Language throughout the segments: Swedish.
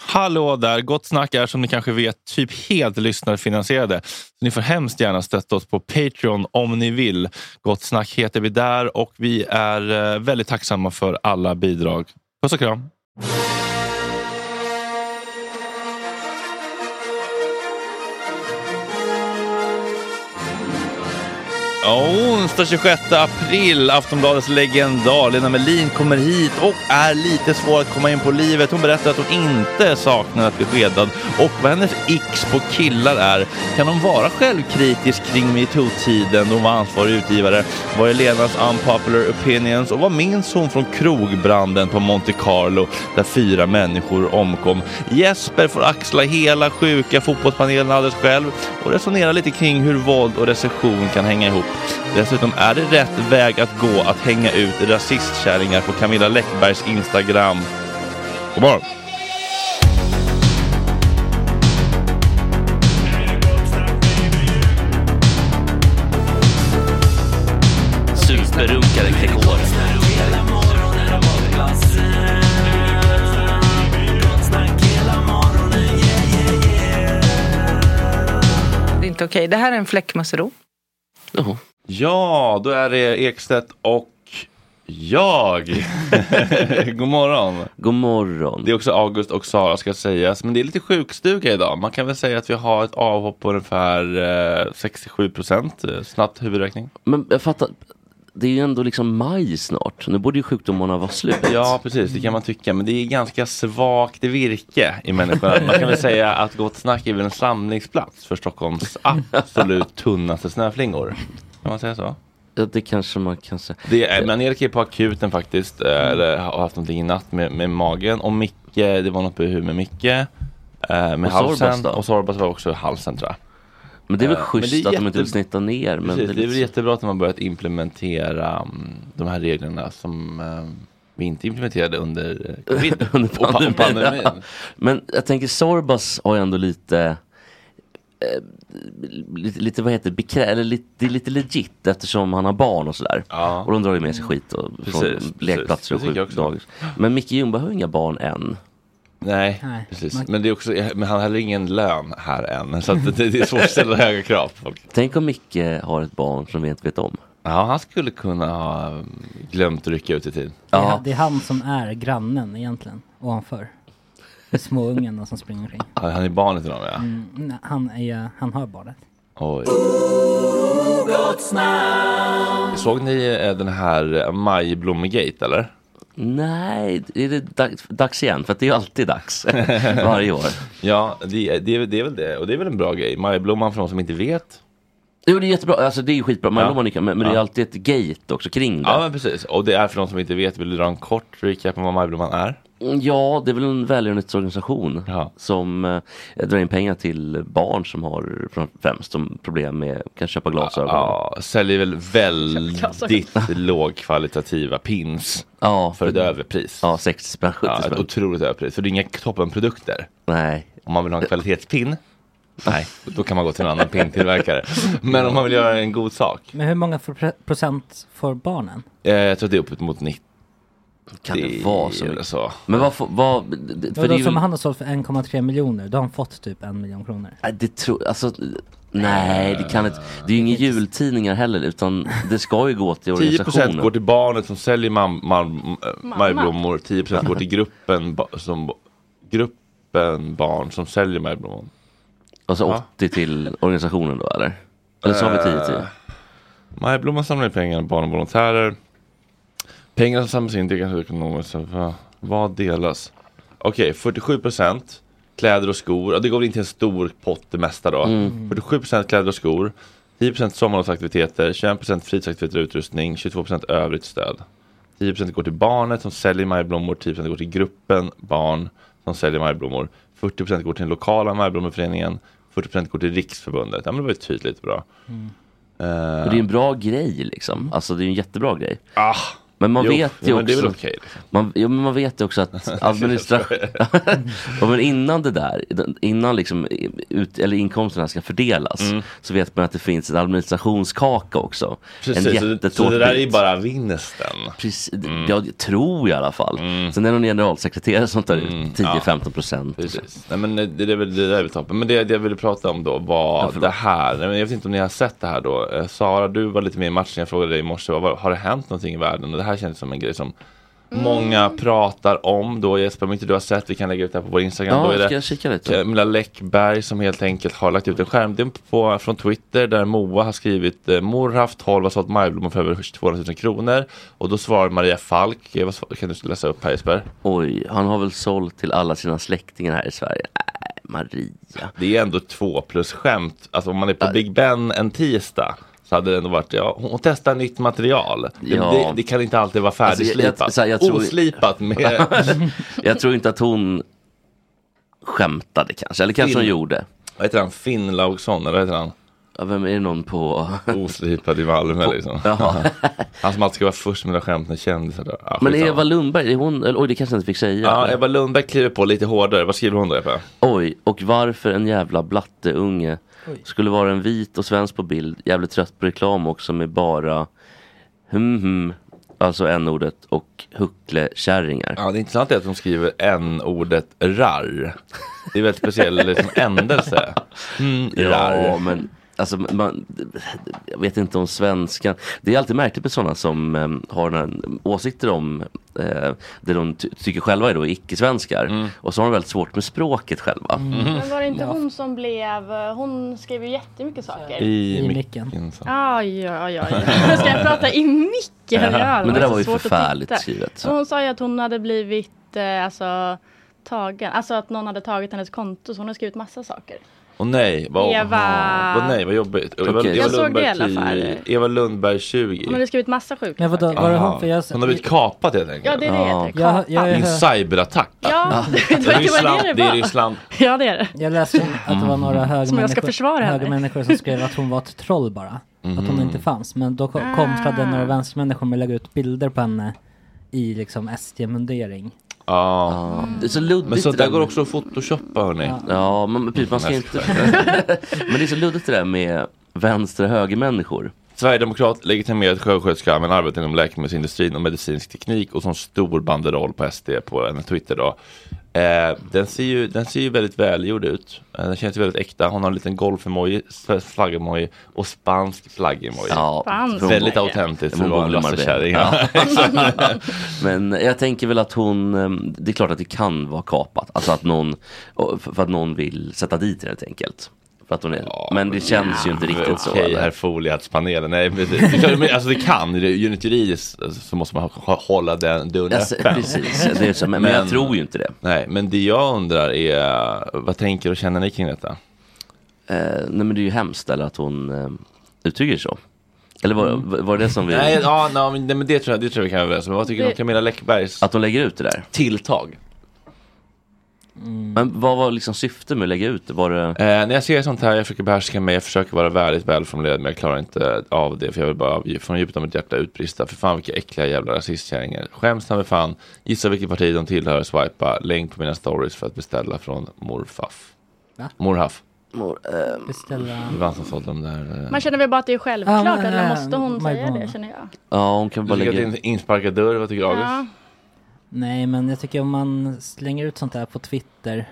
Hallå där! Gott Snack är som ni kanske vet typ helt lyssnarfinansierade. Så ni får hemskt gärna stötta oss på Patreon om ni vill. Gott Snack heter vi där och vi är eh, väldigt tacksamma för alla bidrag. Puss och kram! Ja, onsdag 26 april, Aftonbladets legendar Lena Melin kommer hit och är lite svår att komma in på livet. Hon berättar att hon inte saknar att bli skedad och vad hennes x på killar är. Kan hon vara självkritisk kring metoo-tiden då hon var ansvarig utgivare? Vad är Lenas unpopular opinions och vad minns hon från krogbranden på Monte Carlo där fyra människor omkom? Jesper får axla hela sjuka fotbollspanelen alldeles själv och resonera lite kring hur våld och recession kan hänga ihop. Dessutom är det rätt väg att gå att hänga ut rasistkärringar på Camilla Läckbergs Instagram. God morgon! Superrunkare Gregor. Det är inte okej. Det här är en fläckmussero. Ja, då är det Ekstedt och jag. God morgon! God morgon. Det är också August och Sara ska sägas, men det är lite sjukstuga idag. Man kan väl säga att vi har ett avhopp på ungefär eh, 67 procent. eh, Snabbt huvudräkning. Men jag fattar, det är ju ändå liksom maj snart. Nu borde ju sjukdomarna vara slut. Ja, precis, det kan man tycka, men det är ganska svagt virke i människorna. Man kan väl säga att Gott Snack är väl en samlingsplats för Stockholms absolut tunnaste snöflingor. Kan man säga så? Ja, det kanske man kan säga. Det är, men Erik är på akuten faktiskt, eh, eller har haft någonting i natt med, med magen. Och Micke, det var något behov med Micke. eh, Med Och Sorbas halsen. då? och Sorbas var också halsen tror jag. Men det är väl Eh, schysst men det är att de inte jätte- vill snitta ner. Men liksom- Precis, det är väl lite- jättebra att de har börjat implementera mm, de här reglerna som eh, vi inte implementerade under eh, covid under och pa- pandemin. och pandemin. Men jag tänker Sorbas har ju ändå lite, eh, lite, lite vad heter det, bekrä, eller lite, det är lite legit eftersom han har barn och sådär. Ja. Och de drar ju med sig skit och, från Precis, precis. lekplatser Det tycker jag och också. sjukdagis. Men Micke Ljungberg har ju inga barn än. Nej, Nej, man- precis. Men, det är också, eh, men han har heller ingen lön här än. Så att det, det är svårt att ställa höga krav på folk. Tänk om Micke har ett barn som vi inte vet om. Ja, han skulle kunna ha mm, glömt att rycka ut i tid. Det är, Ja. det är han som är grannen egentligen, ovanför. De Små ungarna som springer omkring. Han han är barnet till någon ja. Mm, nej, han, är, han har barnet. Oj. Såg ni eh, den här eh, majblommegate eller? Nej, är det dags, dags igen? För att det är ju alltid dags varje år. Ja, det, det, är väl- det är väl det. Och det är väl en bra grej. Majblomman för de som inte vet. Jo, det är jättebra. Alltså det är ju skitbra. Man Ja. lovar Nika, men, men det Ja. är alltid ett gate också kring det. Ja, Ja, men precis. Och det är för de som inte vet. Vill du dra en kort recap om vad Majblomman är? det är väl en välgörenhetsorganisation Ja. som eh, drar in pengar till barn som har fram- främst som problem med kan köpa glasögon. Ja, Ja, säljer väl väldigt lågkvalitativa pins för ett överpris. Ja, 60 spänn, 70 Ja, ett spänn. otroligt överpris. För det är inga toppenprodukter. Nej. Om man vill ha en kvalitetspin, nej, då kan man gå till en annan pintillverkare. Men om man vill göra en god sak, Men hur många för pre- procent får barnen? eh, jag tror att det är uppåt mot 90 Kan det vara så eller mycket? så. Men vad, får- vad För för det, är som väl- han har sålt för 1,3 miljoner, då har han fått typ en miljon kronor. Nej, Det tror, alltså, nej, det kan inte. Det är ju Eh. inga jultidningar heller, utan det ska ju gå till 10% organisationen. går till barnet som säljer mam- mam- äh, majblommor, 10% går till gruppen, ba- som, gruppen barn som säljer majblommor. Alltså Ja. Eh. 80 till organisationen då eller? Eller så har vi 10 till? Majblomman samlar in pengar till barn och volontärer. Pengar som samlas in till kanske ekonomiskt. så va- Vad delas? Okej, 47% kläder och skor. Ja, det går väl in till en stor pott det mesta då. 47% kläder och skor. 10% sommarlovsaktiviteter, 21% fritidsaktiviteter och utrustning, 22% övrigt stöd. 10% går till barnet som säljer majblommor, 10% går till gruppen barn som säljer majblommor. 40% går till den lokala majblommeföreningen, 40% går till Riksförbundet. Ja men det var ju tydligt bra. Eh, Och det är en bra grej liksom. Alltså det är en jättebra grej. Ah, Men man Jo, vet ju men det är väl också... okej, liksom. man, jo, men man vet ju också att administration... ja, men innan det där, innan liksom ut, eller inkomsterna ska fördelas, Mm. så vet man att det finns en administrationskaka också. en Precis, så, så det där är ju bara vinsten. Precis, Mm. Jag tror i alla fall. Sen är det någon generalsekreterare som tar ut 10-15 procent. Mm. Precis. Nej, men det, det, är väl- det där är väl toppen. Men det, det jag ville prata om då var Ja, förlåt. det här. Nej, men Jag vet inte om ni har sett det här då. Eh, Sara, du var lite med i matchen. Jag frågade dig i morse. vad var- Har det hänt någonting i världen? Och det här känns som en grej som många pratar om då. Jesper, om inte du har sett, vi kan lägga ut det här på vår Instagram. Ja, då är det ska jag kika lite? Camilla eh, Läckberg som helt enkelt har lagt ut en skärmdump på, från Twitter där Moa har skrivit eh, Mor har haft tolv och sålt majblommor för över 200 000 kronor. Och då svarar Maria Falk. eh, Vad, svar- kan du läsa upp här Jesper? Oj, han har väl sålt till alla sina släktingar här i Sverige. Nej, Maria. Det är ändå två plus skämt. Alltså om man är på Big Ben en tisdag så hade det ändå varit, ja, hon testar nytt material. Ja. Det, det, det kan inte alltid vara färdigslipat. Alltså, jag- jag- så här, jag tror- Oslipat med... Jag tror inte att hon skämtade kanske, eller kanske hon Film. gjorde. vad heter han? Finnlaugsson, eller vad heter han? Ja, vem är det någon på... Oslipad i Malmö liksom. Ja. Han som alltid ska vara först med att skämt när kändisar dör. Ja, Men skitsamma. Eva Lundberg, är hon, eller, oj det kanske jag inte fick säga. Ja, Ebba Lundberg kliver på lite hårdare. Vad skriver hon då, Ebba? Oj, och varför en jävla blatteunge skulle vara en vit och svensk på bild, jävligt trött på reklam också med bara hm, hm, alltså en ordet och hucklekärringar. Ja, det intressanta är att hon skriver en ordet rar. Det är väldigt speciell liksom, ändelse. Mm, Ja, rar. men alltså, man, jag vet inte om svenskan. Det är alltid märkligt med sådana som eh, har den här åsikter om eh, det de ty- tycker själva är då icke-svenskar. Mm. Och så har de väldigt svårt med språket själva. Men var det inte hon som blev... eh, Hon skrev ju jättemycket saker. I, I micken. micken. så. Aj, aj, aj. aj. Ska jag prata i micken? Ja, Men det där var ju så alltså svårt att förfärligt titta. skrivet. Så hon sa ju att hon hade blivit eh, alltså, tagen. Alltså att någon hade tagit hennes konto så hon har skrivit massa saker. Och nej, vad, Eva- Aha, vad, nej, vad jobbigt. Eva, Okej. Eva Jag såg Lundberg det i alla 10, fall. Eva Lundberg Hon 20. hade skrivit massa sjuka Men vadå, saker. var det Aha. hon? För jag, Hon har blivit kapad helt enkelt. Ja, det är det Ja. det heter. jag, Kapa. jag, I en jag, cyberattack. Ja, det det Det är var det Ryssland, det det är var. Ryssland. Ja, det är det. jag läste att det var några Mm. Som jag ska försvara högermänniskor, henne. högermänniskor som skrev att hon var ett troll bara. Att hon Mm. inte fanns. Men då ko- kontrade Ah. några vänstermänniskor med att lägga ut bilder på henne i liksom SD-mundering. Ja. Ja, det är så luddigt. Men så det där går också att photoshoppa hörni. Ja, men men precis, man ska Nej, inte... men det är så luddigt det där med vänster och högermänniskor. Sverigedemokrat, legitimerad sjuksköterska men arbetar inom läkemedelsindustrin och medicinsk teknik och som stor banderoll på SD på en Twitter då. Eh, den, ser ju, den ser ju väldigt välgjord ut. Eh, den känns ju väldigt äkta. Hon har en liten golf-emoji, svensk flagg-emoji och spansk flagg-emoji. Ja, Fan. från- väldigt Mongolien. autentiskt för att Mongolien vara en Marbella. lassekärring. Ja. Men jag tänker väl att hon, ehm, det är klart att det kan vara kapat. Alltså att någon, och för för att någon vill sätta dit henne helt enkelt. För att hon är, men det känns ju inte riktigt så. Okej, eller? herr Foliehattspanelen. Nej, precis. Det är klart, men Alltså det kan, det är ju juridiskt alltså, så måste man ha- ha- hålla den dörren Alltså, öppen. precis, det är så, men, men jag Men- tror ju inte det. Nej, men det jag undrar är, vad tänker och känner ni kring detta? Eh, nej men det är ju hemskt eller att hon ehm, uttrycker så. Eller var, var det det som vi... Mm. Nej, ja, no, men, nej, men det tror jag, det tror jag vi kan vara överens om. Men Vad tycker du om Det- Camilla Läckbergs Att hon lägger ut det där. tilltag? Men vad var liksom syftet med att lägga ut det? Var det... Eh, när jag ser sånt här, jag försöker behärska mig, jag försöker vara värdigt välformulerad, men jag klarar inte eh, av det, för jag vill bara av- från djupet av mitt hjärta utbrista. För fan vilka äckliga jävla rasistkärringar. Skäms när vi fan, gissa vilket parti de tillhör, swipa länk på mina stories för att beställa från morfaff. Va? Morhaff, Mor, eh, ehm, Beställa... det var han som sålde de där. eh. Man känner väl bara att det är Ja, självklart, men, eller eh, måste hon säga Majblomma. det känner jag. ja, hon kan bara Du tycker att lägga det är ut... en insparkad dörr, vad tycker August? Ja. Nej men jag tycker om man slänger ut sånt där på Twitter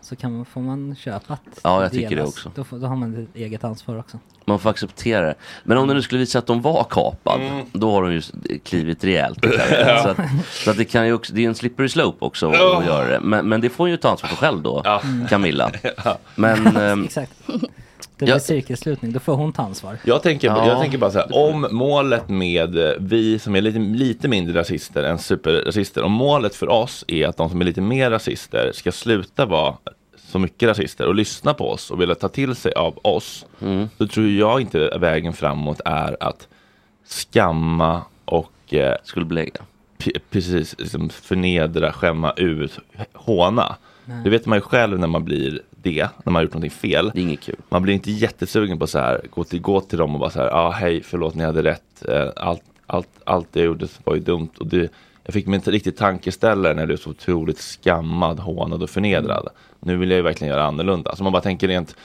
så kan man, får man köpa att Ja, jag tycker det delas. också. Då, får, då har man ett eget ansvar också. Man får acceptera det. Men om det nu skulle visa att de var kapad, då har de ju klivit rejält. Så, att, så att det kan ju också, det är ju en slippery slope också att göra det. Men, men det får hon ju ta ansvar för själv då, Camilla. Men ehm, Exakt. Det blir Ja. cirkelslutning, då får hon ta ansvar. Jag tänker, Ja. jag tänker bara så här, om målet med eh, vi som är lite, lite mindre rasister än superrasister, om målet för oss är att de som är lite mer rasister ska sluta vara så mycket rasister och lyssna på oss och vilja ta till sig av oss, då tror jag inte vägen framåt är att skamma och eh, skulle belägga. p- precis liksom förnedra, skämma ut, håna. Det vet man ju själv när man blir det, när man har gjort någonting fel. Det är inget kul. Man blir inte jättesugen på så här, gå till, gå till dem och bara så här, ja ah, hej, förlåt ni hade rätt, eh, allt, allt, allt jag gjorde var ju dumt. Och det, jag fick mig inte riktigt tankeställare när jag blev så otroligt skammad, hånad och förnedrad. Nu vill jag ju verkligen göra annorlunda. Alltså man bara tänker rent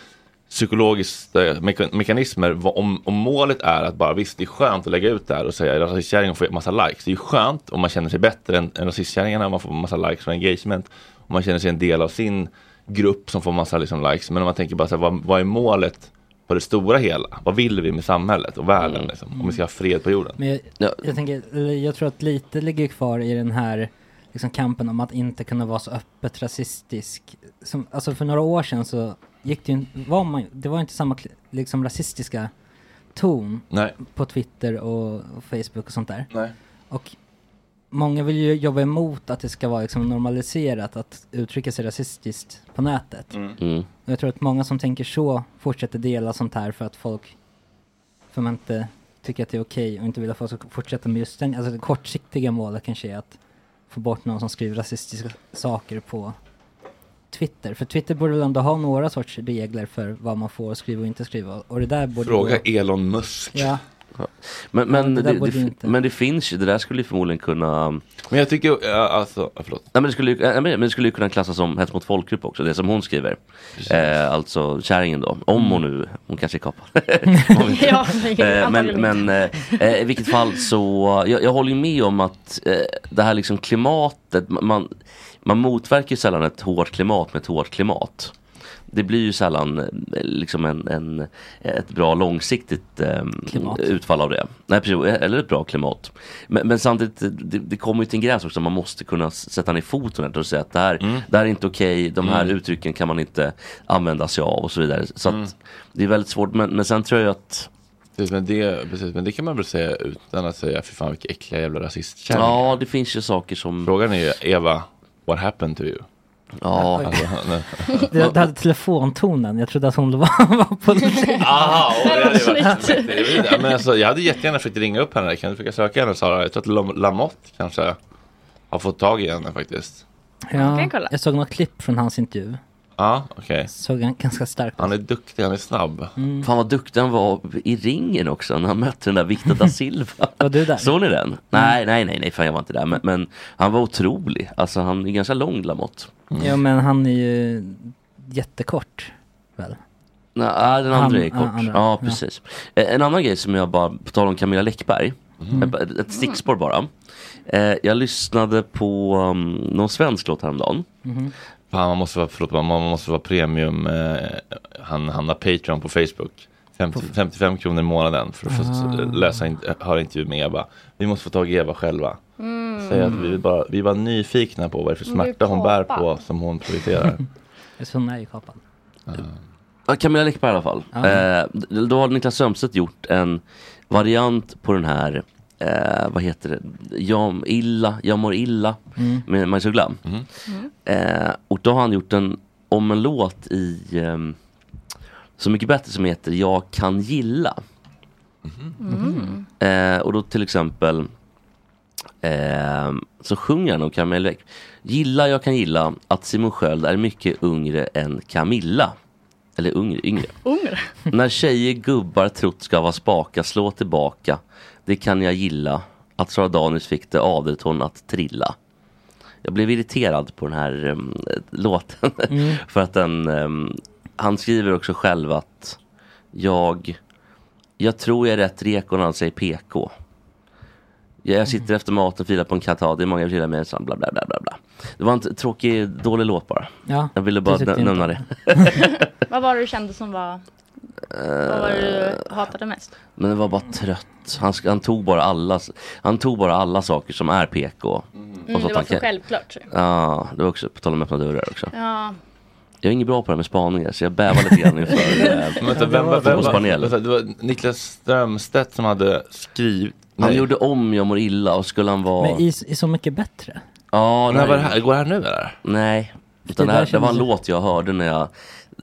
psykologiska eh, meka- mekanismer. Vad- Om, om målet är att bara visst, det är skönt att lägga ut det här och säga rasistkärringen får massa likes. Det är ju skönt om man känner sig bättre än, än rasistkärringarna, om man får massa likes och engagement. Om man känner sig en del av sin grupp som får massa liksom, likes. Men om man tänker bara så här, vad, vad är målet på det stora hela? Vad vill vi med samhället och världen? Liksom, om vi ska ha fred på jorden. Men jag, Ja. jag, tänker, eller jag tror att lite ligger kvar i den här liksom, kampen om att inte kunna vara så öppet rasistisk. Som, alltså för några år sedan så gick det ju in- var man, det var inte samma kli- liksom, rasistiska ton Nej. på Twitter och, och Facebook och sånt där. Nej. Och många vill ju jobba emot att det ska vara liksom, normaliserat att uttrycka sig rasistiskt på nätet. Mm. Och Jag tror att många som tänker så fortsätter dela sånt här för att folk, för man inte tycker att det är okej och inte vill att folk ska fortsätta med just den, alltså det kortsiktiga målet kanske är att få bort någon som skriver rasistiska saker på Twitter. För Twitter borde väl ändå ha några sorts regler för vad man får skriva och inte skriva. Och det där borde Fråga gå... Elon Musk. Ja, Men, men, det det, där det, borde ju inte- men det finns ju, det där skulle ju förmodligen kunna Men jag tycker, ja, alltså, ja, förlåt. Nej, men, det skulle, ju- nej, men men det skulle ju kunna klassas som hets mot folkgrupp också, det som hon skriver. Eh, alltså kärringen då, om hon nu, hon kanske är kapad. Man vet ja, inte. Eh, men antagligen men eh, eh, i vilket fall så, jag, jag håller ju med om att eh, det här liksom klimatet, ma- man, man motverkar ju sällan ett hårt klimat med ett hårt klimat. Det blir ju sällan eh, liksom en, en, ett bra långsiktigt ehm, Klimat. utfall av det. Nej, precis, eller ett bra klimat. Men, men samtidigt, eh, det, det kommer ju till en gräns också. Man måste kunna s- sätta ner foten och säga att det här, det här är inte okej. de här uttrycken kan man inte använda sig av och så vidare. Så att, det är väldigt svårt. Men, men sen tror jag att Precis men, det, precis, men det kan man väl säga utan att säga, fy fan vilka äckliga jävla rasistkärringar. ja, det finns ju saker som... Frågan är ju, Eva, what happened to you? Ja, Alltså, nej. det, det hade telefontonen, jag trodde att hon var, var på Aha, åh, det hade ju varit Snyggt. jätteroligt. Ja, men alltså, jag hade jättegärna försökt ringa upp henne. Kan du försöka söka henne Sara? Jag tror att Lam- Lamotte kanske har fått tag i henne faktiskt. ja, kan kolla. Jag såg något klipp från hans intervju, Ja, okej. såg han ganska starkt. Han är duktig, han är snabb. Mm. fan vad duktig han var i ringen också när han mötte den där Victor da Silva. Var du där? Mm. Såg ni den? Nej, nej, nej, nej, fan jag var inte där. Men, men han var otrolig. Alltså han är ganska lång, Lamotte. Ja men han är ju jättekort, väl? Nej, ah, den andra Han- är ah, kort. ja, andra. Ja. Mm. precis. Eh, En annan grej som jag bara, på tal om Camilla Läckberg, ett, ett stickspår bara. Eh, jag lyssnade på um, någon svensk låt häromdagen. Fan, man måste vara, förlåt, man man måste vara premium. Eh, han hamnar Patreon på Ah. Facebook. 50, 55 kronor i månaden för att få s- läsa in, höra intervju med Eva. Vi måste få tag i Eva själva. Säga att vi vill bara, vi var nyfikna på vad det Mm. är för Hon blir smärta hon bär på kapad. som hon prioriterar. Så hon är ju kapad. Ja, Camilla Läckberg i alla fall. Eh, d- då har Niklas Strömstedt gjort en variant på den här Eh, vad heter det? Jag, illa, jag mår illa med Majs Uggla. Eh, och då har han gjort en, om en låt i ehm, Så mycket bättre som heter Jag kan gilla. Eh, och då till exempel ehm, så sjunger han om Camilla Läck. Gilla jag kan gilla att Simon Sköld är mycket yngre än Camilla. Eller yngre, yngre. Ungr. När tjejer gubbar trott ska vara spaka, slå tillbaka. Det kan jag gilla. Att Sara Danius fick det adret hon att trilla. Jag blev irriterad på den här em, låten. Mm. För att den, em, han skriver också själv att jag, jag tror jag är rätt reko när han säger PK. Jag, jag Mm. sitter efter maten, filar på en katt, ja, det är många filar med, bla bla bla bla. bla. Det var en t- tråkig, dålig låt bara. Ja, Jag ville det bara tyckte nä- inte. nämna det. Vad var det du kände som var... Vad var det Eh, du hatade mest? Men det var bara trött. Han, sk- han, tog bara alla, s- han tog bara alla saker som är PK. Mm, så det att var han för kan- självklart. Ja, det var också på tal om öppna dörrar också. Ja, Jag är inget bra på det här med spaningar så jag bävar lite grann inför eh, Men Vänta, vem var vem var- fotbollspanelen. vänta, det? var Niklas Strömstedt som hade skrivit. Han Nej. gjorde om Jag mår illa och skulle han vara... Men i, i Så mycket bättre. Ja, När var det nej. här? Går det här nu eller? nej. Utan Det det, där här, det var en kändes- låt jag hörde när jag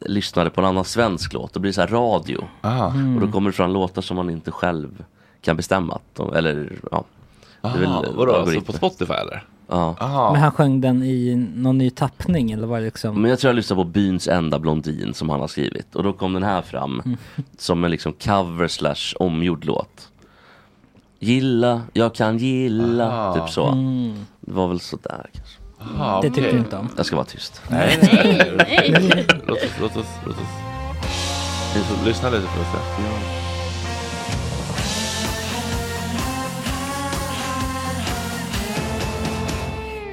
lyssnade på en annan svensk låt. Då blir det så här radio. Aha. Och då kommer det fram låtar som man inte själv kan bestämma. att de- Eller ja. Det är väl Aha, vadå, så på algoritmer. Spotify eller? ja. Aha. Men han sjöng den i någon ny tappning eller var det liksom... Men jag tror jag lyssnade på Byns enda blondin som han har skrivit. Och då kom den här fram som en liksom cover slash omgjord låt. Gilla, jag kan gilla. Aha. Typ så. Det var väl sådär kanske. Aha, Det tyckte okej. du inte om. Jag ska vara tyst. Nej, nej, nej. Nej. Låt oss- låt oss- låt oss. Vi får lyssna lite på det.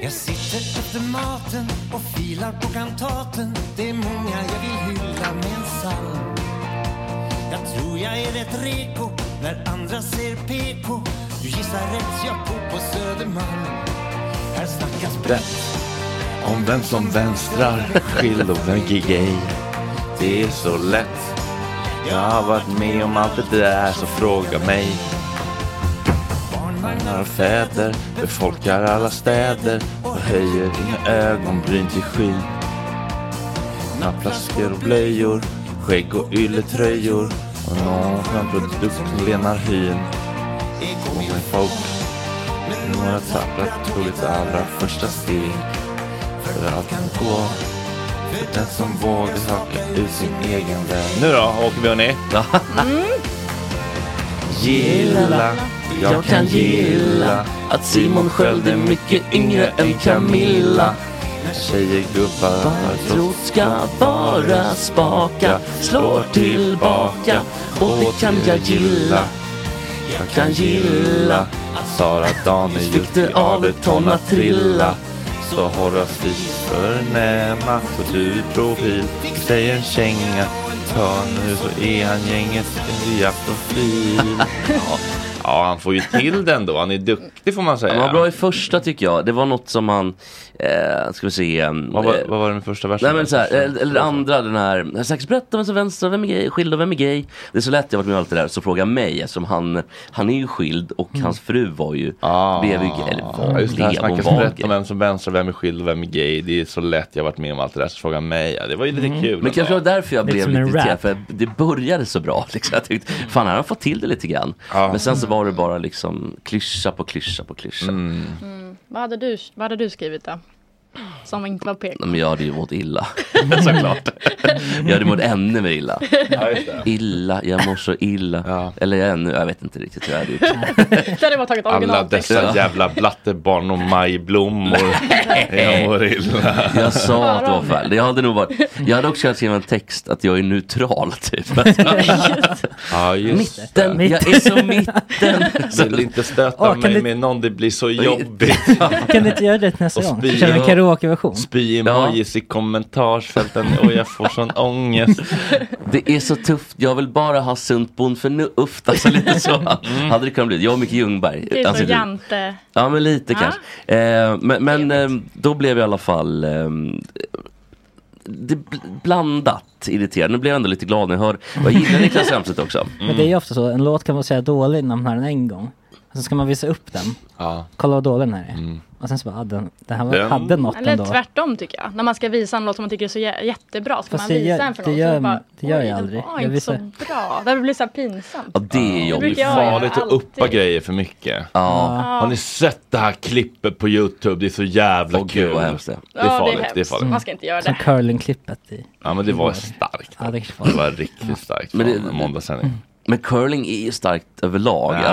Jag sitter efter maten och filar på kantaten Det är många jag vill hylla med en psalm Jag tror jag är rätt reko när andra ser PK Du gissar rätt, jag bor på Södermalm Här snackas brett Om vem som vänstrar, skild och vem är gay. Det är så lätt. Jag har varit med om allt det där, så fråga mig. Barnvagnar och fäder befolkar alla städer och höjer dina ögonbryn till skyn. Nappflaskor och blöjor, skägg och ylletröjor och någon skön produkt som lenar hyn. Och med folk, några tapprat tog ett allra första steg. För allt kan gå, för den som vågar haka ut sin egen väg. Nu då, åker vi hörni. Gilla, jag kan gilla att Simon Sköld är mycket yngre än Camilla. När Tjejer, gubbar, vad trott ska vara spaka slår tillbaka och det kan jag gilla. Jag kan gilla att Sara Danius fick av ett tonna trilla. Så Horace Fisk förnäma så du i profil fick dig en känga. Ta nu så är han gängets nya profil. Ja. ja, han får ju till den då. Han är duktig får man säga. Han var bra i första tycker jag. Det var något som han, eh, ska vi se. Vad var- vad var den första versen? Nej men såhär, eller, eller andra den här. Strax berätta vem som är vänster, vem är gay, skild och vem är gay. Det är så lätt, jag har varit med om allt det där. Så fråga mig eftersom han, han är ju skild och Mm. hans fru var ju, blev ju gay. Eller Ah. Ja, var, just det här blev, hon snacket som var berättar gay. om vem som vänster, vem är skild och vem är gay. Det är så lätt, jag har varit med om allt det där. Så fråga mig. Ja, det var ju lite Mm. kul. Men kanske det var därför jag Lite blev som en lite irriterad, rap. för det började så bra. Liksom. Jag tyckte, fan här har han fått till det lite grann. Men sen så var det bara liksom klyscha på klyscha på klyscha. Mm. Vad, hade du, vad hade du skrivit då? Som inte var PK? Men jag hade ju mått illa, såklart. jag hade mått ännu mer illa. Ja, just det. Illa, jag mår så illa. Eller jag ännu, jag vet inte riktigt hur jag hade gjort. Det hade bara tagit Alla original. dessa jävla blattebarn och majblommor. jag mår illa. Jag sa att det var fel. Jag hade nog varit, jag hade också kunnat skriva en text att jag är neutral typ. Ja, just mitten, jag är så mitten. Vill inte stöta Åh, kan mig du- med någon, det blir så jobbigt. Kan du inte göra det nästa Och gång? spy- Kör en karaokeversion. Mm. Spy-emojis i kommentarsfälten och jag får sån ångest. Det är så tufft, jag vill bara ha sunt bondförnuft. Alltså lite så Mm. hade det kunnat bli. Jag och Micke Ljungberg. Det är Alltså, så du- Typ jante. Ja men lite Ja. kanske. Eh, men men eh, då blev jag i alla fall eh, det bl- blandat irriterad. Nu blev jag ändå lite glad när jag hörde. Jag gillar Niklas Elmstedt också. Mm. Men det är ju ofta så, en låt kan vara så här dålig när man hör den en gång. Och sen ska man visa upp den. Kolla vad dålig den här är. Och sen så bara, ah, den, det här var, Mm. Den- hade något Eller ändå. tvärtom tycker jag. När man ska visa en låt som man tycker är så jä- jättebra. Ska Fast man det visa gör- en för det någon gör- så bara, det gör jag oj, den aldrig. var Jag inte visar- så bra. Det blir så här pinsamt. Ja, det är jobbigt. brukar jag göra Farligt att alltid. uppa grejer för mycket. Ja. Har ni sett det här klippet på Youtube? Det är så jävla kul. det. Ja, är farligt. Det är, hemskt. farligt. Man ska inte göra Som det. curlingklippet i. Ja men det var starkt. Ja, det kanske var. Det var riktigt starkt. Men det- fan, en Mm. måndagssändning. Men curling är ju starkt överlag. Nej.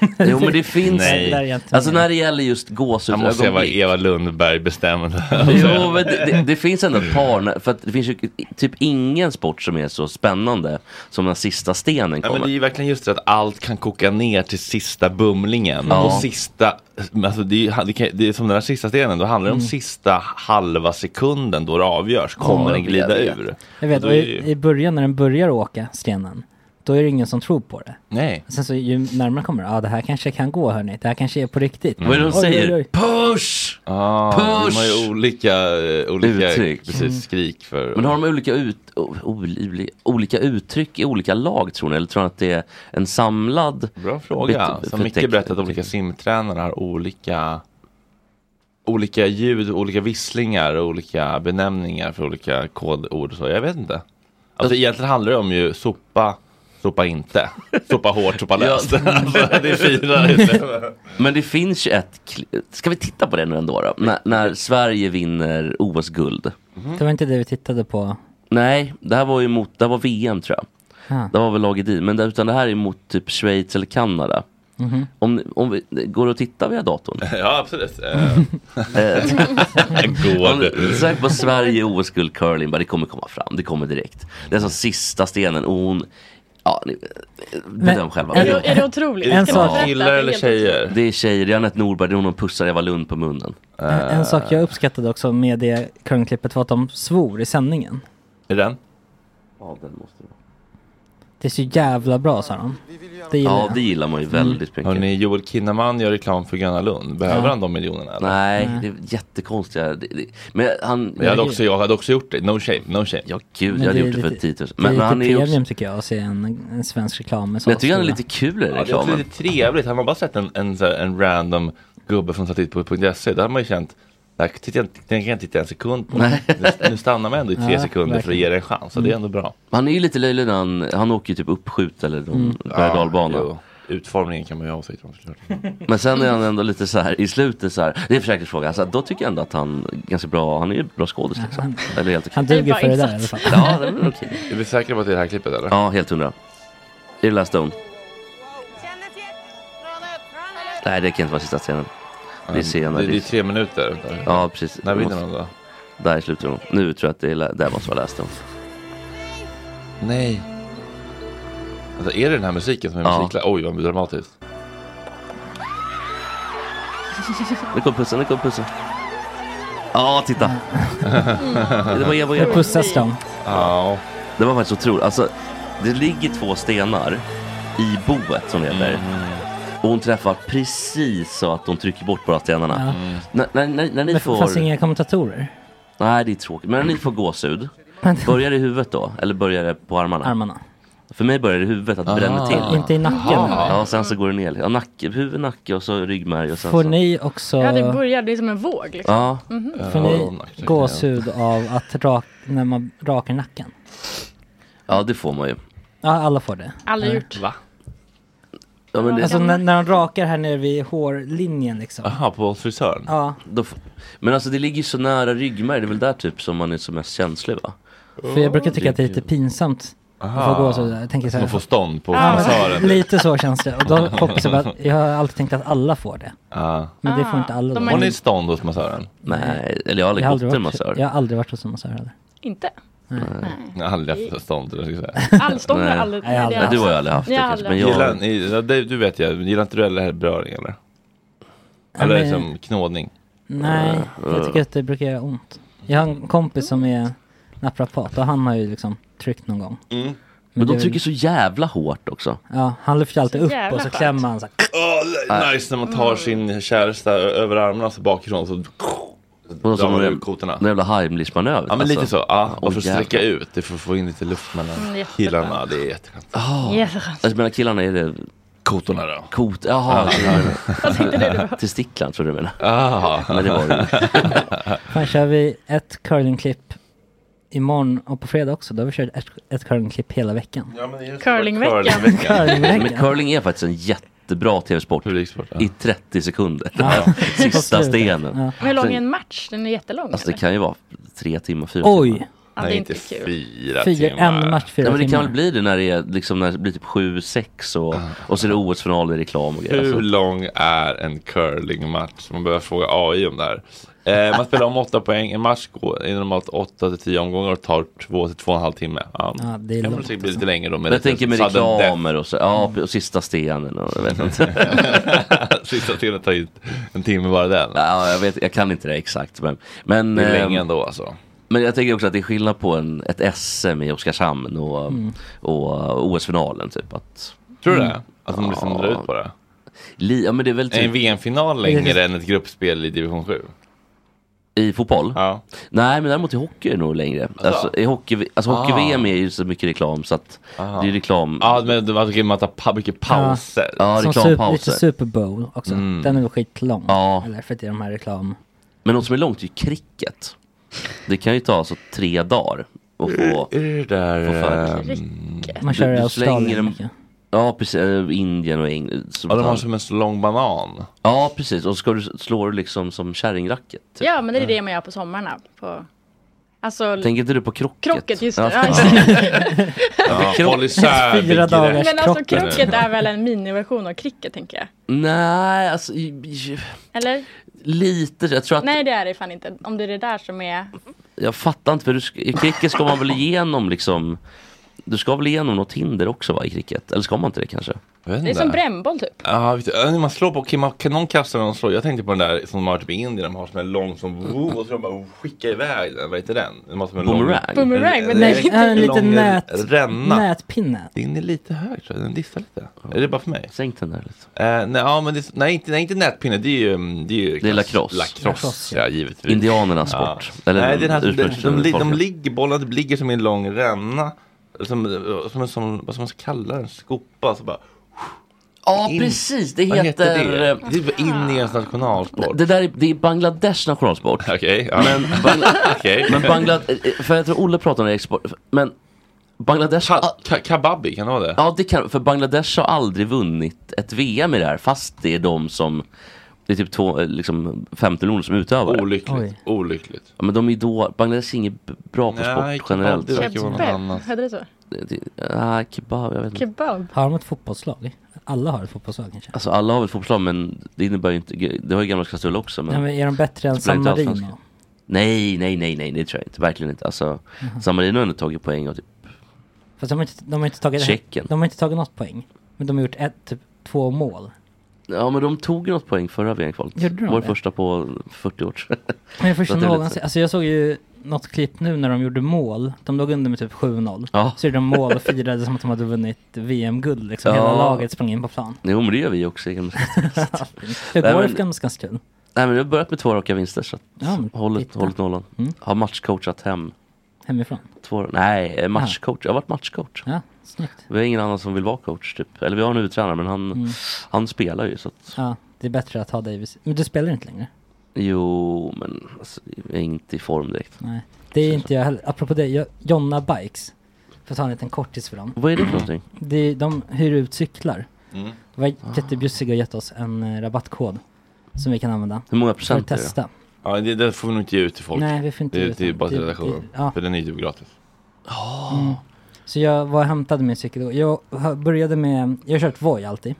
Alltså, jo men det finns. Nej. Det där är jag inte Alltså med. när det gäller just Jag måste se vad gåshudsögonblick. Eva Lundberg bestämde. Jo, men det, det, det finns ändå ett par, när- för att det finns ju typ ingen sport som är så spännande som när sista stenen Ja, kommer. men det är ju verkligen just det att allt kan koka ner till sista bumlingen. Ja. Och sista, men alltså det, är, ju- det, kan, det är som den här sista stenen, då handlar det om Mm. sista halva sekunden då det avgörs. Kommer Ja, den jag glida vet. ur? Jag vet, Då och är det ju- i, i början när den börjar åka stenen, då är det ingen som tror på det. Nej. Sen så ju närmare kommer det, ja ah, det här kanske kan gå hörni, det här kanske är på riktigt. Vad är det de Oj, säger? oj, oj. Push! Ah, Push! De har ju olika, eh, olika Uttryck. Precis, Mm. skrik för... Men har de olika, ut, o- oli- olika uttryck i olika lag tror ni? Eller tror ni att det är en samlad? Bra fråga. bet- Som för Micke text- berättade att olika simtränare har olika olika ljud, olika visslingar och olika benämningar för olika kodord och så. Jag vet inte. Alltså egentligen handlar det om ju sopa, sopa inte, sopa hårt, sopa löst. alltså, det är liksom. fyra. Mm. i slutet. Men det finns ju ett, kli- ska vi titta på det nu ändå då? När, när Sverige vinner OS-guld. Det var inte det vi tittade på. Nej, det här var ju mot, det här var VM tror jag. Ah. Det var väl laget i, men det, utan det här är mot typ Schweiz eller Kanada. Om, om vi, går det att titta via datorn? Ja, absolut. Eh, Går det? Sök på Sverige OS Guld curling, bara det kommer komma fram, det kommer direkt. Det är som sista stenen och hon, ja, ni- bedöm själva. Är det, är det otroligt? Är Ska det man berätta? killar eller Det är helt tjejer? Det är tjejer, det är Anette Norberg, det är hon som pussar Eva Lund på munnen. En, Eh. en sak jag uppskattade också med det curlingklippet var att de svor i sändningen. Är den? Ja, den måste det vara. Det är så jävla bra sa de. Det gillar Ja, det jag. gillar man ju väldigt mycket. Hörni, Joel Kinnaman gör reklam för Gröna Lund. Behöver han de miljonerna? Eller? Nej, det är jättekonstiga. Det, det, men han, Jag hade, också, jag hade också gjort det. No shame, no shame. ja gud, Men jag hade det är gjort det för lite- 10 000. det är Men, men han är lite ju premium också, tycker jag att se en, en svensk reklam med så men jag tycker han är stora- lite kul i Ja, det är också reklamen. lite trevligt. Hade man bara sett en, en, så här, en random gubbe från satellitbordet.se, då hade E. man ju känt där tittar jag inte- den kan jag inte titta en sekund på. Nej. Mm. Nu- Nu stannar man ändå i tre Ja, sekunder för att ge det en chans. Så det är ändå bra. Han är ju lite löjlig när han, han åker ju typ uppskjut eller någon berg och dalbana. jo. Utformningen kan man ju ha åsikter om såklart. Men sen är han ändå lite så här i slutet så här, det är en försäkringsfråga. Alltså, då tycker jag ändå att han är ganska bra, han är ju en bra skådis liksom. Eller helt okej. Han duger bara för det där i alla insats. fall. Ja, det är väl okej. Är vi säkra på att det är det här klippet eller? Ja, helt hundra. Är det Last Stone? Nej, det kan inte vara sista scenen. Det är senare. Det, det är Det är... tre minuter. Där. Ja, precis. När Det vinner måste- de då? Där i slutet. nog. Nu tror jag att det är, la- där måste vara Last Stone. Nej. Alltså är det den här musiken som är Ja. musikklar? Oj vad dramatiskt. Nu kommer pussen, nu kommer pussen. Ja, titta. Det var Eva och Där Eva. pussas de. Ja. Det var faktiskt otroligt. Alltså, det ligger två stenar i boet som det heter. Och hon träffar precis så att de trycker bort bara stenarna. Mm. Ja. När, när, när, när ni Det får... fanns inga kommentatorer. Nej, det är tråkigt. Men när ni får gåshud, Men- börjar det i huvudet då? Eller börjar det på armarna? Armarna. För mig börjar det i huvudet, att det Ah. bränner till. Inte i nacken. Ja, och sen så går det ner. Ja, nacke, huvud, nacke och så ryggmärg och sen Får Alltså. så... ni också... Ja, det börjar, det är som en våg liksom. Ja, Får ni Ja, ja. gåshud av att rak, när man rakar nacken? ja, det får man ju. Ja, alla får det. Aldrig gjort. Ja, men det, Alltså när, när de rakar här nere vid hårlinjen liksom. Jaha, på frisören? Ja, då, f- men alltså det ligger ju så nära ryggmärg, det är väl där typ som man är som mest känslig va? för jag brukar tycka att det är lite pinsamt att få gåshud. Jag tänker så Man får här, stånd på Ja, men frisören. lite så känns det. Och då kompisar bara, jag har alltid tänkt att alla får det. Ja. Men det får inte alla. Ah, de då. Har ni stånd hos massören? Nej, eller jag har aldrig Jag gått har aldrig till en varit, massör. jag har aldrig varit hos en massör heller. Inte. Jag har aldrig haft stånd. det ska jag säga. Allstånd har Nej. jag aldrig. Nej, jag har det Nej, har du jag har ju aldrig haft det Jag har kanske, men aldrig jag... Gillar, ni, ja, det- du vet jag, gillar inte du heller beröring eller? Eller men- liksom knådning? Nej, Eh, jag tycker att det brukar göra ont. Jag har en kompis som är naprapat och han har ju liksom tryckt någon gång. Men de det är- trycker så jävla hårt också. Ja, han lyfter alltid Så upp jävla och så skönt. klämmer han så här. Oh, nice när man tar sin käresta ö- över armarna så bakifrån så Och de drar som man någon ur jävla, kotorna. någon jävla alltså. Heimlich-manöver. Ja men lite så, ja, och för att Åh, sträcka jävlar. ut, det får få in lite luft mellan jättebra. killarna, det är jätteskönt. aldrig- Jätteskönt. Alltså mellan killarna är det Kotorna då? kot... Jaha, Jag tänkte det, det. testiklar tror jag du menar. Ah, Men det var det. Fan kör vi ett curlingklipp imorgon och på fredag också. Då har vi kört ett, ett curlingklipp hela veckan. ja, men just det, Curlingveckan. curlingveckan. Men Curlingveckan. curling är faktiskt en jättebra tv-sport. Publiksport, ja. I 30 sekunder. Ja. Sista Absolut. stenen. Ja. Men Hur lång är en match? Den är jättelång. Alltså det eller? kan ju vara tre timmar, fyra timmar. Oj! ja, det är Nej inte inte kul. fyra Fyra, timmar. en match, fyra Ja, men det kan väl timmar. bli det när det är liksom när det blir typ 7-6 och, och så är det OS-final, det är reklam och grejer. Hur Alltså, lång är en curlingmatch? Man behöver fråga AI om det här. Eh, man spelar om åtta poäng, en match går är normalt 8 till 10 omgångar och tar 2 till 2,5 timme. Ja, Ja, det är kan väl långt alltså. säkert bli lite längre då med jag tänker med sudden death. Mm. reklamer och så, ja, och sista stenen och jag vet inte. Sista timmen tar ju en timme bara den. Ja, jag, vet, jag kan inte det exakt men, men, Det är ehm, länge ändå alltså. men jag tänker också att det är skillnad på en, ett SM i Oskarshamn och, Mm. och OS-finalen typ. Att, Tror du det? Att de liksom drar ut på det? li, ja, men det är väl Är en Mm. typ VM-final längre än ett gruppspel i division 7? i fotboll. Ja. Nej, men däremot i hockey är det nog längre. Alltså, i hockey, alltså hockey-VM är ju så mycket reklam så att det är reklam. Ah. Ja, men det var okej, man tar pa- mycket pauser. Ja, Som super, lite reklampauser. Super Bowl också. Mm. Den är väl skitlång. Ja. Eller för att det är de här reklam... Men något som är långt är ju cricket. Det kan ju ta alltså tre dagar. Och få, Är det där... Får fan. ehm, Man kör du i slänger Australien dem- mycket. ja, precis. eh, Indien och England. som Ja, de har fan- som en så lång banan. Ja, precis. Och så ska du slår du liksom som kärringracket. Ja, men det är det man gör på sommarna. På... Alltså, Tänker inte du på krocket? Krocket, just det. Ja, Ja, fan. just Ja, krock- håll isär Fyra begrepp. dagar. men alltså Krocket. krocket är väl en miniversion av cricket tänker jag? Nej, alltså i- i- Eller? lite. Jag tror att Nej det är det fan inte. Om det är det där som är... Jag fattar inte, för du, sk- i cricket ska man väl igenom liksom Du ska väl igenom något hinder också va, i cricket? Eller ska man inte det kanske? Jag vet Det är inte. som brännboll typ. Ja, visst. Ja, när man slår på, kan man- kan någon kasta den och slå? Jag tänkte på den där som de har typ i Indien, de har som en lång som woo, och så de bara skickar iväg den, vad heter den? De har som en lång- Boomerang? Boomerang, men Det nej. är Nej, riktigt en, en lång liten nät, ränna. nätpinne. Din är lite hög tror jag, den dissar lite. Är det bara för mig? Sänk den där lite. Eh, nej, ja, men det, nej, inte, nej, inte nätpinne, det är ju... mm, Det är, ju Det är lacrosse. Lacrosse, Lacrosse, ja. ja. givetvis. Indianernas Ja. sport. Eller nej, det är den här, som- de, de, ursprungsfolket. de, de ligger, bollen typ ligger som i en lång ränna. Som, som, en som, vad ska man kalla den? Skopa. Så bara, Ja, in- precis. Det vad heter, heter... eh, det? Det är typ Indiens nationalsport. Det där är, det är Bangladesh nationalsport. Okej, ja. Men, Bangla- Okej. men Bangladesh... För jag tror Olle pratade om det i export. Men Bangladesh... har- Ka- ka- Kababi, kan det vara det? Ja, det kan, för Bangladesh har aldrig vunnit ett VM i det här, fast det är de som... Det är typ två, eh, liksom, 50 miljoner som utövar det. Olyckligt. Oj. Olyckligt. Ja, men de är då, Bangladesh är inget b- bra på Nej, sport generellt. kebab, det verkar vara något Kebab, annat. hette det så? Det- det- Nej, kebab, jag vet inte. Kebab? Har de ett fotbollslag? Alla har ett fotbollslag kanske? Alltså alla har väl fotbollslag men det innebär ju inte, det har ju gamla Kastrull också men Ja, men är de bättre än Spelar San inte Marino? allsvenskan. nej, nej, nej, nej, det tror jag inte, verkligen inte. Alltså Mhm. San Marino har ändå tagit poäng och typ, Fast de har inte, de har inte tagit... Tjeckien. De har inte tagit något poäng. Men de har gjort ett, typ två mål. ja men de tog ju något poäng förra VM-kvalet. Gjorde de Vår det? första på 40 år sedan. Men jag förstår Låter lite någonsin, så. alltså jag såg ju något klipp nu när de gjorde mål, de låg under med typ 7-0. Ja. Så gjorde de mål och firade som att de hade vunnit VM-guld liksom, Ja. hela laget sprang in på plan. Jo men det gör vi också. i gamla- Hur Nej, går det men- för Gamleskans kul? nej men vi har börjat med två raka vinster så att Ja, men hållit, titta. Mm. hållit nollan. Har matchcoachat hem. Hemifrån? Två, nej, eh, matchcoach, jag har varit matchcoach. Ja, snyggt. Vi har ingen annan som vill vara coach typ. Eller vi har en huvudtränare men han, Mm. han spelar ju så att Ja, det är bättre att ha dig vid- Men du spelar inte längre? Jo men alltså, jag är inte i form direkt. Nej. Det är inte jag heller. Apropå det, jag, Jonna Bikes. För att ta en liten kortis för dem. Vad är det för någonting? Det, är- de hyr ut cyklar. De var jättebjussiga och gett oss en eh, rabattkod. Som vi kan använda. Hur många För att procent är det? testa. Ja, det, det får vi nog inte ge ut till folk. Nej, vi får inte det, ge ut det är typ den. bara till Det- redaktionen. det- ja. För den är ju typ gratis. Så jag var och hämtade min cykel då. Jag har- började med, jag har kört Voi alltid.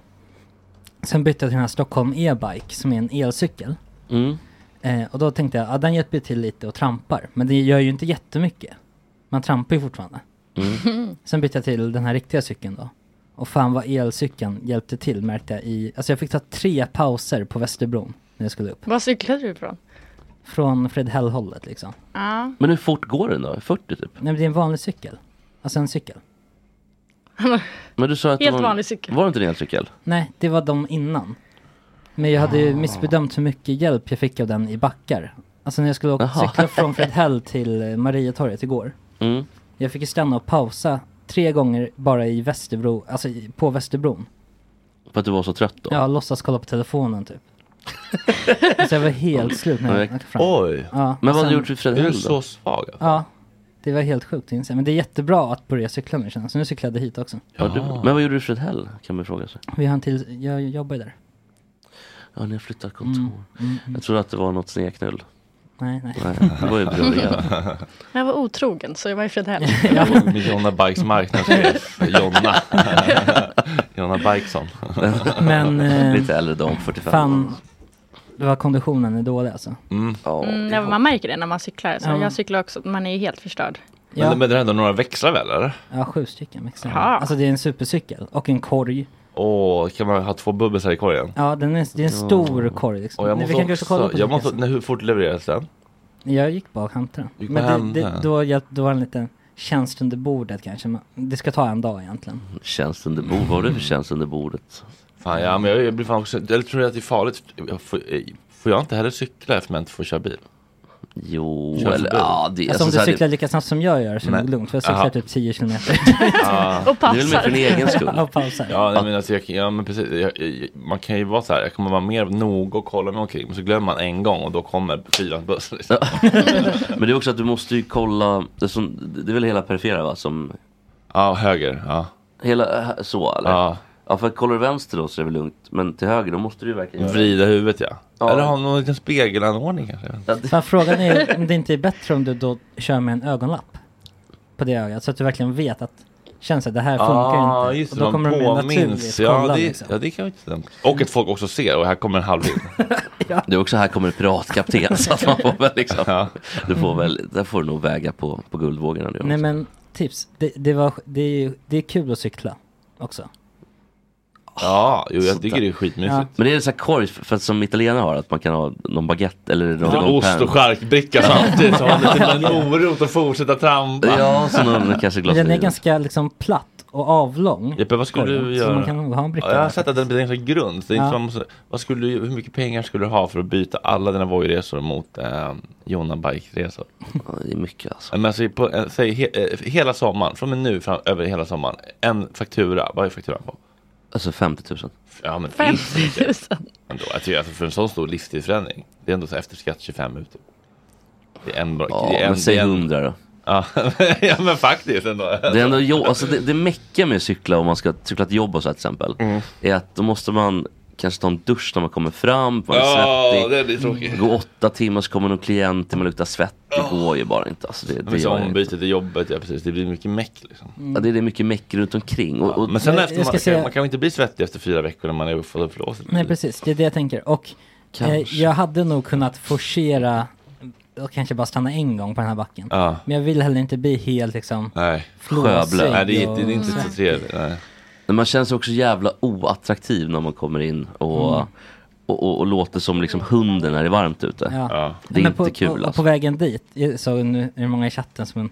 Sen bytte jag till den här Stockholm e-bike som är en elcykel. Mm. Eh, och då tänkte jag, ja den hjälper ju till lite och trampar. Men det gör ju inte jättemycket. Man trampar ju fortfarande. Mm. Sen bytte jag till den här riktiga cykeln då. Och fan vad elcykeln hjälpte till märkte jag i, alltså jag fick ta tre pauser på Västerbron när jag skulle upp. Var cyklade du ifrån? Från Fredhäll-hållet liksom. Ja. Men hur fort går den då? 40 typ? Nej men det är en vanlig cykel. Alltså en cykel. Men du sa att det Helt var en- vanlig cykel. Var det inte en elcykel? Nej, det var de innan. Men jag hade Ah. ju missbedömt hur mycket hjälp jag fick av den i backar. Alltså när jag skulle åka Jaha. cykla från Fredhäll till eh, Marietorget igår. Mm. Jag fick ju stanna och pausa tre gånger bara i Västerbro, alltså i- på Västerbron. För att du var så trött då? Jag låtsas kolla på telefonen typ. alltså jag var helt slut när jag Korrekt. åkte fram. Oj! Ja, Men vad och hade du sen- gjort vid Du är Fredhäll då? så svag. alltså. Ja, det var helt sjukt att inse. Men det är jättebra att börja cykla nu känner jag. Så nu cyklade jag hit också. Ja, du... Men vad gjorde du i Fredhäll? Kan man fråga sig. Vi har en till, jag jobbar ju där. Ja, ni har flyttat kontor. Mm. Jag trodde att det var något sneknull. Nej, nej. Nej, det var ju bra. Jag var otrogen så jag var i Fredhäll. Och Med Jonna Bikes marknadschef, Jonna. Jonna Bikeson. Men... eh, Lite äldre dam, 45. Fan, det var konditionen är dålig alltså. Ja, Mm, ja, man märker det när man cyklar. Så Ja. Jag cyklar också, man är ju helt förstörd. Men, Ja, men det är ändå några växlar väl eller? ja sju stycken växlar. Ja. Alltså det är en supercykel och en korg. Åh, kan man ha två bubbels här i korgen? Ja, den är, det är en stor korg liksom. Och jag Nej, måste vi kan också kolla också, på jag jag, måste, nej, hur fort levereras den? jag gick bara och hämtade Gick den. bara Men det, hämta. det, då, hjälp- då var det en liten tjänst under bordet kanske. Men det ska ta en dag egentligen. tjänst under bordet. Vad var det för tjänst under bordet? Fan ja, men jag, jag blir fan också, eller tror jag att det är farligt? Jag får, eh, får jag inte heller cykla eftersom jag inte får köra bil? Jo, Körförbud. eller ja, det, Alltså, så om här, du det- cyklar lika snabbt som jag gör så är det Nej. nog lugnt. För jag cyklar Aha. typ 10 kilometer Och Det är väl mer för passar. din egen skull. och pausar. Ja, nej, men alltså, jag, ja men precis, jag, jag, man kan ju vara så här, jag kommer vara mer noga och kolla mig omkring, men så glömmer man en gång och då kommer fyrans buss. Liksom. Men det är också att du måste ju kolla, det är, som, det är väl hela perifera va? Som, Ja, höger, ja. hela eh, så eller? ja. Ja för kollar du vänster då så är det väl lugnt. Men till höger då måste du ju verkligen göra Vrida huvudet ja. Ja Ja. Eller har någon liten spegelanordning kanske? Fan, frågan är om det inte är bättre om du då kör med en ögonlapp på det ögat så att du verkligen vet att känns det, det här funkar ah, inte. Just det, och då kommer de de mer påminns. naturligt Ja, kolla det, liksom. ja, det kan ju inte stämma. Och att folk också ser och här kommer en halv in. Det är också här kommer en piratkapten så att man får väl liksom, du får väl, där får du nog väga på, på guldvågorna nu. Nej men tips, det, det, var, det, är, ju- det är kul att cykla också. ja, jo, jag Sånt tycker där. det är skitmysigt. Ja. Men det är så här korg för att som italienare har att man kan ha någon baguette eller någon, Ja. någon Ost pärn. och charkbricka samtidigt. Så har man lite med en morot och fortsätta trampa. Ja, så någon kanske Men glas den är vin. ganska liksom platt och avlång. Jeppe, vad skulle korgen, du Så göra? man kan ha en bricka Ja, jag har där. sett att den blir en sån grund. Så det är inte Ja. som, man måste- vad skulle, du- hur mycket pengar skulle du ha för att byta alla dina Voi-resor mot eh, Jonna Bike-resor? Ja, Det är mycket alltså. Ja, Men alltså, på, eh, säg he, eh, hela sommaren, från och med nu fram, över hela sommaren, en faktura, vad är fakturan på? Alltså 50 000. Ja men 50 000. ändå, jag tycker, alltså, för en sån stor livsstilsförändring, det är ändå så här efterskatt 25 ut. Det är en bra, Ja, det är en, men säg det är en- 100 då. Ja, ja men faktiskt ändå. Det är ändå jo- alltså det, det mäckiga med att cykla om man ska cykla till jobb och så här, till exempel. Mm. Är att då måste man kanske ta en dusch när man kommer fram, man är Ja, svettig. det blir tråkigt. Gå åtta timmar så kommer någon klient till man luktar svett. Det går ju bara inte. Alltså det, det, Ah. Men så gör jag inte. ombytet i jobbet, ja precis, det blir mycket meck liksom. Ja, det är det mycket meck runt omkring. Och, och, Men sen Men efter jag man, ska säga- man kan ju inte bli svettig efter fyra veckor när man är fått en förlossning. Nej precis, det är det jag tänker. Och eh, Kanske. jag hade nog kunnat forcera och kanske bara stanna en gång på den här backen. Ja. Men jag vill heller inte bli helt liksom Nej. flåsig. Sjöblöt. Nej, det är, och- det är inte så trevligt. Nej. Men man känns också jävla oattraktiv när man kommer in och, Mm. och, och, och låter som liksom hunden när det är varmt ute. Ja. Ja. Det är Men inte kul på, alltså. på vägen dit, jag såg nu är det många i chatten som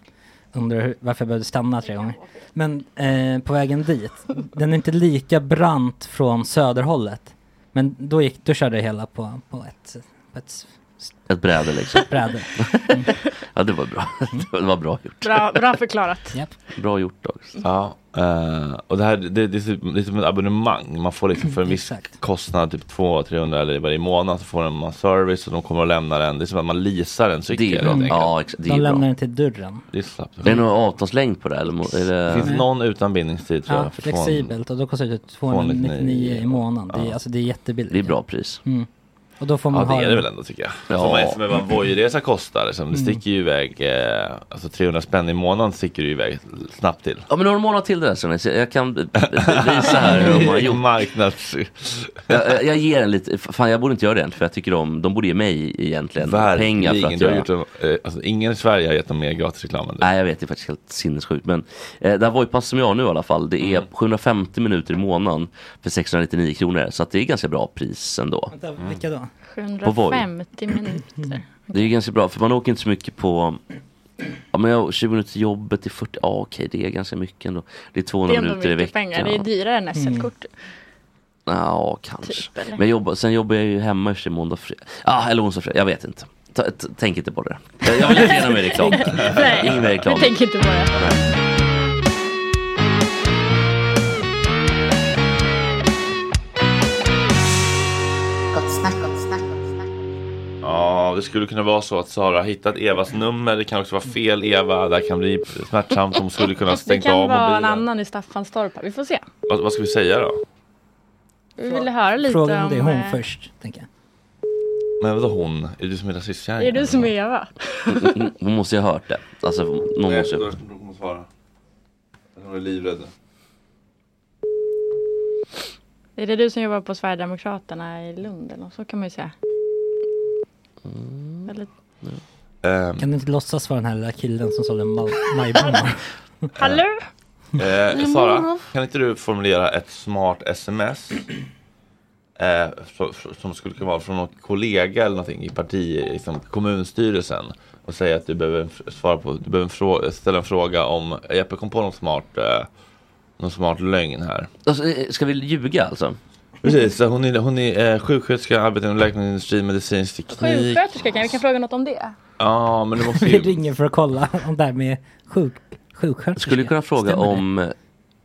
undrar hur- varför jag behövde stanna tre gånger. Men eh, på vägen dit, den är inte lika brant från söderhållet. Men då, gick, då körde jag hela på, på ett, på ett Ett bräde liksom. bräde. Ja det var bra. Det var bra gjort. Bra, bra förklarat. Japp. Bra gjort också. Ja, eh, och det här det, det, är typ- det är som ett abonnemang. Man får liksom för en viss Exakt. kostnad, typ 200-300 eller varje månad, så får man service och de kommer och lämnar den. Det är som att man leasar en cykel. Det helt är bra. enkelt. Ja, ex- det De är lämnar bra. den till dörren. Det är slappt. Är det någon avtalslängd på det? Eller, må- är Det finns det... någon utan bindningstid tror Ja, jag. för flexibelt och då kostar det 299 i månaden. Det är, alltså, det är jättebilligt. det är bra pris. Och då får man Ja det ha är det en- väl ändå tycker jag. Ja. Som vad- Som vad en Voi-resa kostar. Liksom. Det Mm. sticker ju iväg, eh, alltså 300 spänn i månaden sticker ju iväg snabbt till. Ja men några månader till det där Sonny, så jag kan b- b- visa här hur man har gjort. Marknads... Jag, jag- jag ger en lite, fan jag borde inte göra det än för jag tycker om, de borde ge mig egentligen pengar för att Du har göra. gjort dem, eh, alltså, ingen i Sverige har gett dem mer gratisreklam än du. Nej jag vet, det är faktiskt helt sinnessjukt. Men eh, det här Voi-pass som jag har nu i alla fall, det Mm. är 750 minuter i månaden för 699 kronor. Så att det är ganska bra pris ändå. Vänta, Vilka då? På Voi. 750 minuter. Det är ganska bra, för man åker inte så mycket på... Ja men jag, 20 minuter till jobbet är 40, ja okej det är ganska mycket ändå. Det är Det är 200 ändå minuter i mycket veckan. Mm. pengar. Det är dyrare än SL-kort. Ja, kanske. Typ, eller? men jag jobbar, sen jobbar jag ju hemma i och för sig måndag och fredag. Ah, eller onsdag och fredag, jag vet inte. Ta, t- tänk inte på det. Jag jag vill inte ge någon mer reklam. Nej, Ingen mer reklam. jag tänker inte på det. Gott snack, gott snack, gott snack. Ja, det skulle kunna vara så att Sara har hittat Evas nummer. Det kan också vara fel Eva. Det här kan bli smärtsamt. Hon skulle kunna Det stänga av kan vara en mobilen. annan i Staffanstorp. här. Vi får se. Vad, vad ska vi säga då? Vi ville höra lite Fråga om det är hon eh, först, tänker jag. Men vadå hon? Är du som är rasistkärringen? Är du som är Eva? Hon måste ju ha hört det. Alltså, någon måste ju... kommer svara. Hon är livrädd. Är det du som jobbar på Sverigedemokraterna i Lund? Eller något? så kan man ju säga. Mm. Eller, Ehm, Kan du inte låtsas vara den här lilla killen som sålde ma- majbomma? hallå? Eh, Sara, kan inte du formulera ett smart sms? Eh, så- så- som skulle kunna vara från någon kollega eller någonting i parti, liksom kommunstyrelsen och säga att du behöver en f- svara på, du behöver en frå- ställa en fråga om, Jeppe kom på någon smart, eh, någon smart lögn här. Alltså, eh, ska vi ljuga alltså? Precis, så hon är, hon är eh, sjuksköterska, arbetar inom läkemedelsindustrin, medicinsk teknik. Sjuksköterska, kan vi kan fråga något om det? Ja, men du måste Typ. Vi ju... ringer för att kolla om det här med sjuk, sjuksköterska. Skulle du kunna fråga Stämmer det? om eh,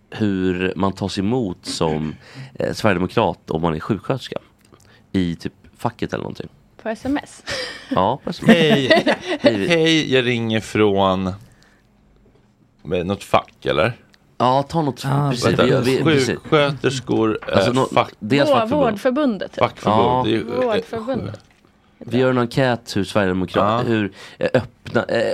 hur man tas emot som eh, sverigedemokrat om man är sjuksköterska? I typ facket eller någonting. På sms? Ja, precis. Hej, Hej. hej, jag ringer från med något fack eller? Ja, ta något. Ah, precis, Vänta, vi, gör- vi, precis. sjuksköterskor, eh, Alltså, nå- fack, deras Vå- fackförbund. Vårdförbundet. typ. fackförbund. Ja. Det är ju, eh, Vårdförbundet. Vi gör en enkät hur Sverigedemokrater, Ja. hur eh, öppna, eh,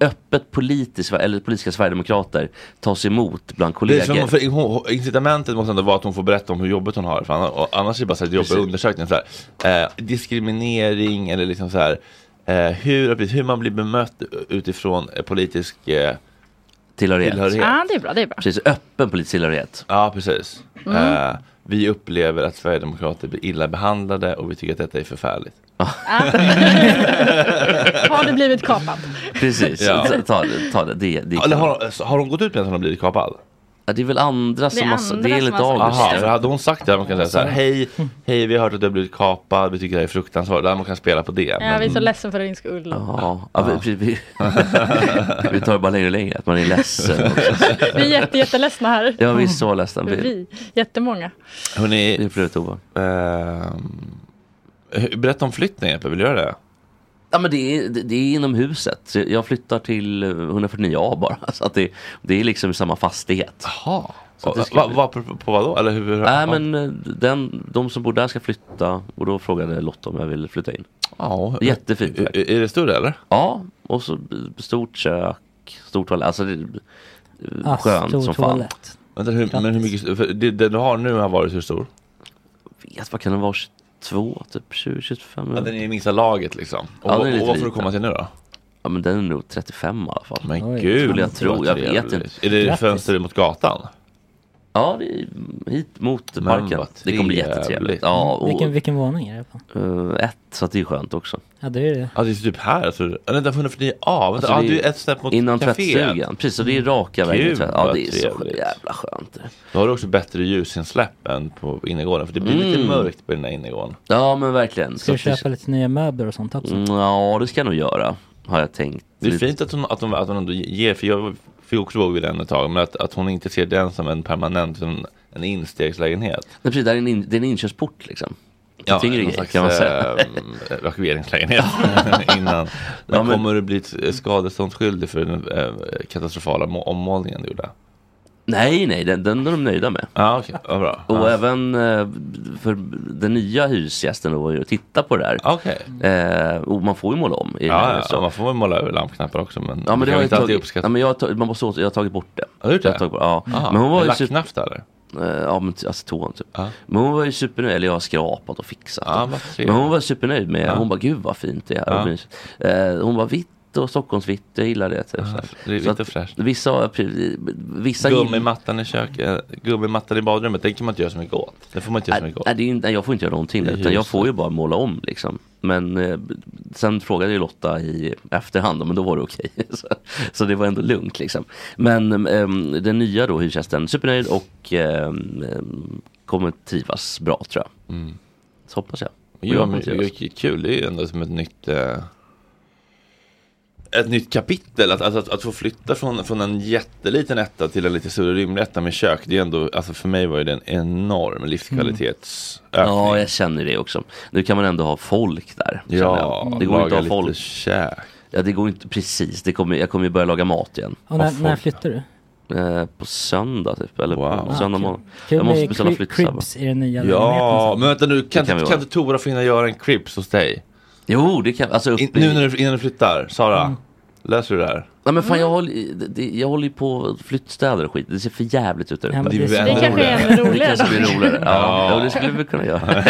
öppet politiskt, eller politiska Sverigedemokrater tas emot bland Det är som kollegor. Liksom hon, för hon, hon- incitamentet måste ändå vara att hon får berätta om hur jobbigt hon har. För annars, och annars är det bara så här jobbiga Precis. undersökningar. Så här, eh, diskriminering eller liksom så här, eh, hur, precis, hur man blir bemött utifrån eh, politisk eh, Tillhörighet. tillhörighet. Ja, det är bra, det är bra. Precis, öppen politisk tillhörighet. Ja, precis. Eh, vi upplever att Sverigedemokrater blir illa behandlade och vi tycker att detta är förfärligt. Liksom- Har du blivit kapad? Precis, Ja. ta, ta, det- ta det. det, det Eller har, har hon gått ut med att hon har blivit kapad? Ja, det är väl andra Det som är har... Det andra är som enligt har sagt August. Aha, ja. för hade hon sagt det hade man kunnat säga så här, hej, hej, vi har hört att du har blivit kapad, vi tycker det här är fruktansvärt. Då hade man kunnat spela på det. Jag är men- så ledsen för din skull. Mm. Ja, ja. Vi, vi, vi tar det bara längre och längre, att man är ledsen. också. Vi är jätte, jätteledsna här. Ja, vi är så ledsna. Vi, Vi, jättemånga. Hörrni, vi upplever tobak. Ehm, berätta om flytten Jeppe, vill du göra det? Ja, men det, är, det det är inom huset. Så Jag flyttar till eh, 149A bara. Så att det, det är liksom samma fastighet. Jaha. Så att det skulle Va, bli- va, på, på vad då? Eller hur? Nej, men eh, den, de som bor där ska flytta och då frågade Lotta om jag ville flytta in. ja, Jättefint. Är, är det större eller? Ja, och så b- stort kök, stor toalett. Alltså det, eh, Ah, skönt stor som fan. toalett. Vänta, hur, men hur mycket, för det, det du har nu har varit hur stor? Vet, vad kan den vara? 22, typ 20, 25? Ja, den är i minsta laget liksom. Och, Ja, den är och lite vad får du liten. komma till nu då? Ja, men den är nog 35 i alla fall. Men Oj, gud, skulle jag vad tro, jag trevligt. vet inte. Är det Grattis. fönster ut mot gatan? Ja, det är hit mot Men parken. vad Det kommer bli trevligt. jättetrevligt. Ja, och Vilken, vilken våning är det på? eh, ett, så att det är skönt också. Ja, det är det. Ja, det är typ här. Så, eller vänta, 149 A? Vänta, Alltså, ja, det är- det är ett snäpp mot Innan kaféet. tvättstugan. Precis, så det är raka vägen. Gud, till tvätt- Ja, vad det är så trevligt. jävla skönt. Då har du också bättre ljusinsläpp än på innergården. För det blir lite Mm. mörkt på den här innergården. Ja, men verkligen. Ska Så du att det- köpa lite nya möbler och sånt också? Mm, Ja, det ska jag nog göra. Har jag tänkt. Det är fint att hon, att hon, att hon ändå ger, för jag fick också våg vid den ett tag, men att, att hon inte ser den som en permanent, som en instegslägenhet. Nej, precis, det, är en in, det är en inkörsport liksom. Ja, tyngre någon grej, kan man säga. ehm, evakueringslägenhet innan. Men, Ja, men- kommer du bli t- skadeståndsskyldig för den eh, katastrofala må- ommålningen du gjorde? Nej, nej, den, den är de nöjda med. Ja, ah, okej, vad bra. Och Ja. även eh, för den nya hyresgästen då var ju att titta på det där. Okej. Eh, och man får ju måla om. I Ja, ja, lägenheten, så. ja, man får väl måla över lampknappar också, men Ja men det har kan jag inte alltid tagit, ja, uppskatta. men jag, har tagit- man måste åter, jag har tagit bort det. Har du gjort Jag har det? tagit bort, ja. Aha, Men hon var ju super, Lacknaft eller? eh, ja men t- alltså toan typ. Ja. Men hon var ju supernöjd, eller jag har skrapat och fixat. Ja, och- vad trevligt. men hon var supernöjd med, typ. Ja. hon bara gud vad fint det är. Ja. Och mysigt. Eh, hon var vitt och Stockholmsvitt, jag gillar det. Typ, så här. det är vitt Så att och fräscht. Vissa, vissa Gummimattan i köket, eh, gummimattan i badrummet, den kan man inte göra så mycket åt. Det får man inte göra så Nej, mycket åt. nej, det är ju inte- nej, jag får inte göra någonting I utan jag får ju huset. bara måla om liksom. Men eh, sen frågade ju Lotta i efterhand men då var det okej. så, så det var ändå lugnt liksom. Men ehm, den nya då hyresgästen, supernöjd och ehm, ehm, kommer trivas bra tror jag. Så hoppas jag. Och Ja, jag Mm. men kommer det är trivas. ju kul. Det är ju ändå som ett nytt eh, ett nytt kapitel. Att, att, att, att få flytta från, från en jätteliten etta till en lite större rymlig etta med kök. Det är ändå, alltså för mig var ju det en enorm livskvalitetsökning. Mm. Ja, jag känner det också. Nu kan man ändå ha folk där. känner Ja, jag. det går laga inte att ha lite folk. käk. Ja, det går inte precis. Det kommer, jag kommer ju börja laga mat igen. Och när, när flyttar du? Eh, på söndag typ, eller Wow. på söndag Ah, morgon. Kul Jag måste med beställa cri- flyttsamma. cribs i den nya Ja, lägenheten. men vänta nu. Kan, kan vi inte- vara. kan inte Tora få hinna göra en crips hos dig? Jo, det kan alltså upp In, i- nu när du, innan du flyttar. Sara, löser du det här? Nej men fan jag håller, det- det- jag håller ju på städer och skit. Det ser för jävligt ut där Ja, ute. men Det är det väl är Det ännu så- kanske är en Det roligare kanske blir dag. roligare. Ja, ja. det skulle vi kunna göra.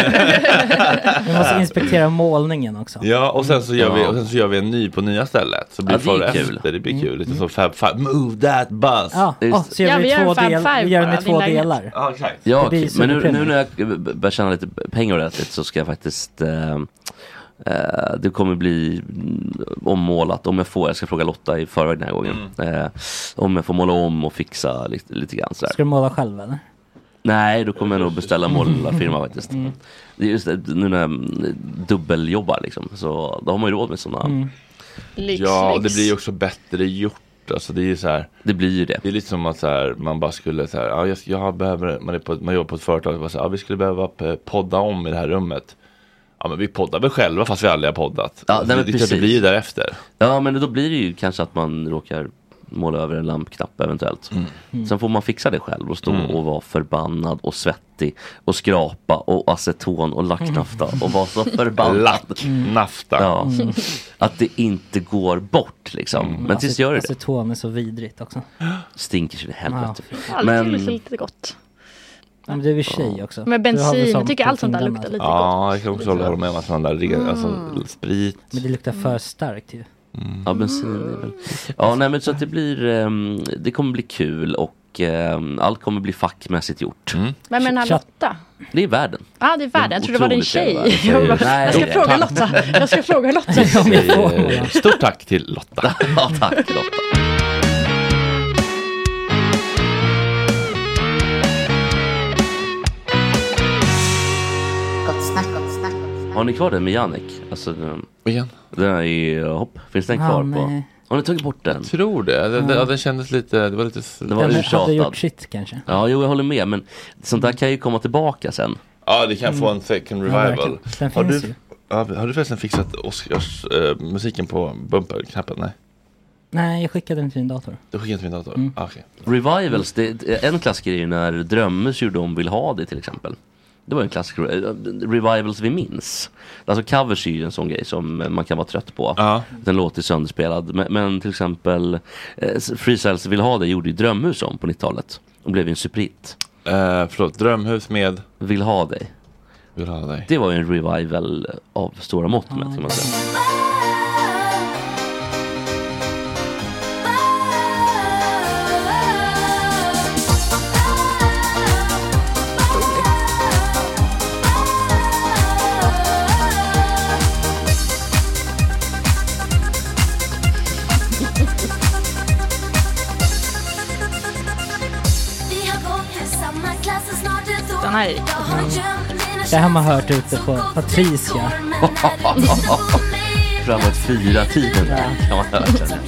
Vi måste inspektera målningen också. Ja, och sen så gör, vi, Ja. och sen så gör vi en ny på nya stället. Så blir Ja, det, det är före kul. efter. Det blir kul. Lite så fab five. Move that bus. Ja, Just ah, det. så gör Ja, vi, vi gör två en fan delar. five Vi gör bara, den i din två lägenhet. delar. Ja, exakt. Ja, Det blir okej. men nu, nu superpremium. när jag b- börjar tjäna lite pengar ordentligt så ska jag faktiskt eh, eh, det kommer bli mm, ommålat om jag får. Jag ska fråga Lotta i förväg den här gången. Eh, om jag får måla om och fixa lite, lite grann sådär. Ska du måla själv eller? Nej, då kommer jag nog beställa Mm. målarfirma faktiskt. Det är just det, nu när jag mm, dubbeljobbar liksom. Så då har man ju råd med sådana. Mm. Lyx, Ja, och det lyx. blir ju också bättre gjort. Alltså det är ju så här, Det blir ju det. det är lite som att så här, man bara skulle så här, ja, jag, jag behöver, man, är på, ett- man jobbar på ett företag och bara så här, ja, vi skulle behöva p- podda om i det här rummet. Ja men vi poddar väl själva fast vi aldrig har poddat. Ja, Alltså, nej, men det, är klart det precis. blir ju därefter. Ja men då blir det ju kanske att man råkar måla över en lampknapp eventuellt. Sen får man fixa det själv och stå och vara förbannad och svettig och skrapa och aceton och lacknafta och vara så förbannad. Lacknafta. Ja. Att det inte går bort liksom. Mm. Men tills gör det det. Aceton Alltså, är så vidrigt också. Stinker så in i helvete. Allt är Men lite- lite gott. Ja, men du är ju tjej också. Men Du har väl bensin, sånt jag tycker på allt sånt där fingrarna. luktar lite gott. Ja, jag kan också hålla med om att sån där re- alltså, sprit. Men det luktar för starkt ju. Ja, bensin är väl... Ja, nej men så att det blir, ehm, det kommer bli kul och ehm, allt kommer bli fackmässigt gjort. Vem är den här Chatt- Lotta? Det är världen. Ja, ah, det är världen. Jag trodde det var din Otroligt tjej. jävla värld. Jag, bara, Nej, jag ska det- fråga Lotta. Jag ska fråga Lotta. Om jag får Eh, Stort tack till Lotta. Ja, tack Lotta. Gott snack, gott snack, Har ni kvar den med Jannik? Alltså, den- Igen. den är ju, hopp, finns den Ja, kvar på? nej. Har ni tagit bort den? Tror det. Den, den, den kändes lite, det var lite... s- Mm. Den var Den hade gjort urtjatad. sitt kanske. Ja, jo jag håller med, men sånt där kan ju komma tillbaka sen. Ja, det kan få en second revival. Mm. verkligen. Den har, finns du, ju. ja, har du förresten fixat Oscars, eh, musiken på bumperknappen? Nej, Nej, jag skickade den till din dator. du skickade till min dator. Mm. Ah, okej. Revivals, det, det- en klassiker är ju när Drömmus gjorde om Vill ha det till exempel. Det var en klassiker, eh, Revivals vi minns. Alltså covers är ju en sån grej som eh, man kan vara trött på. Ja. Den låter sönderspelad. Men, men till exempel eh, Freestyles Vill ha det gjorde ju Drömmus om på 90-talet. Och blev ju en superhit. Eh, förlåt, Drömhus med Vill ha dig. Vill ha dig. Det var ju en revival av stora mått med kan man säga. Den här är riktigt Det här har man hört ute på Patricia. Framåt fyra tiden kan man höra. sen.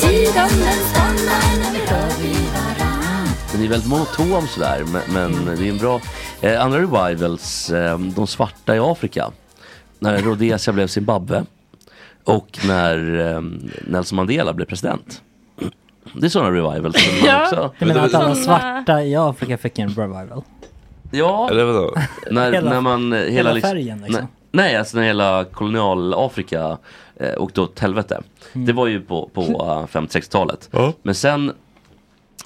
Tiden den stannar när vi rör vid varann Den är väldigt monotom sådär, men, Mm. men det är en bra... Eh, andra revivals, eh, de svarta i Afrika. När Rhodesia blev Zimbabwe. Och när eh, Nelson Mandela blev president. Det är sådana revivals. som man Ja. Också, Jag menar att alla Såna- svarta i Afrika fick en revival. ja, Eller vadå? när, hela- när man... eh, Hela, hela liksom- färgen, liksom. Nej, nej, alltså när hela kolonial-Afrika eh, åkte åt helvete. Mm. Det var ju på, på eh, 50-60-talet. Ja. Men sen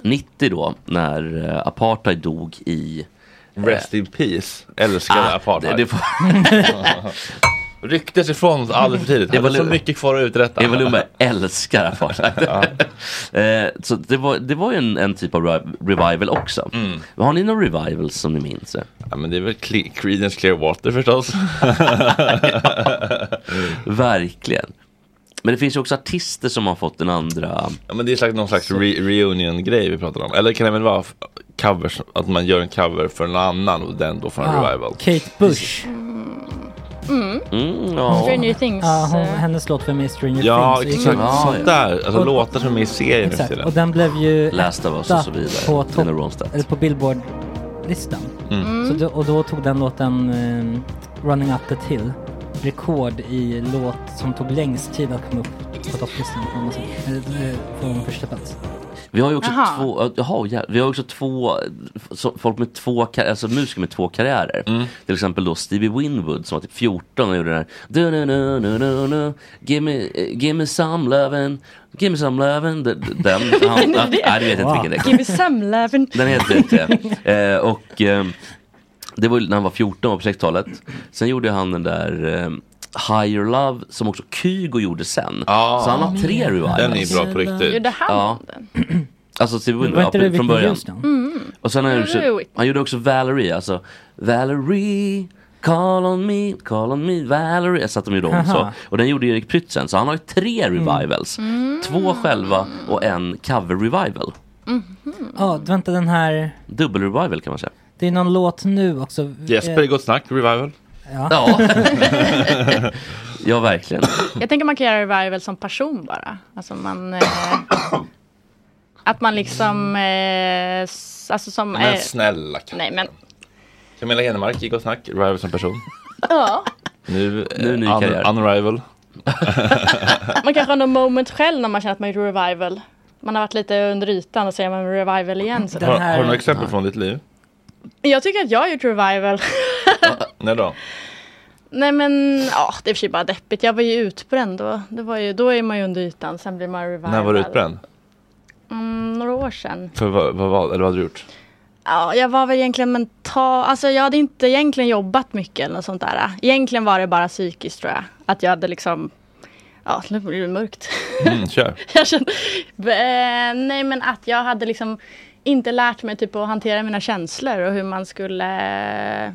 90 då, när eh, apartheid dog i... eh, Rest in peace. Älskade Ah, apartheid. det- det får- Ryktes ifrån alldeles för tidigt. Det var Eva så Lu- mycket kvar att uträtta. Eva Lundberg älskar apartheid. Eh, så det var, det var ju en, en typ av revi- revival också. Har ni någon revival som ni minns? Ja, men det är väl Cle- Creedence Clearwater förstås. Verkligen. Men det finns ju också artister som har fått den andra. Ja, men det är slags, någon slags re- reunion-grej vi pratar om. Eller kan det även vara f- covers, att man gör en cover för någon annan och den då får en revival. Kate Bush. Mm, ja. Stranger Things. Ja, hon, eh, hennes låt var med i Stranger Ja, Things. exakt. Gick- Ja, ja. Sånt där. Alltså Och- låtar som är i serier nu för Exakt. Och tiden. den blev ju Last of Us och så vidare. på, Lena topp, Ronstadt. Mm. eller på Billboard-listan. Så då, och då tog den låten eh, Running Up That Hill rekord i låt som tog längst tid att komma upp på topplistan på någon sätt. Eller, eh, på första plats. Vi har ju också Jaha. två, äh, jaha, ja, vi har också två, eh, så, folk med två, kar- alltså musiker med två karriärer. Mm. Till exempel då Stevie Winwood som var typ 14 och gjorde den här. Du, nu, nu, nu, nu, nu, give, me, eh, give me some lovin', give me some lovin'. Den, den han, han, nej, det vet jag inte vilken det är. Give me some lovin'. Den heter inte. Eh, och eh, det var ju när han var 14 år på 60-talet. Sen gjorde han den där eh, Higher Love som också Kygo gjorde sen. Ja. Så han har tre revivals. Ah. Den är bra på Gjorde riktigt. han Ja. den? Alltså Stevie Wonder, Var inte det ja, från Whitney början. Houston? Och sen har han, Det är gjort, Whitney. han gjorde också Valerie, alltså Valerie Call on me, call on me, Valerie. Så att de gjorde om så. Aha. Mm. Och den gjorde Erik Prytzen. Så han har ju tre revivals. Mm. Två själva och en cover-revival. Ja, vänta den här. Dubbel-revival kan man säga. Det är någon låt nu också. Jesper, Eh, Gott Snack, Revival. Ja. Ja. ja, verkligen. Jag tänker man kan göra revival som person bara. Alltså man... Eh, att man liksom... Eh, s- alltså som... Eh, Men snälla Ka- nej men... Camilla Henemark, gick och snack, rival som person. Ja. Nu, Nu ny eh, un- karriär. unrival. Man kanske har någon moment själv när man känner att man gjorde revival. Man har varit lite under ytan och så gör man revival igen. Så. Den Har, här- har du några exempel från ditt liv? Jag tycker att jag har gjort revival. När då? Nej men, ja det är i och för sig bara deppigt. Jag var ju utbränd då. Det var ju, då är man ju under ytan, sen blir man revival. När var du utbränd? Mm, några år sedan. För vad, vad, vad, eller vad hade du gjort? Ja, jag var väl egentligen mental, alltså jag hade inte egentligen jobbat mycket eller något sånt där. Egentligen var det bara psykiskt tror jag. Att jag hade liksom, ja nu blir det mörkt. Mm, kör. jag kände, B- eh, nej men att jag hade liksom inte lärt mig typ att hantera mina känslor och hur man skulle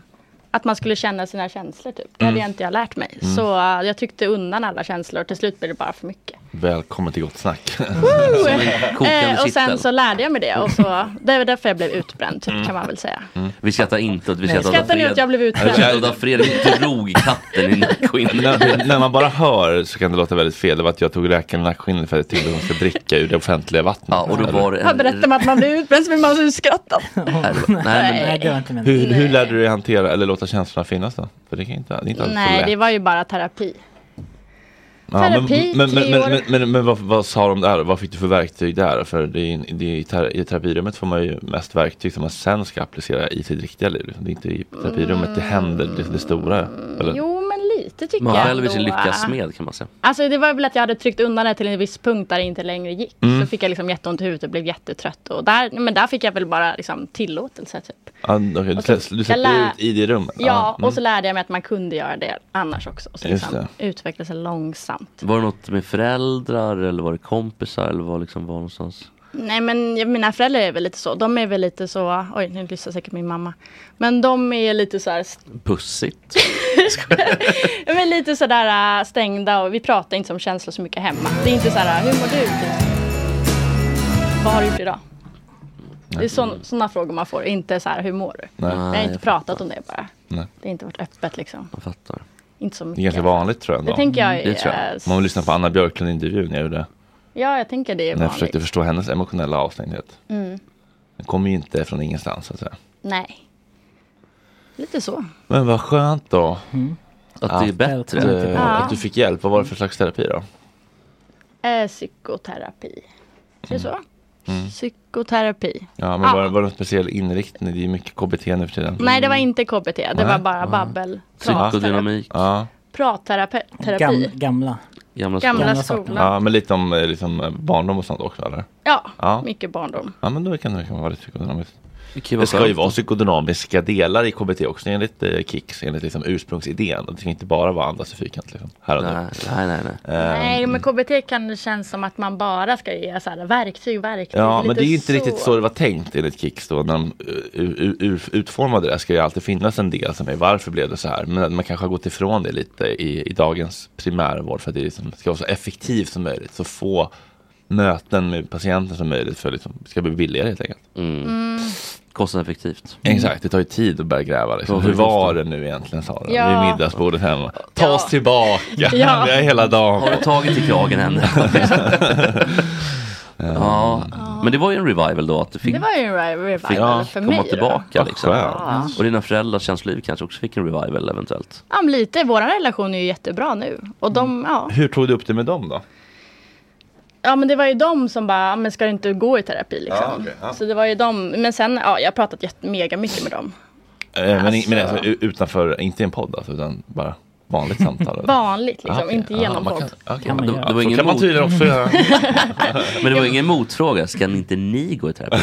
att man skulle känna sina känslor typ. Mm. Det hade jag inte jag lärt mig. Så eh, jag tryckte undan alla känslor och till slut blev det bara för mycket. Välkommen till Gott Snack. Kokande Eh, och sen kittel. så lärde jag mig det och så, det är därför jag blev utbränd typ, Mm. kan man väl säga. Vi skrattar inte åt, vi skrattar åt Skrattar ni åt att Fred. jag blev Vi utbränd? skrattar åt att Fredrik drog katten i nackskinnet. när, när man bara hör så kan det låta väldigt fel. Det var att jag tog läkaren i nackskinnet för att jag tyckte hon skulle dricka ur det offentliga vattnet. Ja, och då var det Han berättar en... om att man blir utbränd så blir man så skratta. Nej, men Nej, det var inte meningen. hur, hur lärde du dig hantera eller låta känslorna finnas då? För det, kan inte, det är inte alltid så Nej, lätt. det var ju bara terapi. Ja, men, Terapi, men, men, tre men, år. men, men, men vad, vad sa de där? Vad fick du för verktyg där? För det är, ju- det är, i ter- i terapirummet får man ju mest verktyg som man sen ska applicera i sitt riktiga liv. liksom. Det är inte i terapirummet det händer det, det stora. Eller? Jo, men lite tycker Mm. man jag själv är sin ändå. lyckas smed kan man säga. Alltså det var väl att jag hade tryckt undan det till en viss punkt där det inte längre gick. Så fick jag liksom jätteont i huvudet och blev jättetrött. Och där, men där fick jag väl bara liksom tillåtelse typ. Ah, okej, Du, Okej. släpp, du Jag lär- släpper ut i det rummet? Ja, och så lärde jag mig att man kunde göra det annars också. Så mm. Just liksom utvecklades långsamt. Var det något med föräldrar eller var det kompisar eller var liksom var någonstans? Nej men jag- mina föräldrar är väl lite så. De är väl lite så, oj nu lyssnar säkert min mamma. Men de är lite så här Pussigt. Ja, Men lite sådär äh, stängda och vi pratar inte om känslor så mycket hemma. Det är inte sådär, hur mår du? Vad har du gjort idag? Det är sådana frågor man får, inte så hur mår du? Nej. Vi har Nej, inte jag pratat om det bara. Nej. Det har inte varit öppet liksom. Jag fattar. Inte så Det är ganska mycket. vanligt Mm, tror jag. ändå. Det tänker jag är... Det tror jag. äh, s- Om man lyssnar på Anna Björklund-intervjun jag gjorde. Ja, jag tänker det är När jag vanligt. Mm. försökte förstå hennes emotionella avstängdhet. Den kommer ju inte från ingenstans så att säga. Nej. Lite så. Men vad skönt då. Att det är bättre. Att, eh, Ja. att du fick hjälp. Vad var det för slags terapi då? Eh, psykoterapi. Säger så? Mm. Psykoterapi. Ja, men Ja. Var, var det någon speciell inriktning? Det är ju mycket KBT nu för tiden. Nej, det var inte KBT. Det Mm. Nej. Mm. var bara babbel. Pratterapi. Psykodynamik. Ja, Pratterapi. Gam, gamla. Gamla skolan. Gamla Gamla skolan. ja, men lite om eh, liksom, eh, barndom och sånt också eller? Ja, Ja. mycket barndom. Ja, men då kan det kan vara lite psykodynamiskt. Okej, Det vad ska ju skönt. vara psykodynamiska delar i KBT också enligt eh, Kicks, enligt liksom, ursprungsidén. Det ska inte bara vara andas i fyrkant liksom, här och nu. Nej, nej, nej. nej. Ehm. Nej, men KBT kan det kännas som att man bara ska ge så här, verktyg, verktyg. Ja, lite men det är ju inte riktigt så det var tänkt enligt Kicks då. När de eh, u- u- utformade det här ska ju alltid finnas en del som är varför blev det så här. Men man kanske har gått ifrån det lite i, i dagens primärvård för att det liksom ska vara så effektivt som möjligt. Så få möten med patienten som möjligt för att liksom, det ska bli billigare helt enkelt. Mm. Mm. Kostnadseffektivt. Exakt, det tar ju tid att börja gräva. Liksom. Ja, Hur det var kostar. det nu egentligen sa de Ja. vid middagsbordet hemma. Ta oss Ja. tillbaka, Ja. vi är hela Har dagen. du tagit i kragen henne? ja, men det var ju en revival då att du fick, Det var ju en re- revival fick Ja, för mig. komma då. tillbaka. Vad Liksom. skönt. Och dina föräldrars känsloliv kanske också fick en revival eventuellt. Ja, men lite. Vår relation är ju jättebra nu. Och de, ja. Hur tog du upp det med dem då? ja, men det var ju de som bara, "Ja, men ska du inte gå i terapi liksom? Ja, okej, ja. Så det var ju de. Men sen, ja, jag har pratat jätte- mega mycket med dem. Eh, Men, Alltså- men alltså, u- utanför, inte i en podd alltså, utan bara vanligt samtal? Vanligt liksom, Ah, okej. inte Ah, genom man podd. kan- okej. Kan man Då- göra. då Det var så ingen kan man mot- tydligen också göra. Men det var ingen motfråga, ska inte ni gå i terapi?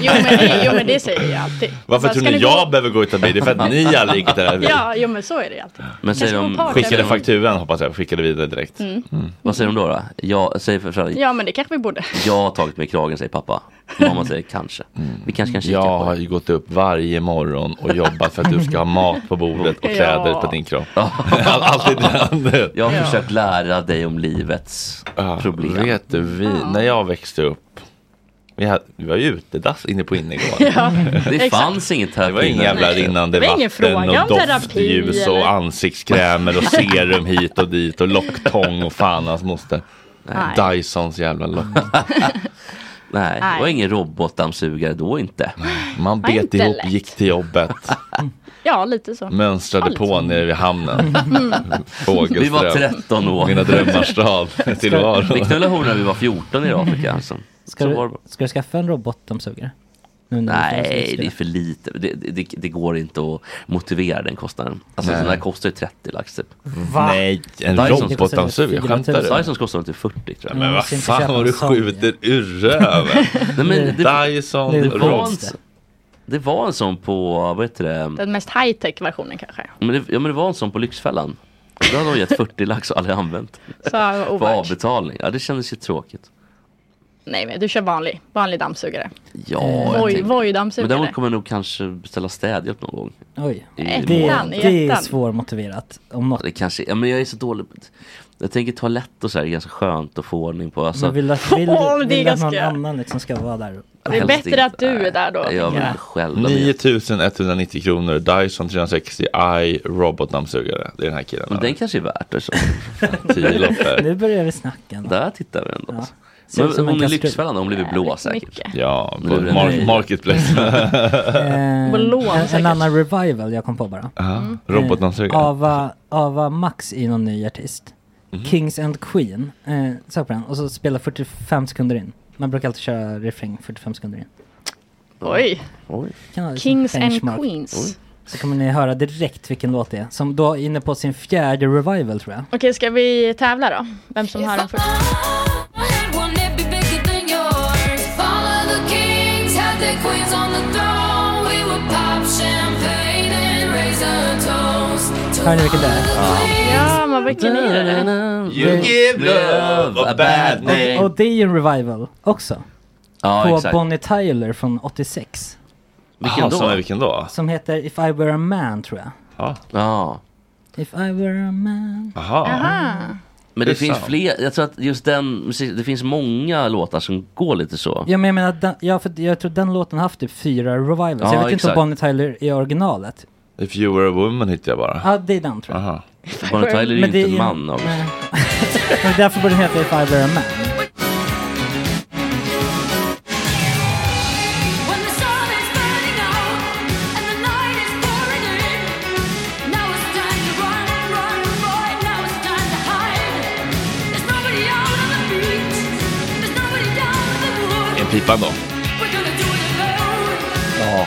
Jo, men det, jo, men det säger jag alltid. Varför Bara, tror "Ska ni gå?" jag behöver gå ut av bil? Det är för att ni alla gick där. Ja, jo, men så är det ju alltid. Men säger ska de, vara partner. Skickade fakturan hoppas jag, skickade vidare direkt. Mm. vad säger de då? då? Jag, säger för föräldrar, Ja, men det kanske vi borde. jag har tagit mig i kragen säger pappa. Mamma säger kanske. Mm. Vi kanske kan kika Jag på har det. ju gått upp varje morgon och jobbat för att du ska ha mat på bordet och Ja. kläder på din kropp. All- Alltid det. Jag har försökt lära dig om livets Ja, problem. Vet du, vi, när jag växte upp Vi, hade, vi var ju utedass inne på innergården. Ja, Det fanns inget Det var terapi. inga jävla rinnande Det var vatten ingen fråga och om terapi, doftljus och eller? ansiktskrämer och serum hit och dit och locktång och fan hans moster. Nej. Dysons jävla lock. Nej, det var Nej. ingen robotdammsugare då inte. Man Var bet inte ihop, lätt. gick till jobbet, Ja, lite så. mönstrade Alltså. på nere vid hamnen. Vi var Fågelström. 13 år. Mina drömmars stad. Vi Tillvaro. knullade horor när vi var 14 i Afrika. Alltså. Ska, Så var du, det. ska du skaffa en robotdammsugare? Nu när du får Nej, spela. det är för lite. Det, det- det, det går inte att motivera den kostnaden. Alltså Nej. den här kostar ju 30 lax typ. Nej, en Dyson. robotdammsugare. Skämtar du? Dysons kostar typ 40 tror jag. Men vad måste inte fan köpa vad en du sån. skjuter ur röven. Nej, men det, Dyson, Det är robot. konstigt. det var en sån på, vad heter det? Den mest high-tech versionen kanske. Men det, ja, men det var en sån på Lyxfällan. Då hade de gett 40 lax och aldrig använt. Så vad På ovärt. avbetalning. Ja, det kändes ju tråkigt. Nej, men du kör vanlig, vanlig dammsugare. Ja, Eh, jag Voi- tänker- Men Voi-dammsugare. däremot kommer jag nog kanske beställa städhjälp någon gång. Oj. I Nej, Det, Ettan, det är ettan. svårmotiverat. Om något. Det kanske, ja, men jag är så dålig. på- Jag tänker toalett och så här är ganska skönt att få ordning på. Alltså, Men vill du att, vill, Åh, du- men det är vill du att någon ganska- annan liksom ska vara där? Det är helst bättre inte. att du är där då, Nej, Jag vill tänker inte själv. men jag- 9190 kronor, Dyson 360i robotdammsugare. Det är den här killen. Men den kanske är värt det. Så. 10 loppor. Nu börjar vi snacka. ändå. Där tittar vi ändå. Alltså. Ser ut som Men en hon är kastrull. Lyxfällan, hon blev blå Jävligt säkert. mycket. Ja, Men det är Mm. mar- den- marketplace. Eh, På lån en, en säkert. annan revival jag kom på bara. Ja, Eh, Robotdammsugare. Ava, Ava Max är någon ny artist. Mhm. Kings and Queen. Eh, sök på den. Och så spela 45 sekunder in. Man brukar alltid köra refräng 45 sekunder in. Oj, Kan ha det som Kings and benchmark. Queens. Så kommer ni höra direkt vilken låt det är. Som då är inne på sin fjärde revival tror jag. Okej, ska vi tävla då? Vem som har den först? Hör ni vilken det är? Ja, men vilken är det? You give love a bad name. Och det är ju en revival också. Ja, på exakt. Bonnie Tyler från 86. Vilken Jaha, så är då? vilken då? Som heter If I Were A Man tror jag. Ja. If I Were A Man. Jaha. Men det Det är finns sant. fler. Jag tror att just den, musik- det finns många låtar som går lite så. Ja men jag menar, att den, ja, för jag tror den låten har haft typ fyra revivals. Ja, jag vet inte om exakt. Bonnie Tyler är originalet. If you were a woman hittar jag bara. Ja det är den tror jag. Aha. Bonnie Tyler är ju Men inte det är en ju- man. Av. Nej. men därför borde den heta If I Were A Man. En pipan då. Ja.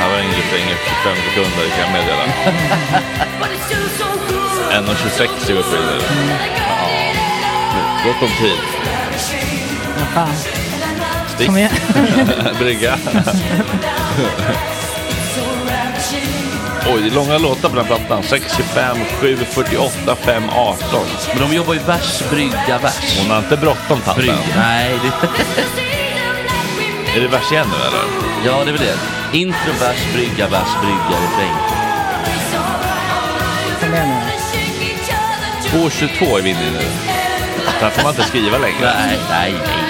Här var en refräng i 25 sekunder kan jag meddela. 1.26 är vi uppe i nu. Gott om tid. Vad fan. Stick. Kom igen. Brygga. Oj, det är långa låtar på den här plattan. 6.25, 7.48, 5.18. Men de jobbar ju vers, brygga, vers. Hon har inte bråttom tanten. Brygga. Nej, det, Är det vers igen nu eller? ja det är väl det. Intro, vers, brygga, vers, brygga, refräng. Kom igen nu. 2.22 är vi inne i nu. Där får man inte skriva längre. Nej, nej, nej.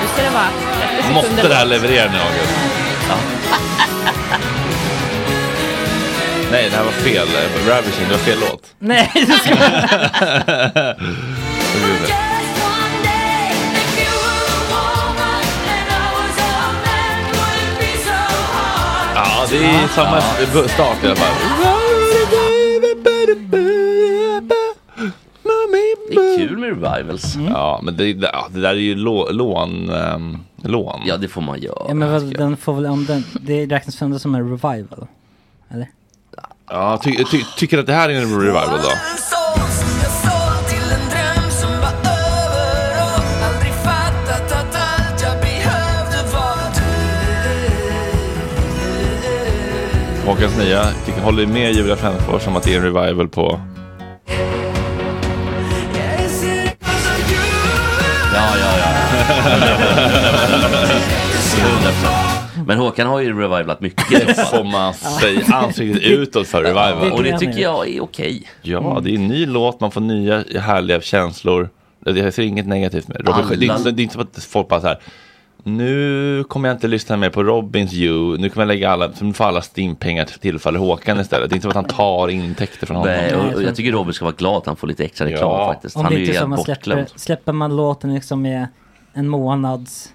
Nu ska det vara 30 Måste sekunder det här långt. leverera nu August? Nej, det här var fel. Ravishing, det var fel låt. Nej du ska... Mm. Ja, det är samma bu- start i alla fall. Det är kul med revivals. Mm. Mm. Ja, men det, det, ja, det där är ju lå, lån. ehm, lån. Ja, det får man göra. Ja men vad, den får väl, om den, det räknas ändå som en revival. Ja, ty, ty, tycker du att det här är en revival då? Håkans nya. Tycker, håller med Julia Frändfors om att det är en revival på... Is it Men Håkan har ju revivalat mycket. Det får man säga. Ansiktet utåt för revival. Och det tycker jag är okej. Ja, Mm. det är en ny låt, man får nya härliga känslor. Jag ser inget negativt med Robin. Alla- Det är, inte, det är inte som att folk bara så här. Nu kommer jag inte lyssna mer på Robins You. Nu kommer jag lägga alla, för nu får alla stimpengar tillfaller Håkan istället. Det är inte som att han tar intäkter från honom. Nej, Eh, och, och jag tror- tycker Robin ska vara glad att han får lite extra reklam Ja. faktiskt. Om Han det är ju inte är så helt man släpper, bortglömd. släpper man låten liksom med en månads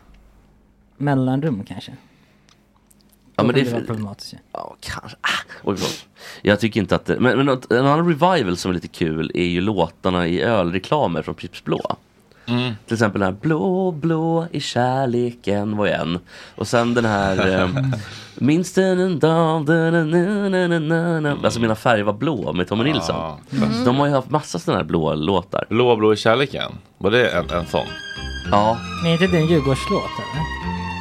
mellanrum kanske. Ja, Då men kan det är det vara för- problematiskt ju. Ja, kanske. Ah, oj, förlåt. Jag tycker inte att det... Men, men något- en annan revival som är lite kul är ju låtarna i ölreklamer från Pripps Blå. Till exempel den här Blå, blå i kärleken var en. Och sen den här eh, Minns den en dag da, na, na, na, na, na, na. Alltså mina färger var blå med Tommy Nilsson. Mm. Så De har ju haft massa sådana här blå låtar. Blå, blå i kärleken. Var det en, en sån? Ja, Men är inte det en Djurgårdslåt eller?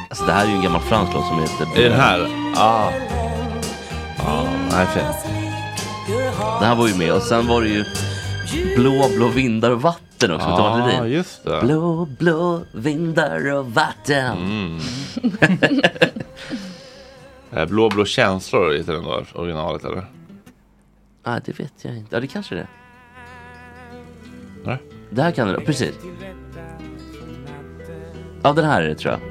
alltså det här är ju en gammal fransk låt som heter Är Blå. den här? Ah. Ah, nej, fin. Den här var ju med och sen var det ju Blå, blå vindar och vatten också med Thomas Ah, Ledin. just det. Mm. Blå, blå vindar och vatten. Eh, Blå, blå känslor heter den då, originalet eller? Ah, det vet jag inte. Ja, det kanske det är. Nej. Det här kan det vara. Precis. Ja, den här är det tror jag.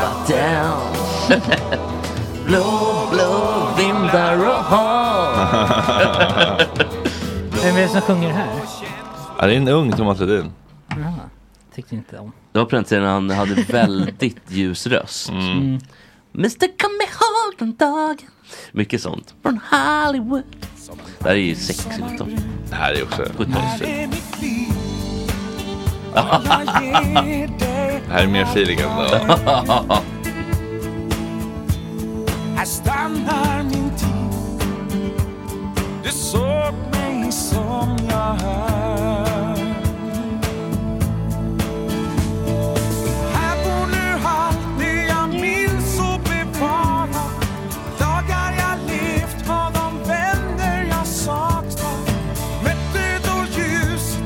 Vatten. blå, blå vindar och hav. Vem är det som sjunger här? Ja, det är en ung Thomas Ledin. Jaha, tyckte inte om. Det var på den tiden han hade väldigt ljus röst. Mm. Mr kom ihåg den dagen. Mycket sånt. Från Hollywood. Det här är ju 60-talet. Det här är också... 70-talet. Det här är mer feeling än det. Här stannar min tid Du såg mig som jag är Här bor nu allt det jag minns och bevarar Dagar jag levt var de vänner jag saknar Mötte då ljus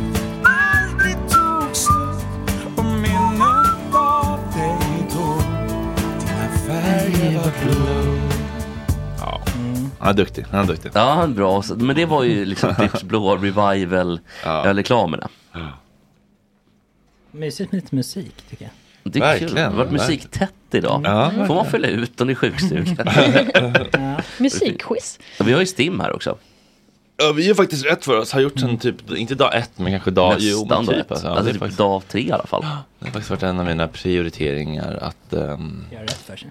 aldrig tog slut Och minnet av dig då Dina färger var blå Ja. Han är duktig. Han är duktig. Ja, han är bra. Så- Men det var ju liksom Pripps blå revival Ja. reklamerna. Mysigt med lite musik tycker jag. Det är Verkligen, kul. Det har varit verkligen. musiktätt idag. Ja, Får man följa ut den i sjukstugan? Musikquiz. Vi har ju Stim här också. Ja, Vi gör faktiskt rätt för oss. Har gjort sen typ, inte dag ett, men kanske dag... jo, men Mm. Nästan då. typ, rätt. alltså. Ja, Alltså det, är typ faktiskt, dag tre i alla fall. det har faktiskt varit en av mina prioriteringar att... ehm, Gör rätt för sig.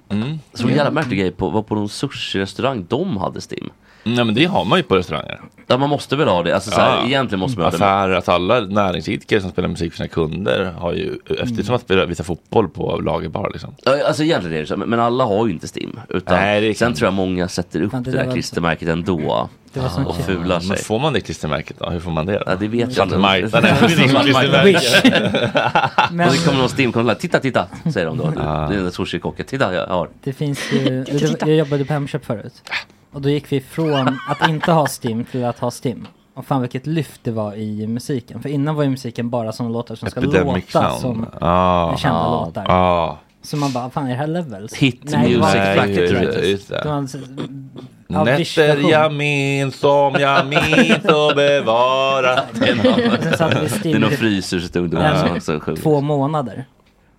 Så en jävla märklig grej på, var på någon sushi-restaurang de hade Stim. nej, men det har man ju på restauranger. Ja, man måste väl ha det. Alltså, så här, Ja. Alltså, Egentligen måste man ha det. men- Affärer, att alla näringsidkare som spelar musik för sina kunder har ju... Mm. Eftersom att spela, visa fotboll på lagerbar liksom. Ja, Alltså egentligen är det så, men men alla har ju inte STIM. Utan Nej, det är sen sant. tror jag många sätter upp Fan, det, det där där var klistermärket ändå Det var som Ah, och kul. fular Men sig. får man det klistermärket då? Hur får man det Ja, då? Alltså, det vet jag inte. Svartmarknaden. Och Wish. Men så kommer någon STIM-kontrollant. Titta, titta, säger de då. Det är den där sushikocken. Titta, jag har. det finns ju, jag jobbade på Hemköp förut. Och då gick vi från att inte ha Stim till att ha Stim. Och fan vilket lyft det var i musiken. För innan var ju musiken bara sådana låtar som ska Epidemic låta sound. som Ah, kända ah, låtar. ah. Så man bara, fan är det här levels? Hit Nej, det var music inte factory. riktigt Nej, just levels. det, just det. Det var en sån- ja, Nätter vischversion. jag minns som jag minns och bevarat Och sen satte vi Det är Stim någon i fryshus Ja. ungdomar som sjunger. två månader.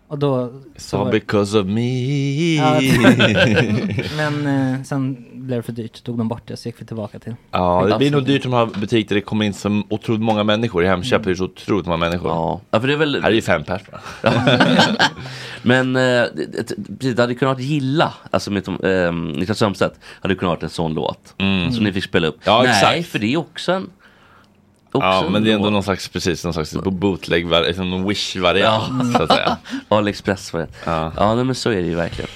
Och då... så So var det- because of me Ja, Ja, Men eh, sen blev det för dyrt, så tog de bort det, så gick vi tillbaka till. det blir nog dyrt om man har butik där det kommer in så otroligt många människor. I Hemköp är det så otroligt många människor. Ja, ja, för det är väl... Här är ju fem pers bara. Men eh, det- det, precis, det hade kunnat gilla, alltså med Tom- ehm, Niklas Strömstedt, hade kunnat varit en sån låt som ni fick spela upp. Mm. Ja, Nej, exakt. för det är också en... Också Ja, men det är ändå låt. någon slags, precis, någon slags bootleg, en wish-variant Ja. så att säga. AliExpress var det. Ja. Ja, nej, men så är det ju verkligen.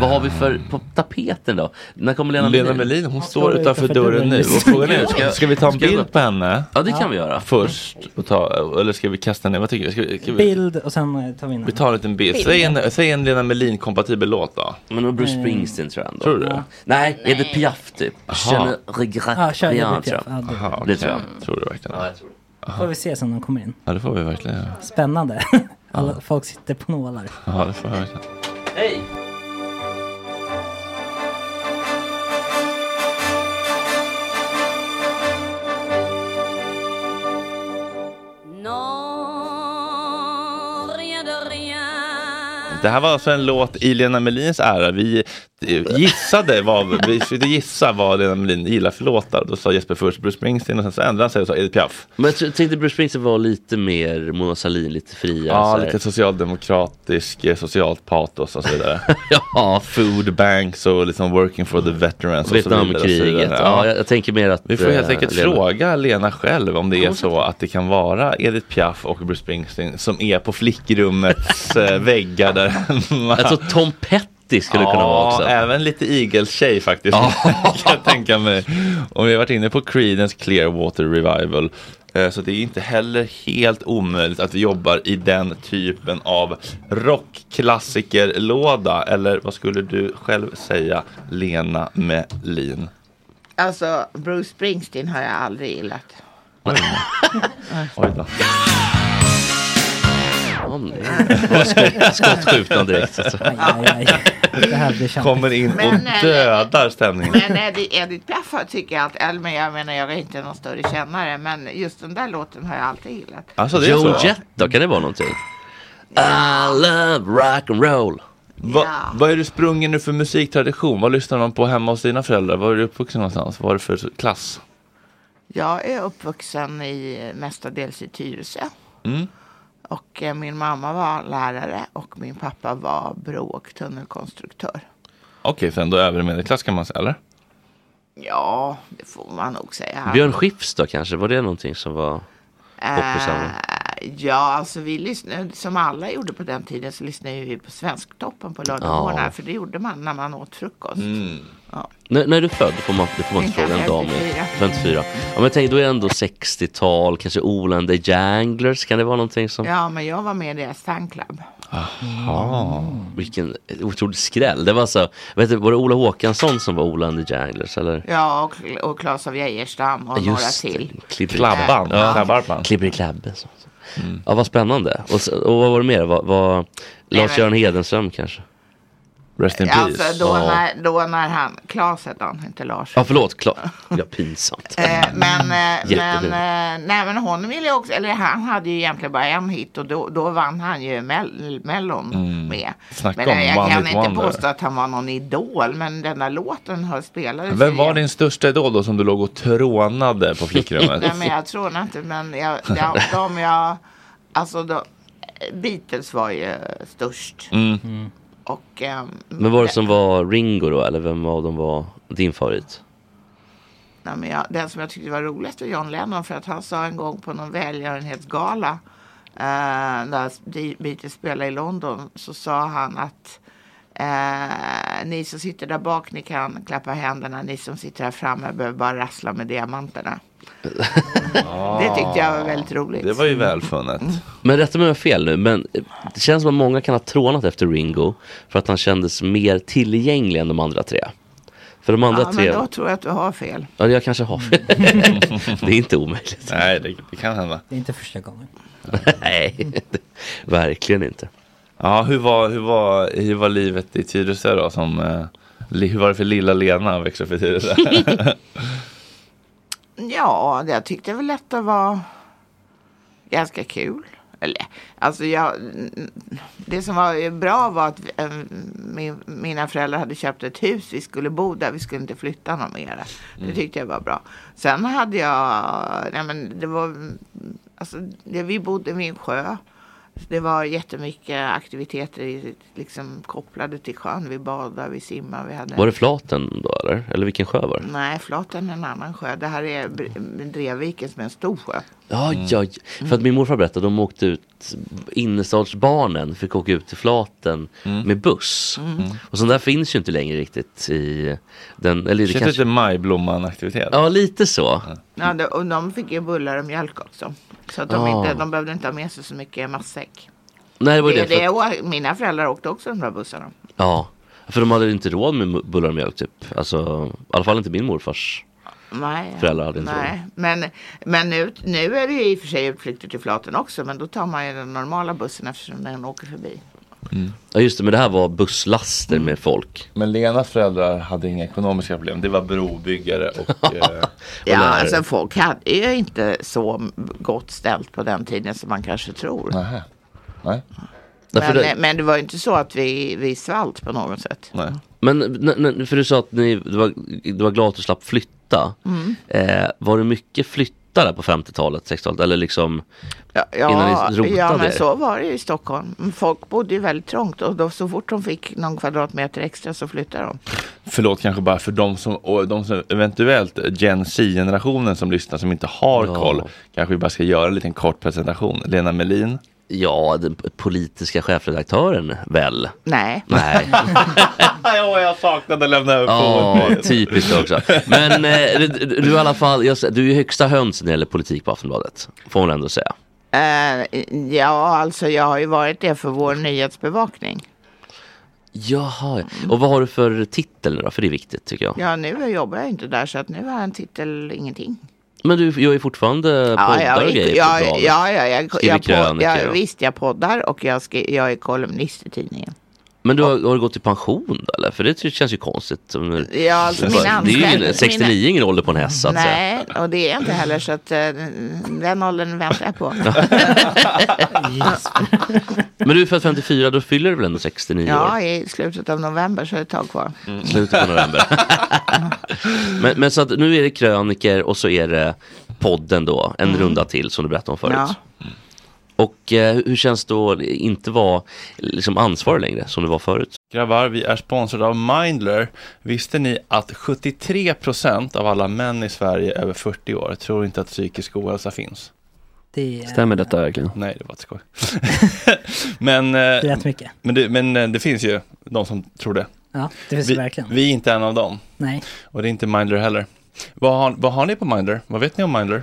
Vad har vi för på tapeten då? När kommer Lena Lena Melin? Melin, hon står utanför dörren nu. Och frågan är, ska, ska vi ta en Ska jag gå bild upp? på henne? Ja det kan vi göra. Först, och ta, eller ska vi kasta ner? Vad tycker vi? Ska, vi- ska vi, Bild och sen eh, tar vi in vi tar en liten bild. Säg en, säg en Lena Melin-kompatibel låt då. Men då Bruce Springsteen tror jag ändå. Tror du det? Nej, är det Piaf typ? Känner Ja, regret kör rien Edith tror jag. Piaf. Ja, Aha, Det okej. tror jag. Tror du verkligen? Ja, jag tror det. det får vi se sen när de kommer in. Ja, det får vi verkligen göra. Spännande. Alla, folk sitter på nålar. Ja, det får vi verkligen. Hej! Non, rien de rien. Det här var alltså en låt i Lena Melins ära. Vi eh, gissade vad, vi försökte gissa vad Lena Melin gillar för låtar. Då sa Jesper först Bruce Springsteen och sen så ändrade han sig och sa Edith Piaf. Men jag tänkte Bruce Springsteen var lite mer Mona Sahlin, lite friare. Ja, så här. lite socialdemokratisk, eh, socialt patos och så vidare. ja, Food banks och liksom working for the veterans. och så vidare, och så Vietnamkriget. vidare. Ja, jag, jag tänker mer att... Vi får helt eh, enkelt Lena- fråga Lena själv om det är så att det kan vara Edith Piaf och Bruce Springsteen som är på flickrummets eh, väggar där hemma. Jag tror Alltså, Tom Petty skulle ja, kunna vara också. även lite igeltjej faktiskt. kan jag tänka mig. Och vi har varit inne på Creedence Clearwater Revival. Eh, Så det är inte heller helt omöjligt att vi jobbar i den typen av rockklassikerlåda. Eller vad skulle du själv säga, Lena Melin? Alltså, Bruce Springsteen har jag aldrig gillat. Oj då. Ja, men det- skott- Skottskjutande direkt. Alltså. Aj, aj, aj. Det här blir kämpigt. Kommer in och Men, eh, dödar stämningen. Men Edith, Edith Piaf tycker jag alltid, eller men jag menar jag är inte någon större kännare, men just den där låten har jag alltid gillat. Alltså det är Joe så. Jett då, kan det vara någonting? I love rock and roll. Va, Ja. Vad är du sprungen nu för musiktradition? Vad lyssnar de på hemma hos dina föräldrar? Var är du uppvuxen någonstans? Vad är det för klass? Jag är uppvuxen i mestadels i Tyresö. Och eh, min mamma var lärare och min pappa var bro och tunnelkonstruktör. Okej, så ändå övre medelklass kan man säga, eller? Ja, det får man nog säga. Björn Skifs då kanske, var det någonting som var... poppersarna. Eh, ja, alltså vi lyssnade, som alla gjorde på den tiden så lyssnade ju vi på Svensktoppen på lördagmorgnar. Ja. För det gjorde man när man åt frukost. När, när är du född? Får man, det får man inte Mm, fråga en dam. 54. 54. Ja, men jag tänker, då är det ändå 60-tal, kanske Ola and the Janglers. Kan det vara någonting som... Ja, men jag var med i deras fanclub. Vilken otrolig skräll. Det var så, vet du, var det Ola Håkansson som var Ola and the Janglers? Eller? Ja, och, och Claes av Geijerstam och några det. till. Klibberi- Klabban. Ja. Klabbarpan. Klibberi klabbe. så- så. Mm. Ja, vad spännande. Och, så, och vad var det mer? Vad- vad- Lars-Göran Hedenström kanske? Rest in Alltså peace. då, Ja. när, då när han, Claes hette han, inte Lars. Ja, förlåt. Kla- ja, pinsamt. Eh, men, eh, men, Jättefint. eh, nej, men hon ville ju också, eller han hade ju egentligen bara en hit och då, då vann han ju mell- Mellon med. Mm. Snacka men eh, om jag one kan hit inte wonder. påstå att han var någon idol, men den där låten har spelades Vem ju var din största idol då som du låg och trånade på flickrummet? Nej, men jag tror inte, men jag, de, de jag, alltså de, Beatles var ju störst. Mm. Och, ehm, Men var det som var Ringo då? Eller vem av dem var din favorit? Nej, men jag, den som jag tyckte var roligast var John Lennon för att han sa en gång på någon välgörenhetsgala eh, när Be- Beatles spelade i London så sa han att eh, ni som sitter där bak ni kan klappa händerna, ni som sitter här framme behöver bara rassla med diamanterna. det tyckte jag var väldigt roligt. Det var ju välfunnet. Men rätta mig om jag har fel nu, men eh, det känns som att många kan ha trånat efter Ringo för att han kändes mer tillgänglig än de andra tre. För de andra ja, tre, men då tror jag att du har fel. ja jag kanske har fel. det är inte omöjligt. Nej, det, det kan hända. Det är inte första gången. Nej, verkligen inte. Ja, hur var, hur var, hur var livet i Tyresö då? Som, eh, li- hur var det för lilla Lena att växa upp i Tyresö? Ja, jag tyckte väl att det var ganska kul. Eller, alltså jag, det som var ju bra var att eh, min, mina föräldrar hade köpt ett hus. Vi skulle bo där, vi skulle inte flytta någon mer. Det Mm. tyckte jag var bra. Sen hade jag, nej men det var, alltså, det, vi bodde vid en sjö. Så det var jättemycket aktiviteter i- liksom, kopplade till sjön. Vi badade, vi simmade, vi hade... Var det Flaten då eller? Eller vilken sjö var det? Nej, Flaten är en annan sjö. Det här är Bre- Drevviken som är en stor sjö. Ja, ja, ja. för att min morfar berättade de åkte ut, innerstadsbarnen fick åka ut till Flaten med buss. Mm. Och sånt där finns ju inte längre riktigt i den, eller det Känns kanske... lite Majblomman-aktivitet. Ja, lite så. Ja, det- och de fick ju bullar och mjölk också. Så att de, Ah. inte, de behövde inte ha med sig så mycket matsäck. Nej, det var ju det. det, för att- och mina föräldrar åkte också de där bussarna. Ja, för de hade inte råd med mu- bullar och mjölk typ. Alltså, i alla fall inte min morfars Nej. föräldrar hade inte råd. Nej. Men, men nu, nu är det ju i och för sig utflykter till Flaten också. Men då tar man ju den normala bussen eftersom den åker förbi. Ja just det, men det här var busslaster med folk. Men Lenas föräldrar hade inga ekonomiska problem. Det var brobyggare och... eh, Ja, alltså folk hade ju inte så gott ställt på den tiden som man kanske tror. Nähä. Nej. Men, eh, Därför det- men det var ju inte så att vi, vi svalt på något sätt. Nej. Men n- n- för du sa att ni, du, var, du var glad att du slapp flytta. Mm. Eh, var det mycket flytta där på 50-talet, 60-talet eller liksom Ja, innan ni rotade ja, men er? så var det ju i Stockholm. Folk bodde ju väldigt trångt och då, så fort de fick någon kvadratmeter extra så flyttade de. Förlåt kanske bara för de som, och de som eventuellt Gen Z-generationen som lyssnar som inte har Ja. koll. Kanske vi bara ska göra en liten kort presentation. Lena Melin. Ja, den p- politiska chefredaktören väl? Nej. Nej, ja, jag saknade att lämna över ja, på. typiskt också. Men eh, du, du du i alla fall, jag, s- du är ju högsta höns när det gäller politik på Aftonbladet. Får man ändå säga. Eh, ja, alltså jag har ju varit det för vår nyhetsbevakning. Jaha, och vad har du för titel nu då? För det är viktigt tycker jag. Ja, nu jobbar jag inte där så att nu har jag en titel ingenting. Men du gör ju fortfarande poddar jag, och grejer på ja, bladet. ja, ja, jag, Skriver jag, jag, krönikor jag, och- visst jag poddar och jag, skri, jag är kolumnist i tidningen. Men du har, har du gått i pension då eller? För det ty- känns ju konstigt. om- Ja, alltså, min det är ju anställning- 69 mina- ingen ålder på en häst så att säga. Nej, och det är jag inte heller så att eh, den åldern väntar jag på. Men du är född 54, då fyller du väl ändå 69 Ja, år? i slutet av november så är det ett tag kvar. Slutet på november. men, men så att nu är det kröniker och så är det podden då, en Mm. runda till som du berättade om förut. Ja. Och eh, hur känns det då att inte vara liksom, ansvarig längre som du var förut? Grabbar, vi är sponsrade av Mindler. Visste ni att 73% av alla män i Sverige över 40 år tror inte att psykisk ohälsa finns? Det är Stämmer detta verkligen? Nej, det var ett skoj. men, eh, rätt mycket. men, det, men eh, det finns ju de som tror det. Ja, det finns det vi, verkligen. vi är inte en av dem. Nej. Och det är inte Mindler heller. Vad har, vad har ni på Mindler? Vad vet ni om Mindler?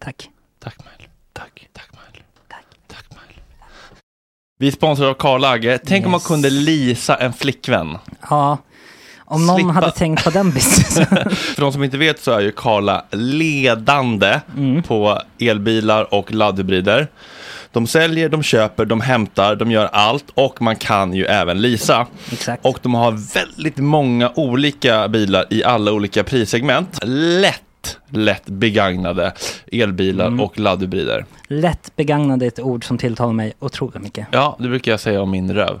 Tack. Tack Mindler. Tack. Tack Mindler. Tack. Tack Mindler. Vi är sponsrade av Karl Agge. Tänk om man Yes. kunde leasa en flickvän. Ja, om någon Slippa. hade tänkt på den businessen. För de som inte vet så är ju Karla ledande på elbilar och laddhybrider. De säljer, de köper, de hämtar, de gör allt och man kan ju även leasa. Exakt. Och de har väldigt många olika bilar i alla olika prissegment. Lätt, lätt begagnade elbilar och laddhybrider. Lätt begagnade är ett ord som tilltalar mig otroligt mycket. Ja, det brukar jag säga om min röv.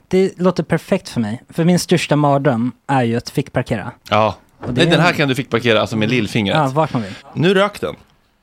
det låter perfekt för mig. För min största mardröm är ju att fickparkera. Ja. Och det Nej, är- den här kan du fick parkera alltså med lillfingret. Ja, vart man vill. Nu rök den.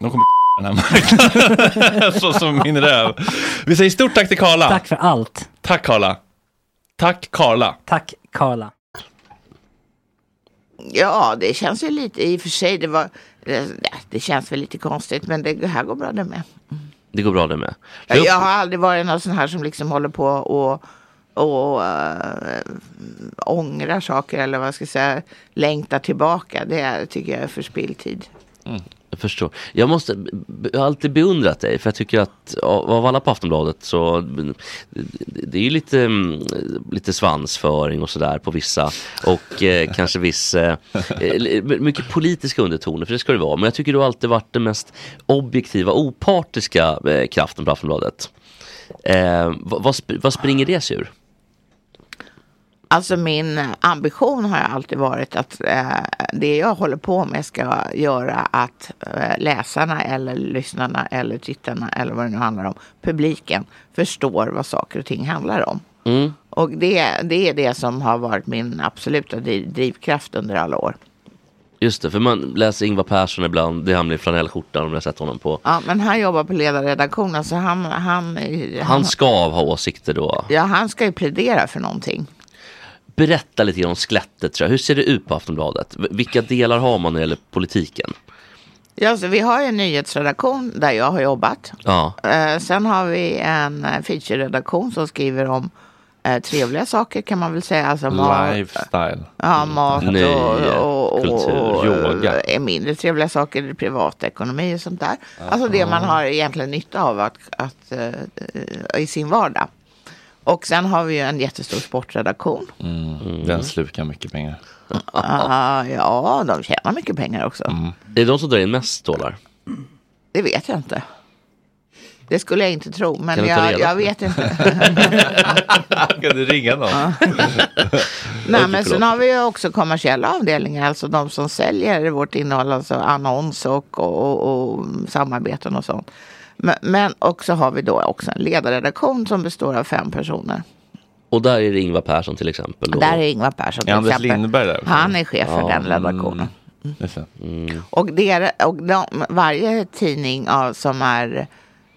De kommer den här marknaden. Så som min röv. Vi säger stort tack till Karla. Tack för allt. Tack Karla. Tack Karla. Tack Karla. Ja, det känns ju lite, i och för sig, det var, det, det känns väl lite konstigt men det här går bra det med. Det går bra det med. Jag, jag har aldrig varit någon sån här som liksom håller på och, och eh, ångrar saker eller vad jag ska säga, längtar tillbaka. Det är, tycker jag är förspilld tid. Jag förstår. Jag, måste, jag har alltid beundrat dig för jag tycker att av av alla på Aftonbladet så mm, det- det är ju lite, mm, lite svansföring och sådär på vissa och eh, kanske viss, eh, eh, mycket politiska undertoner för det ska det vara. Men jag tycker du har alltid varit den mest objektiva, opartiska eh, kraften på Aftonbladet. Eh, vad, vad, sp- vad springer det sig ur? Alltså min ambition har alltid varit att eh, det jag håller på med ska göra att eh, läsarna eller lyssnarna eller tittarna eller vad det nu handlar om, publiken förstår vad saker och ting handlar om. Mm. Och det, det är det som har varit min absoluta dri- drivkraft under alla år. Just det, för man läser Ingvar Persson ibland, det hamnar i flanellskjortan om jag har sett honom på. Ja, men han jobbar på ledarredaktionen så han, han, Han ska ha åsikter då. ja, han ska ju plädera för någonting. Berätta lite grann om skelettet. tror jag. Hur ser det ut på Aftonbladet? V- Vilka delar har man när det gäller politiken? Ja, så vi har ju en nyhetsredaktion där jag har jobbat. Ja. Eh, sen har vi en eh, feature-redaktion som skriver om eh, trevliga saker kan man väl säga. Alltså mat, Lifestyle. ja, mat Nöje, och, och, kultur, och, och yoga. eh, mindre trevliga saker, privatekonomi och sånt där. Alltså det man har egentligen nytta av att, att, eh, eh, i sin vardag. Och sen har vi ju en jättestor sportredaktion. Den slukar mycket pengar. Ah, ja, de tjänar mycket pengar också. Det är de som drar in mest stålar. Det vet jag inte. Det skulle jag inte tro, men Kan du ta jag, reda jag på det? vet inte. Kan du ringa någon? Nej, Okej, men sen förlåt. har vi ju också kommersiella avdelningar, alltså de som säljer vårt innehåll, alltså annons och, och, och, och samarbeten och sånt. Men, men också har vi då också en ledarredaktion som består av fem personer. Och där är det Ingvar Persson till exempel. då. Där är Ingvar Persson till Är Anders exempel. Lindberg där också? Han är chef för Ja, den redaktionen. Mm. Och, der, och de, varje tidning av, som är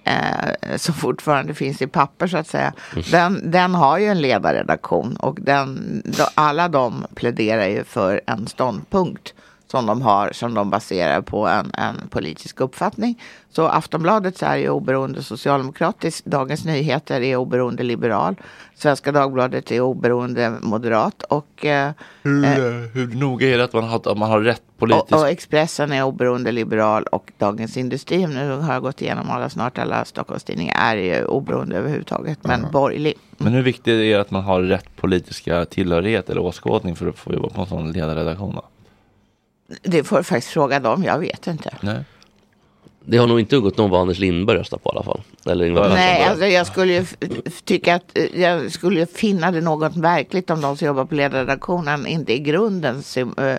eh, som fortfarande finns i papper så att säga. Den, den har ju en ledarredaktion och den, då, alla de pläderar ju för en ståndpunkt som de har som de baserar på en, en politisk uppfattning. Så Aftonbladet så är ju oberoende socialdemokratiskt, Dagens Nyheter är oberoende liberal, Svenska Dagbladet är oberoende moderat och eh, Hur, eh, eh, hur noga är det att man har, att man har rätt politisk... och, och Expressen är oberoende liberal och Dagens Industri, om nu har jag gått igenom alla, snart alla Stockholmstidningar, är ju oberoende överhuvudtaget, men borgerlig. Men hur viktigt är det att man har rätt politiska tillhörighet eller åskådning för att få jobba på en sån ledarredaktion? Då? Det får du faktiskt fråga dem, jag vet inte. Nej. Det har nog inte undgått någon vad Anders Lindberg röstar på i alla fall. Eller Ingvar Persson. Nej, alltså jag skulle ju f- f- tycka att eh, jag skulle ju finna det något verkligt om de som jobbar på ledarredaktionen inte i grunden sym, eh,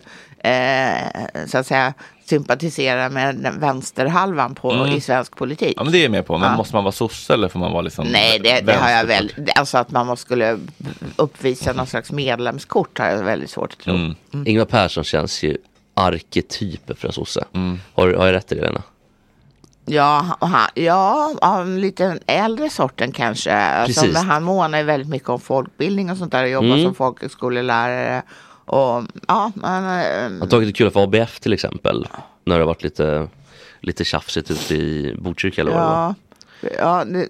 eh, så att säga sympatiserar med den vänsterhalvan på, Mm. i svensk politik. Ja men det är jag med på, men Ja. måste man vara sosse eller får man vara liksom Nej, det, det har jag väl. vänsterparti? Alltså att man måste skulle uppvisa någon slags medlemskort har jag väldigt svårt att tro. Mm. Ingvar Persson känns ju arketypen för en sosse. Har, har jag rätt i det Lena? Ja, han, ja, av en lite äldre sorten kanske. Alltså, Precis. men han månar ju väldigt mycket om folkbildning och sånt där och jobbar Mm. som folkhögskolelärare. Och, ja, men, Har tagit det kul för ABF till exempel. När det har varit lite, lite tjafsigt ute i Botkyrka eller vad det var. Ja, ja det,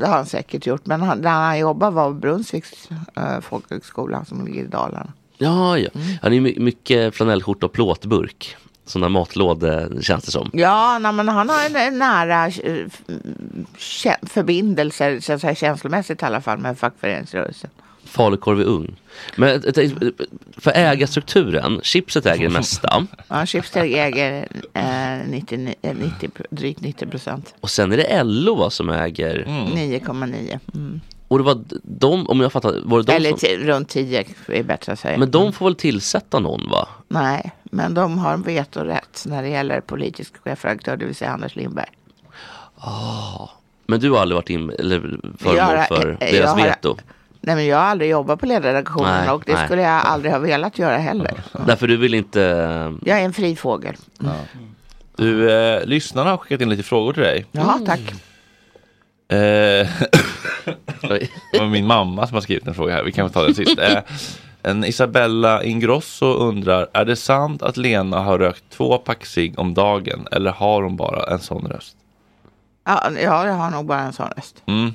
det har han säkert gjort. Men han, där han jobbade var Brunnsviks eh, folkhögskola som ligger i Dalarna. Ja, ja. Mm. Han är ju my- mycket flanellskjorta och plåtburk. Sådana matlådor känns det som. Ja, nej, men han har en, en nära eh, f- kä- förbindelser, så att säga, känslomässigt i alla fall, med fackföreningsrörelsen. Falukorv är ung. Men jag tänkte- för ägarstrukturen, chipset äger det mesta. Ja, Schibsted äger eh, 90, eh, 90, drygt 90 procent. Och sen är det LO va, som äger. Mm. 9,9. Mm. Och det var de, om jag fattar, var det de Eller som... ti- runt 10 är bättre att säga. Men de får väl tillsätta någon va? Nej, men de har vetorätt när det gäller politisk chefredaktör, det vill säga Anders Lindberg. Ah. Men du har aldrig varit in, eller föremål Jag har- för eh, deras jag har- veto? Nej, men jag har aldrig jobbat på ledarredaktionen Nej, och det nej. Mm. skulle jag aldrig ha velat göra heller. Därför du vill inte... Jag är en fri fågel. Du, eh, lyssnarna har skickat in lite frågor till dig. Ja, Mm. tack. Eh, det var min mamma som har skrivit en fråga här, vi kan ta den sist. Eh, en Isabella Ingrosso undrar, är det sant att Lena har rökt två pack cigg om dagen eller har hon bara en sån röst? Ja, ja, jag har nog bara en sån röst. Mm.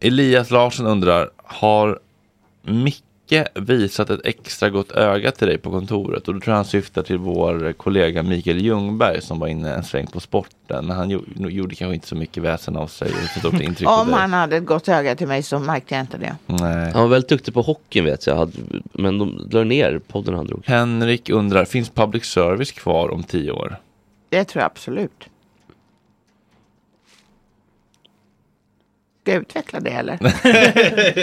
Elias Larsson undrar, har Micke visat ett extra gott öga till dig på kontoret? Och då tror jag han syftar till vår kollega Mikael Ljungberg som var inne en sväng på sporten. Men han gjo- gjorde kanske inte så mycket väsen av sig och så stort intryck på Om dig. han hade ett gott öga till mig så märkte jag inte det. Nej. Han var väldigt duktig på hockeyn vet jag, hade- men de la ner podden han drog. Henrik undrar, finns public service kvar om tio år? Det tror jag absolut. Ska jag utveckla det eller?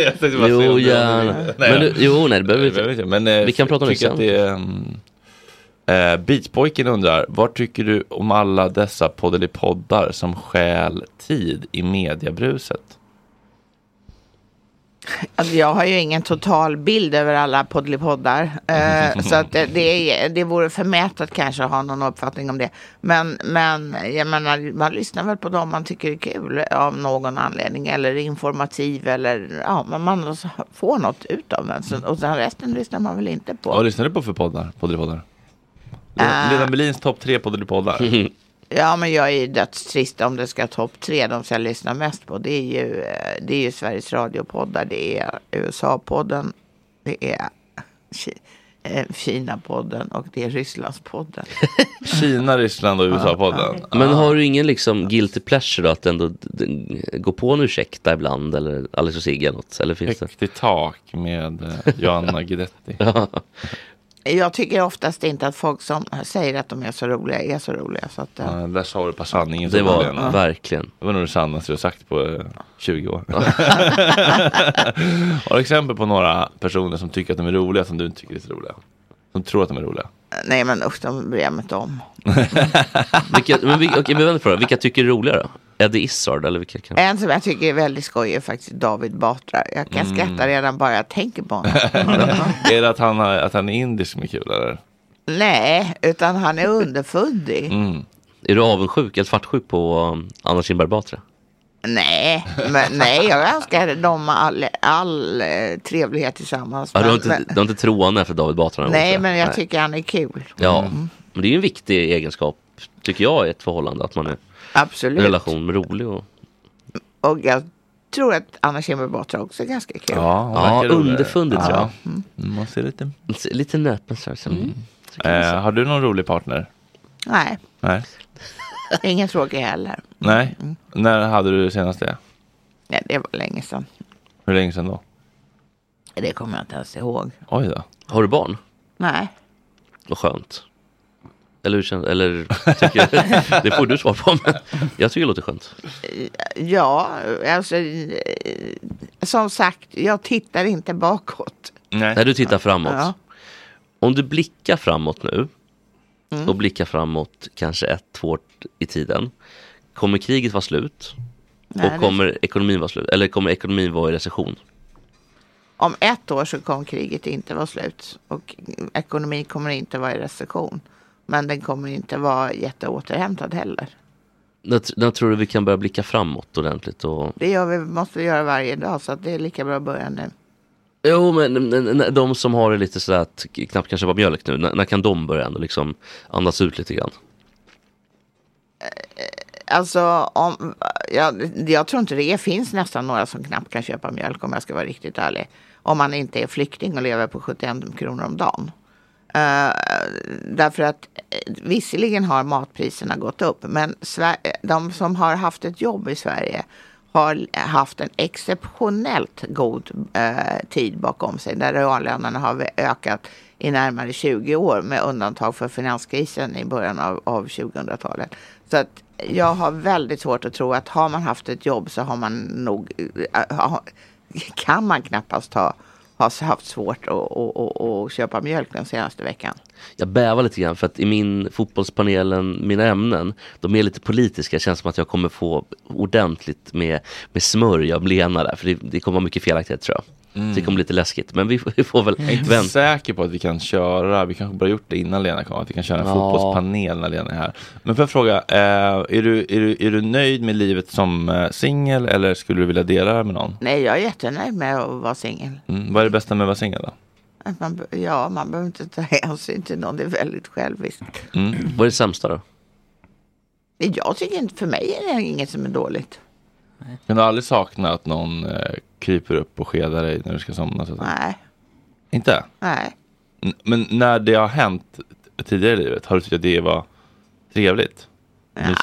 Jag tänkte bara Jo, se om det- gärna. Men du- jo, nej, det behöver vi inte. vi Men, eh, Vi kan prata om det tycker att sen. det är, mm, eh, Beatpojken undrar, vad tycker du om alla dessa poddar som stjäl tid i mediabruset? Alltså, jag har ju ingen total bild över alla poddlipoddar. Eh, så att det, det, är, det vore förmätet kanske att ha någon uppfattning om det. Men, men jag menar, man lyssnar väl på dem man tycker är kul av någon anledning. Eller informativ eller ja, men man får något ut av den. Så, och sen resten lyssnar man väl inte på. Vad lyssnar du på för poddar? Poddelipoddar? Lena- Lena Melins topp tre poddelipoddar. Ja, men jag är ju dödstrist om det ska topp tre. De som jag lyssnar mest på, det är ju, eh, det är ju Sveriges radiopoddar. Det är USA-podden, det är Ki- eh, Kina-podden och det är Rysslandspodden. Kina, Ryssland och USA-podden. Men har du ingen liksom guilty pleasure då, att ändå d- d- gå på en ursäkta ibland eller Alex och Sigge eller något? Eller finns det? Högt i tak med eh, Johanna Guidetti. Jag tycker oftast inte att folk som säger att de är så roliga är så roliga. Så att, eh, Ja, där sa du på sanningen. Det var Lena. verkligen. Det var nog det sannaste du har sagt på eh, 20 år. Har du exempel på några personer som tycker att de är roliga som du inte tycker är så roliga? Som tror att de är roliga? nej, men usch, de bryr jag mig inte om. Vilka, men vi, okej, men vänd på det. Vilka tycker du är roliga då? Eddie Izzard eller vilka kan... En som jag tycker är väldigt skojig är faktiskt David Batra. Jag kan Mm. skratta redan bara jag tänker på honom. är det att han, har, att han är indisk som är kul eller? nej, utan han är underfundig. Är du avundsjuk eller svartsjuk på um, Anna Kinberg Batra? Nej, men, nej, jag önskar dem all, all eh, trevlighet tillsammans. Ja, du, har men, inte, men, du har inte troende efter David Batra? någon gång, tror nej, men Mm. jag tycker han är kul. Ja, men det är ju en viktig egenskap, tycker jag, i ett förhållande. Att man är Absolut. en relation med rolig och... Och jag tror att Anna Kinberg Batra också är ganska kul. ja Mm. underfundig tror jag. Mm, Man ser lite. Lite näpen så. här, så. Mm. Eh, har du någon rolig partner? Nej, Nej. Mm. ingen tråkig heller. Nej. När hade du senast det? Nej, det var länge sedan. Hur länge sedan då? Det kommer jag inte ens ihåg. Oj då. Har du barn? Nej. Vad skönt. Eller hur känns eller, tycker, Det får du svar på, men jag tycker det låter skönt. Ja, alltså eh, som sagt, jag tittar inte bakåt. Nej. När du tittar framåt. Ja. Om du blickar framåt nu Mm. och blickar framåt kanske ett, två år i tiden. Kommer kriget vara slut? Nej, det- och kommer ekonomin vara slut? Eller kommer ekonomin vara i recession? Om ett år så kommer kriget inte vara slut och ekonomin kommer inte vara i recession. Men den kommer inte vara jätteåterhämtad heller. När, när tror du vi kan börja blicka framåt ordentligt? Och, Det gör vi, måste vi göra varje dag så att det är lika bra att börja nu. Jo, men n- n- n- de som har det lite sådär att k- knappt kan köpa mjölk nu, när, när kan de börja ändå liksom andas ut lite grann? Alltså, om, jag, jag tror inte det finns nästan några som knappt kan köpa mjölk om jag ska vara riktigt ärlig. Om man inte är flykting och lever på 71 kronor om dagen. Eh, därför att eh, visserligen har matpriserna gått upp men Sver- de som har haft ett jobb i Sverige har haft en exceptionellt god eh, tid bakom sig där reallönerna har ökat i närmare 20 år med undantag för finanskrisen i början av, av 2000-talet. Så att jag har väldigt svårt att tro att har man haft ett jobb så har man nog, eh, ha- kan man knappast ha, ha haft svårt att, att, att, att köpa mjölk den senaste veckan. Jag bävar lite grann för att i min fotbollspanelen, mina ämnen, de är lite politiska. Det känns som att jag kommer få ordentligt med, med smörj av Lena där, för det, det kommer vara mycket felaktighet tror jag. Mm. Det kommer bli lite läskigt, men vi, får- vi får väl Jag är inte vänta. säker på att vi kan köra, vi kanske bara gjort det innan Lena kom, att vi kan köra en Ja. fotbollspanel när Lena är här. Men får jag fråga, eh, är, du, är, du, är du nöjd med livet som eh, singel eller skulle du vilja dela det med någon? Nej, jag är jättenöjd med att vara singel. Mm. Vad är det bästa med att vara singel då? Att man be- Ja, man behöver inte ta hänsyn till någon. Det är väldigt själviskt. Vad är det sämsta då? Men Jag tycker inte, för mig är det inget som är dåligt. Kan du aldrig sakna att någon eh, kryper upp och skedar dig när du ska somna? Så att... Nej. Inte? Nej. N- Men när det har hänt tidigare i livet, har du tyckt att det var trevligt?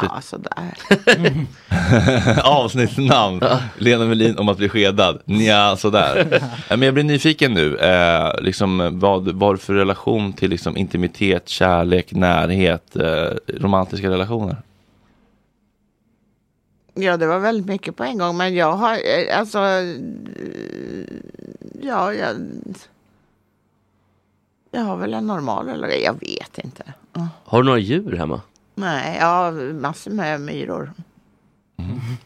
Ja, sådär. Avsnittsnamn, Lena Melin om att bli skedad. Nja, sådär. Nej, Men jag blir nyfiken nu, eh, liksom, eh, vad, vad har du för relation till liksom, intimitet, kärlek, närhet, eh, romantiska relationer? Ja, det var väldigt mycket på en gång. Men jag har, eh, alltså... eh, Ja, jag... Jag har väl en normal relation. Jag vet inte. Har du några djur hemma? Nej, jag har massor med myror.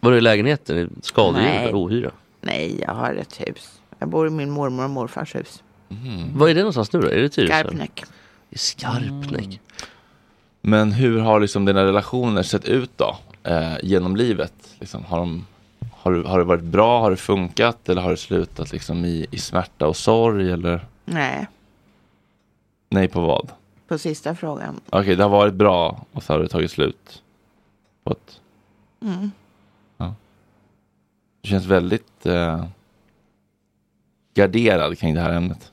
Var det i lägenheten? Skadedjur? Nej. eller Ohyra? Nej, jag har ett hus. Jag bor i min mormor och morfars hus. Var är det någonstans nu då? Är det Tyresö? Skarpnäck. I Skarpnäck? Men hur har liksom, dina relationer sett ut då? Eh, genom livet? Liksom, har, de, har, du- har det varit bra? Har det funkat? Eller har det slutat liksom, i, i smärta och sorg? Eller Nej, nej på vad? på sista frågan. Okej, det har varit bra och så har det tagit slut. På ett- Mm. Du känns väldigt eh, garderad kring det här ämnet.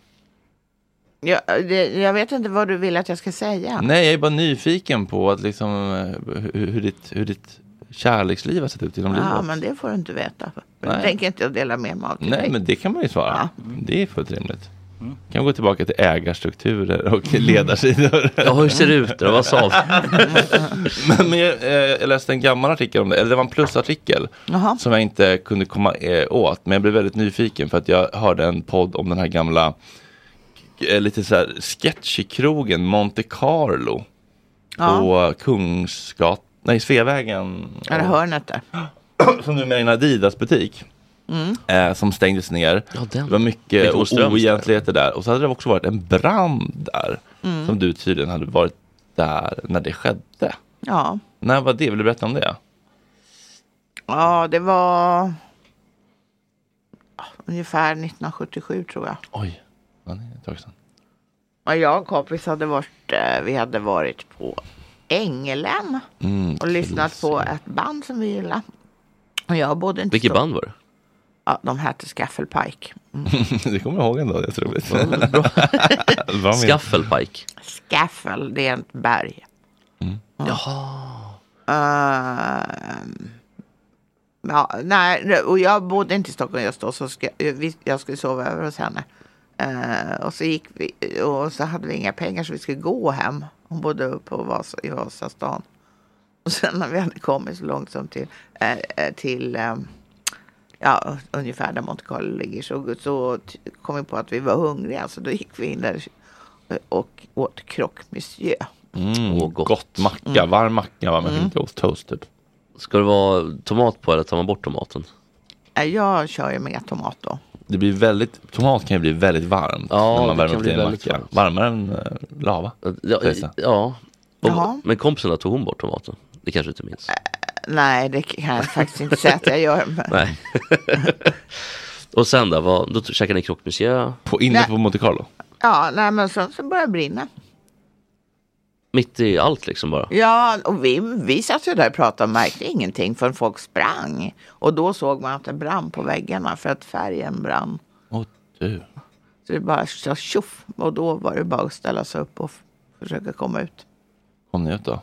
Jag, det, jag vet inte vad du vill att jag ska säga. Nej, jag är bara nyfiken på att liksom, eh, hur, hur, ditt, hur ditt kärleksliv har sett ut genom Ja, livet. men det får du inte veta. Nej. Jag tänker inte jag dela med mig av till Nej, dig. men det kan man ju svara. Det är fullt rimligt. Kan vi gå tillbaka till ägarstrukturer och ledarsidor. Ja, hur ser det ut då? Vad sa men, men jag, eh, jag läste en gammal artikel om det, eller det var en plusartikel Jaha. som jag inte kunde komma eh, åt. Men jag blev väldigt nyfiken för att jag hörde en podd om den här gamla, eh, lite så här sketchy krogen Monte Carlo. Ja. På Kungsgatan, nej Sveavägen. Är det hörnet där? Som numera är en Adidas butik Mm. eh, som stängdes ner. den. Det var mycket Lite Åströms oegentligheter där. Och så hade det också varit en brand där. Mm. Som du tydligen hade varit där när det skedde. Ja. När var det? Vill du berätta om det? ja, det var ah, ungefär 1977 tror jag. Oj. Ja, det är ett tag sedan. Och jag och en kompis hade varit, eh, vi hade varit på Ängelen Mm, och lyssnat på ett band som vi gillade. Och jag bodde inte Vilket så- band var det? Ja, de hette Skaffelpike. det kommer jag ihåg ändå, det är så roligt. Bra minne. Skaffelpike? Skaffel, det är ett berg. Ehm, ja, nej, och jag bodde inte i Stockholm just då så ska, vi, jag skulle sova över hos henne. Eh, och så gick vi och så hade vi inga pengar så vi skulle gå hem. Hon bodde uppe på Vasa, i Vasastan. Och sen när vi hade kommit så långt som till, eh, eh, till ehm, ja, ungefär där Monte Carlo ligger så, så t- kom vi på att vi var hungriga så då gick vi in där och åt croque monsieur. Mm, Åh, gott. gott. macka, varm macka va, med Mm. skinka och toast typ. Ska det vara tomat på eller tar man bort tomaten? Eh, Jag kör ju med tomat då. Det blir väldigt, tomat kan ju bli väldigt varmt Ja, när man det värmer kan upp bli till en väldigt macka. varmt. Varmare än eh, lava. Ja, sägs det. ja. Jaha. Och, men kompisen då, tog hon bort tomaten? Det kanske du inte minns? Nej, det kan jag faktiskt inte säga att jag gör. Men, Nej. Och sen då, vad, då käkade ni krockmuseum? På, inne Nej. på Monte Carlo? Ja, nej, men sen så började det brinna. Mitt i allt liksom bara? Ja, och vi, vi satt ju där och pratade och märkte ingenting förrän folk sprang. Och då såg man att det brann på väggarna för att färgen brann. Åh du. Så det bara så tjoff. Och då var det bara att ställa sig upp och f- försöka komma ut. Kom ni ut då?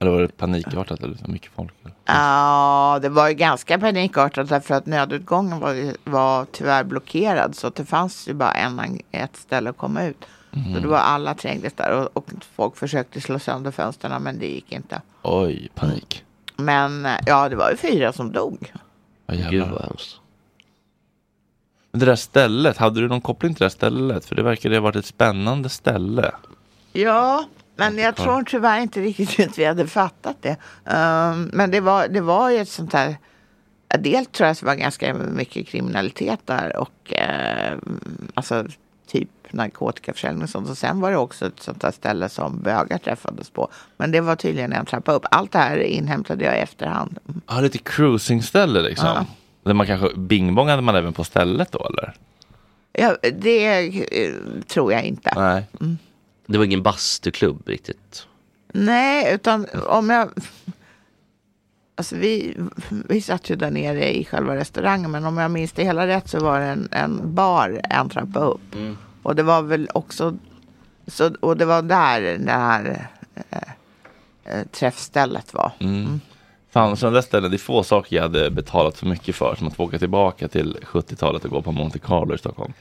Eller var det panikartat eller så mycket folk? Eller? Ja, det var ju ganska panikartat därför att nödutgången var, ju- var tyvärr blockerad. Så att det fanns ju bara en, ang- ett ställe att komma ut. Så Mhm. det var alla trängdes där och, och folk försökte slå sönder fönstren men det gick inte. Oj, panik. Men eh, ja, det var ju fyra som dog. Gud vad hemskt. Det där stället, hade du någon koppling till det där stället? För det verkar ha varit ett spännande ställe. Ja, men jag tror tyvärr inte riktigt att vi hade fattat det. Ehm, men det var, det var ju ett sånt här... Dels tror jag att det var ganska mycket kriminalitet där och eh, alltså typ narkotikaförsäljning och sånt. Och sen var det också ett sånt här ställe som bögar träffades på. Men det var tydligen en trappa upp. Allt det här inhämtade jag i efterhand. Ja, lite cruisingställe liksom. Ja. Där man kanske, bingbongade man även på stället då eller? Ja, det eh, tror jag inte. Nej. Det var ingen bastuklubb riktigt? Nej, utan om jag... Alltså vi, vi satt ju där nere i själva restaurangen men om jag minns det hela rätt så var det en, en bar en trappa upp. Och det var väl också... Så, och det var där det här eh, eh, träffstället var. Mm. Fan, sådana där ställen, det är få saker jag hade betalat så mycket för som att få åka tillbaka till 70-talet och gå på Monte Carlo i Stockholm.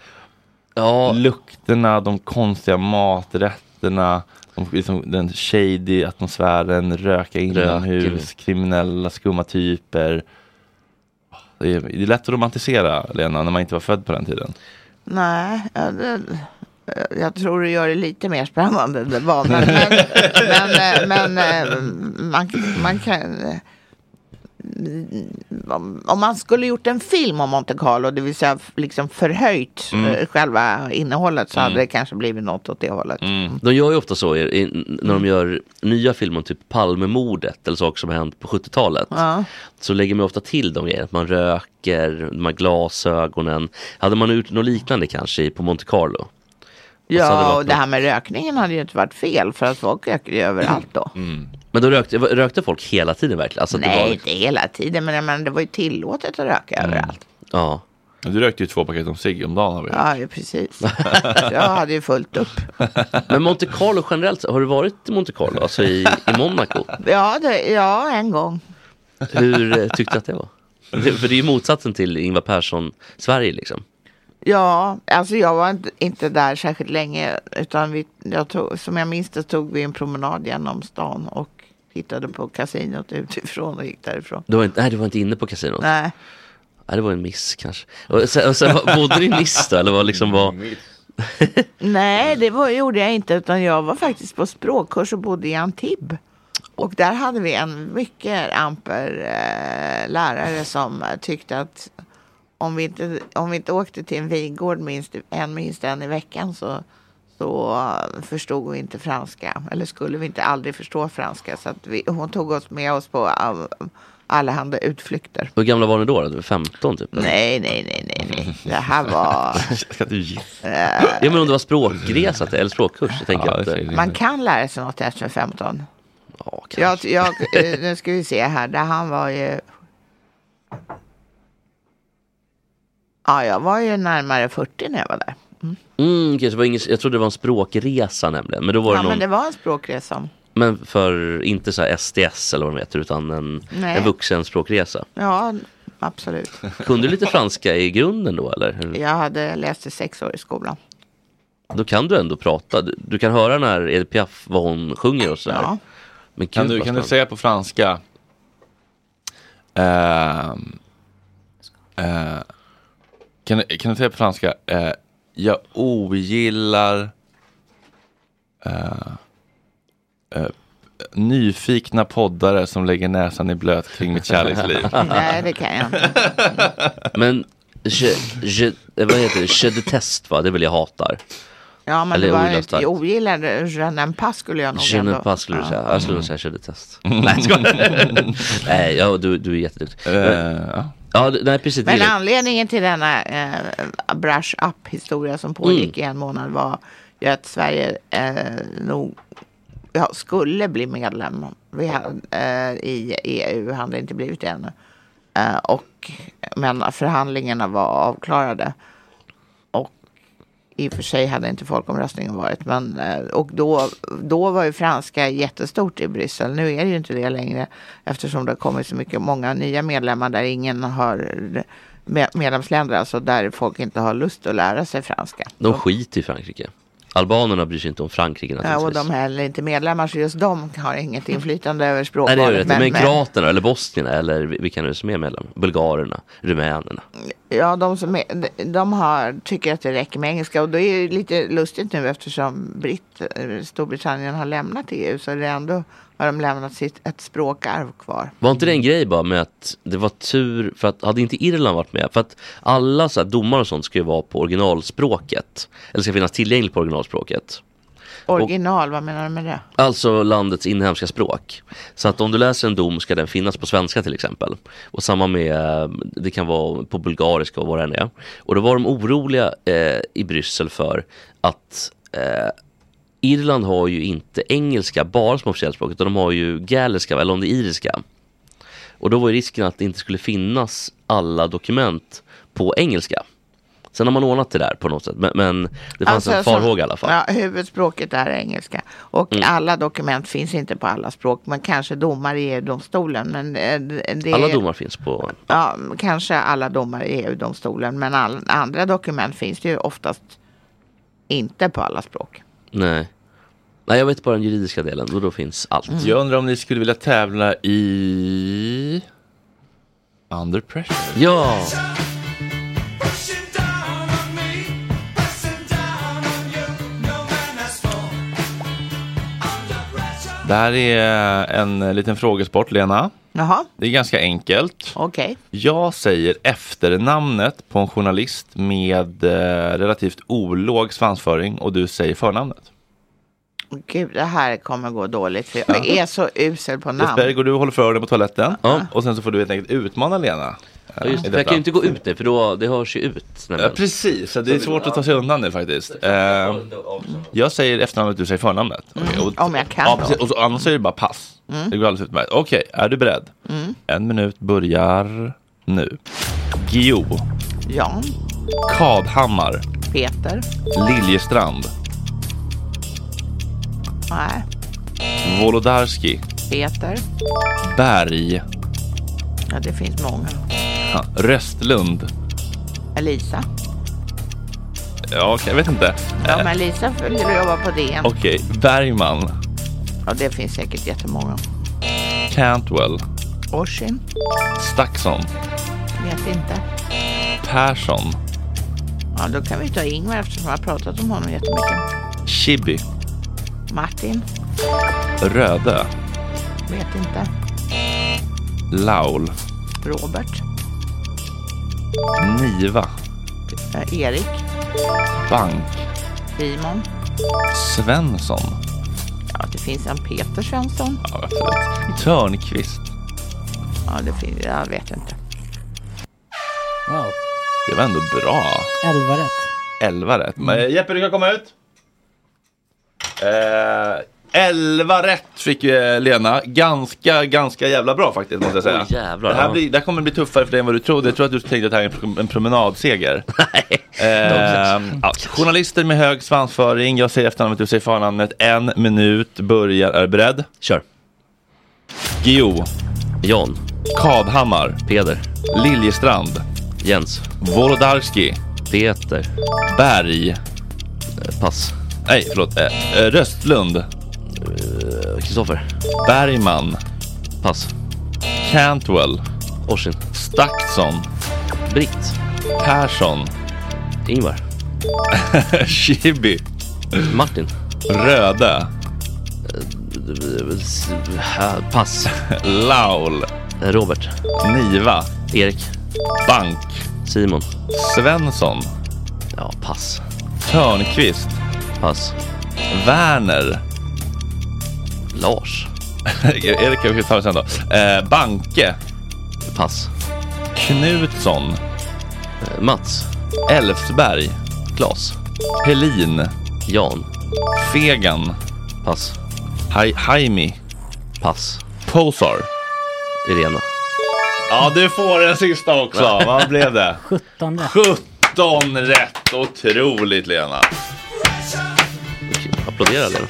Ja. Lukterna, de konstiga maträtterna, de, liksom, den shady atmosfären, röka inomhus, kriminella, skumma typer. Det är, det är lätt att romantisera, Lena, när man inte var född på den tiden. Nej, jag, jag tror du gör det lite mer spännande än det var. Men, men, men, eh, men eh, man, man kan... eh, Om, om man skulle gjort en film om Monte Carlo, det vill säga f- liksom förhöjt Mm. eh, själva innehållet, så hade Mm. det kanske blivit något åt det hållet. De gör ju ofta så i, i, när de gör nya filmer om typ Palmemordet eller saker som har hänt på 70-talet. Ja. Så lägger man ofta till de grejerna, att man röker, de här glasögonen. Hade man gjort något liknande kanske i- på Monte Carlo? så hade det Ja, varit och det här med rökningen hade ju inte varit fel, för att folk röker ju överallt då. Men då rökte, rökte folk hela tiden verkligen? Alltså, Mm. att det var Mm. Nej, liksom- inte hela tiden, men jag menar, det var ju tillåtet att röka överallt. Ja. Du rökte ju två paket om cigg om dagen. Har vi. Ja, ju precis. Så jag hade ju fullt upp. Men Monte Carlo generellt, har du varit i Monte Carlo, alltså i, i Monaco? Ja, det, ja, en gång. Hur eh, tyckte du att det var? Det, för det är ju motsatsen till Ingvar Persson-Sverige liksom. Ja, alltså jag var inte, inte där särskilt länge. Utan vi, jag tog, som jag minns det tog vi en promenad genom stan och tittade på kasinot utifrån och gick därifrån. Du var inte, nej, du var inte inne på kasinot? Nej. Nej, det var en miss kanske. Och sen, och sen var- bodde du i Nice då, eller var liksom var... Nej, det var, gjorde jag inte. Utan jag var faktiskt på språkkurs och bodde i Antibes. Och där hade vi en mycket amper eh, lärare som eh, tyckte att om vi, inte, om vi inte åkte till en vingård minst en, minst en i veckan så, så eh, förstod vi inte franska. Eller skulle vi inte aldrig förstå franska. Så att vi, hon tog oss med oss på eh, allehanda utflykter. Hur gamla var ni då? då? 15 typ? eller? Nej, nej, nej, nej, nej. Det här var... Ska du gissa? eh, Ja men om det var språkresa till- eller språkkurs. Jag tänker att, eh, Man kan lära sig något efter 15. jag, jag, eh, nu ska vi se här. Där han var ju... Ja, jag var ju närmare 40 när jag var där. Mm, okej, så det var ingen, jag trodde det var en språkresa nämligen. Men då var ja, det någon, men det var en språkresa. men för inte så här STS eller vad de heter utan en, Nej. en vuxen språkresa. Ja, absolut. Kunde du lite franska i grunden då eller? Hur- Jag hade läst i sex år i skolan. Då kan du ändå prata. Du, du kan höra när Edith Piaf vad hon sjunger och sådär. Ja. Men gud, Kan du, vad kan du spännande. säga på franska? ehm, eh, kan, du- kan du säga på franska? eh, jag ogillar eh, eh, nyfikna poddare som lägger näsan i blöt kring mitt kärleksliv. Nej, det kan jag inte. Men je, je, eh, vad heter det? Je detest va? Det är väl jag hatar. Ja, men Eller det var ogillar ett, starkt. jag ogillade Jeanne Pass skulle jag nog Je ne ändå. pas skulle du säga. Jag skulle nog säga je detest. Nej, jag skojar. Nej, ja, du, du är jätteduktig. Eh, ja. ja. Ja, d- nej precis. Men det är- anledningen till denna eh, brush up historia som pågick i en månad var ju att Sverige eh, nog ja, skulle bli medlem Vi hade, eh, i EU, han hade inte blivit det ännu. Eh, och, men förhandlingarna var avklarade. Och i och för sig hade inte folkomröstningen varit. Men, eh, och då, då var ju franska jättestort i Bryssel. Nu är det ju inte det längre. Eftersom det har kommit så mycket, många nya medlemmar där ingen har med, medlemsländer, alltså där folk inte har lust att lära sig franska. De skiter i Frankrike. Albanerna bryr sig inte om Frankrike Ja, och naturligtvis. de är heller inte medlemmar, så just de har inget inflytande över Nej, språkvalet. det är ju rätt. Men, kroaterna eller bosnierna eller vi- vilka nu som är medlemmar. Bulgarerna, rumänerna. Ja, de som är, de har, tycker att det räcker med engelska. Och det är ju lite lustigt nu eftersom Britt, eh, Storbritannien har lämnat EU. Så det är ändå har de lämnat sitt, ett språkarv kvar. Var inte det en grej bara med att det var tur för att hade inte Irland varit med? För att alla så här domar och sånt ska ju vara på originalspråket. Eller ska finnas tillgängligt på originalspråket. Original, vad menar du med det? Alltså landets inhemska språk. Så att om du läser en dom ska den finnas på svenska till exempel. Och samma med, eh, det kan vara på bulgariska och vad det än är. Och då var de oroliga eh, i Bryssel för att eh, Irland har ju inte engelska bara som officiellt språk utan de har ju gäliska eller om det är iriska. Och då var ju risken att det inte skulle finnas alla dokument på engelska. Sen har man ordnat det där på något sätt men, men det fanns en Alltså, som- farhåga i alla fall. Mm. Ja, huvudspråket är engelska. Och alla dokument finns inte på alla språk. Men kanske domar i EU-domstolen. Men eh, det Alla är- domar finns på Ja, kanske alla domar i EU-domstolen. Men all, andra dokument finns det ju oftast inte på alla språk. Nej. Nej, jag vet bara den juridiska delen och då finns allt. Mm. Jag undrar om ni skulle vilja tävla i Under Pressure? Ja! Det här är en liten frågesport, Lena. Jaha, Det är ganska enkelt. okej. Jag säger efternamnet på en journalist med eh, relativt olåg svansföring och du säger förnamnet. Gud, det här kommer gå dåligt. För jag är så usel på Jesper, namn. går du och håller för dig på toaletten och sen så får du helt enkelt utmana Lena. Eh, Ja, just det, i för jag detta. kan ju inte gå ut nu för då, det hörs ju ut. Ja, nämligen. precis, så det är svårt att ta sig undan nu faktiskt. Eh, jag säger efternamnet, du säger förnamnet. Okej, och- Mm, Om jag kan Ja, då. precis, och så, annars är det bara pass. Mm. Det går alldeles utmärkt. Okej, är du beredd? Mm. En minut börjar nu. Gio, Jan, Kadhammar, Peter. Liljestrand, Nej, Wolodarski, Peter. Berg, Ja, det finns många. ha, Röstlund. Elisa. Ja, okej, jag vet inte. Ja, Eh, men Elisa följer och jobbar på DN. Okej, Bergman, Ja, det finns säkert jättemånga. Cantwell, Oshin. Staxon, Vet inte. Persson, Ja, då kan vi ta Ingvar eftersom jag har pratat om honom jättemycket. Chibi, Martin. Röde, Vet inte. Laul, Robert. Niva, Eh, Erik. Bank, Simon. Svensson, Ja, det finns en Peter Svensson. ja, absolut. Törnqvist. Ja, det finns... Jag vet inte. Wow, Det var ändå bra. 11 rätt. 11 rätt. Men Jeppe, du kan komma ut. Eh, 11 rätt fick eh, Lena. Ganska, ganska jävla bra faktiskt måste jag säga. Åh, jävlar, det, här ja. blir, det här kommer bli tuffare för dig än vad du trodde. Jag tror att du tänkte att det här är en prom- en promenadseger. Eh, ja, journalister med hög svansföring. Jag säger efternamnet, du säger förnamnet. En minut börjar. Är du beredd? Kör. Gio, Jan, Kadhammar, Peder, Liljestrand, Jens, Wolodarski, Peter, Berg. eh, pass, Nej, förlåt. Eh, eh, Röstlund, Eh, Kristoffer, Bergman, pass, Cantwell, Orsin, Staxon, Britt, Persson, Ingvar, Chibi, Martin, Röde, eh, s- eh, pass, Laul, Eh, Robert, Niva, Erik, Bank, Simon, Svensson, ja pass, Törnqvist, pass, Werner, Lars, Erik kan vi ta det sen då, eh, Banke, pass, Äh, Knutsson. Mats. Elfsberg. Klas. Helin. Jan. Fegan. Pass. Hai- Haimi. Pass. Posar. Irena. Ja, du får den sista också. Vad blev det? 17 rätt. 17 rätt. Otroligt Lena. Applådera Lena.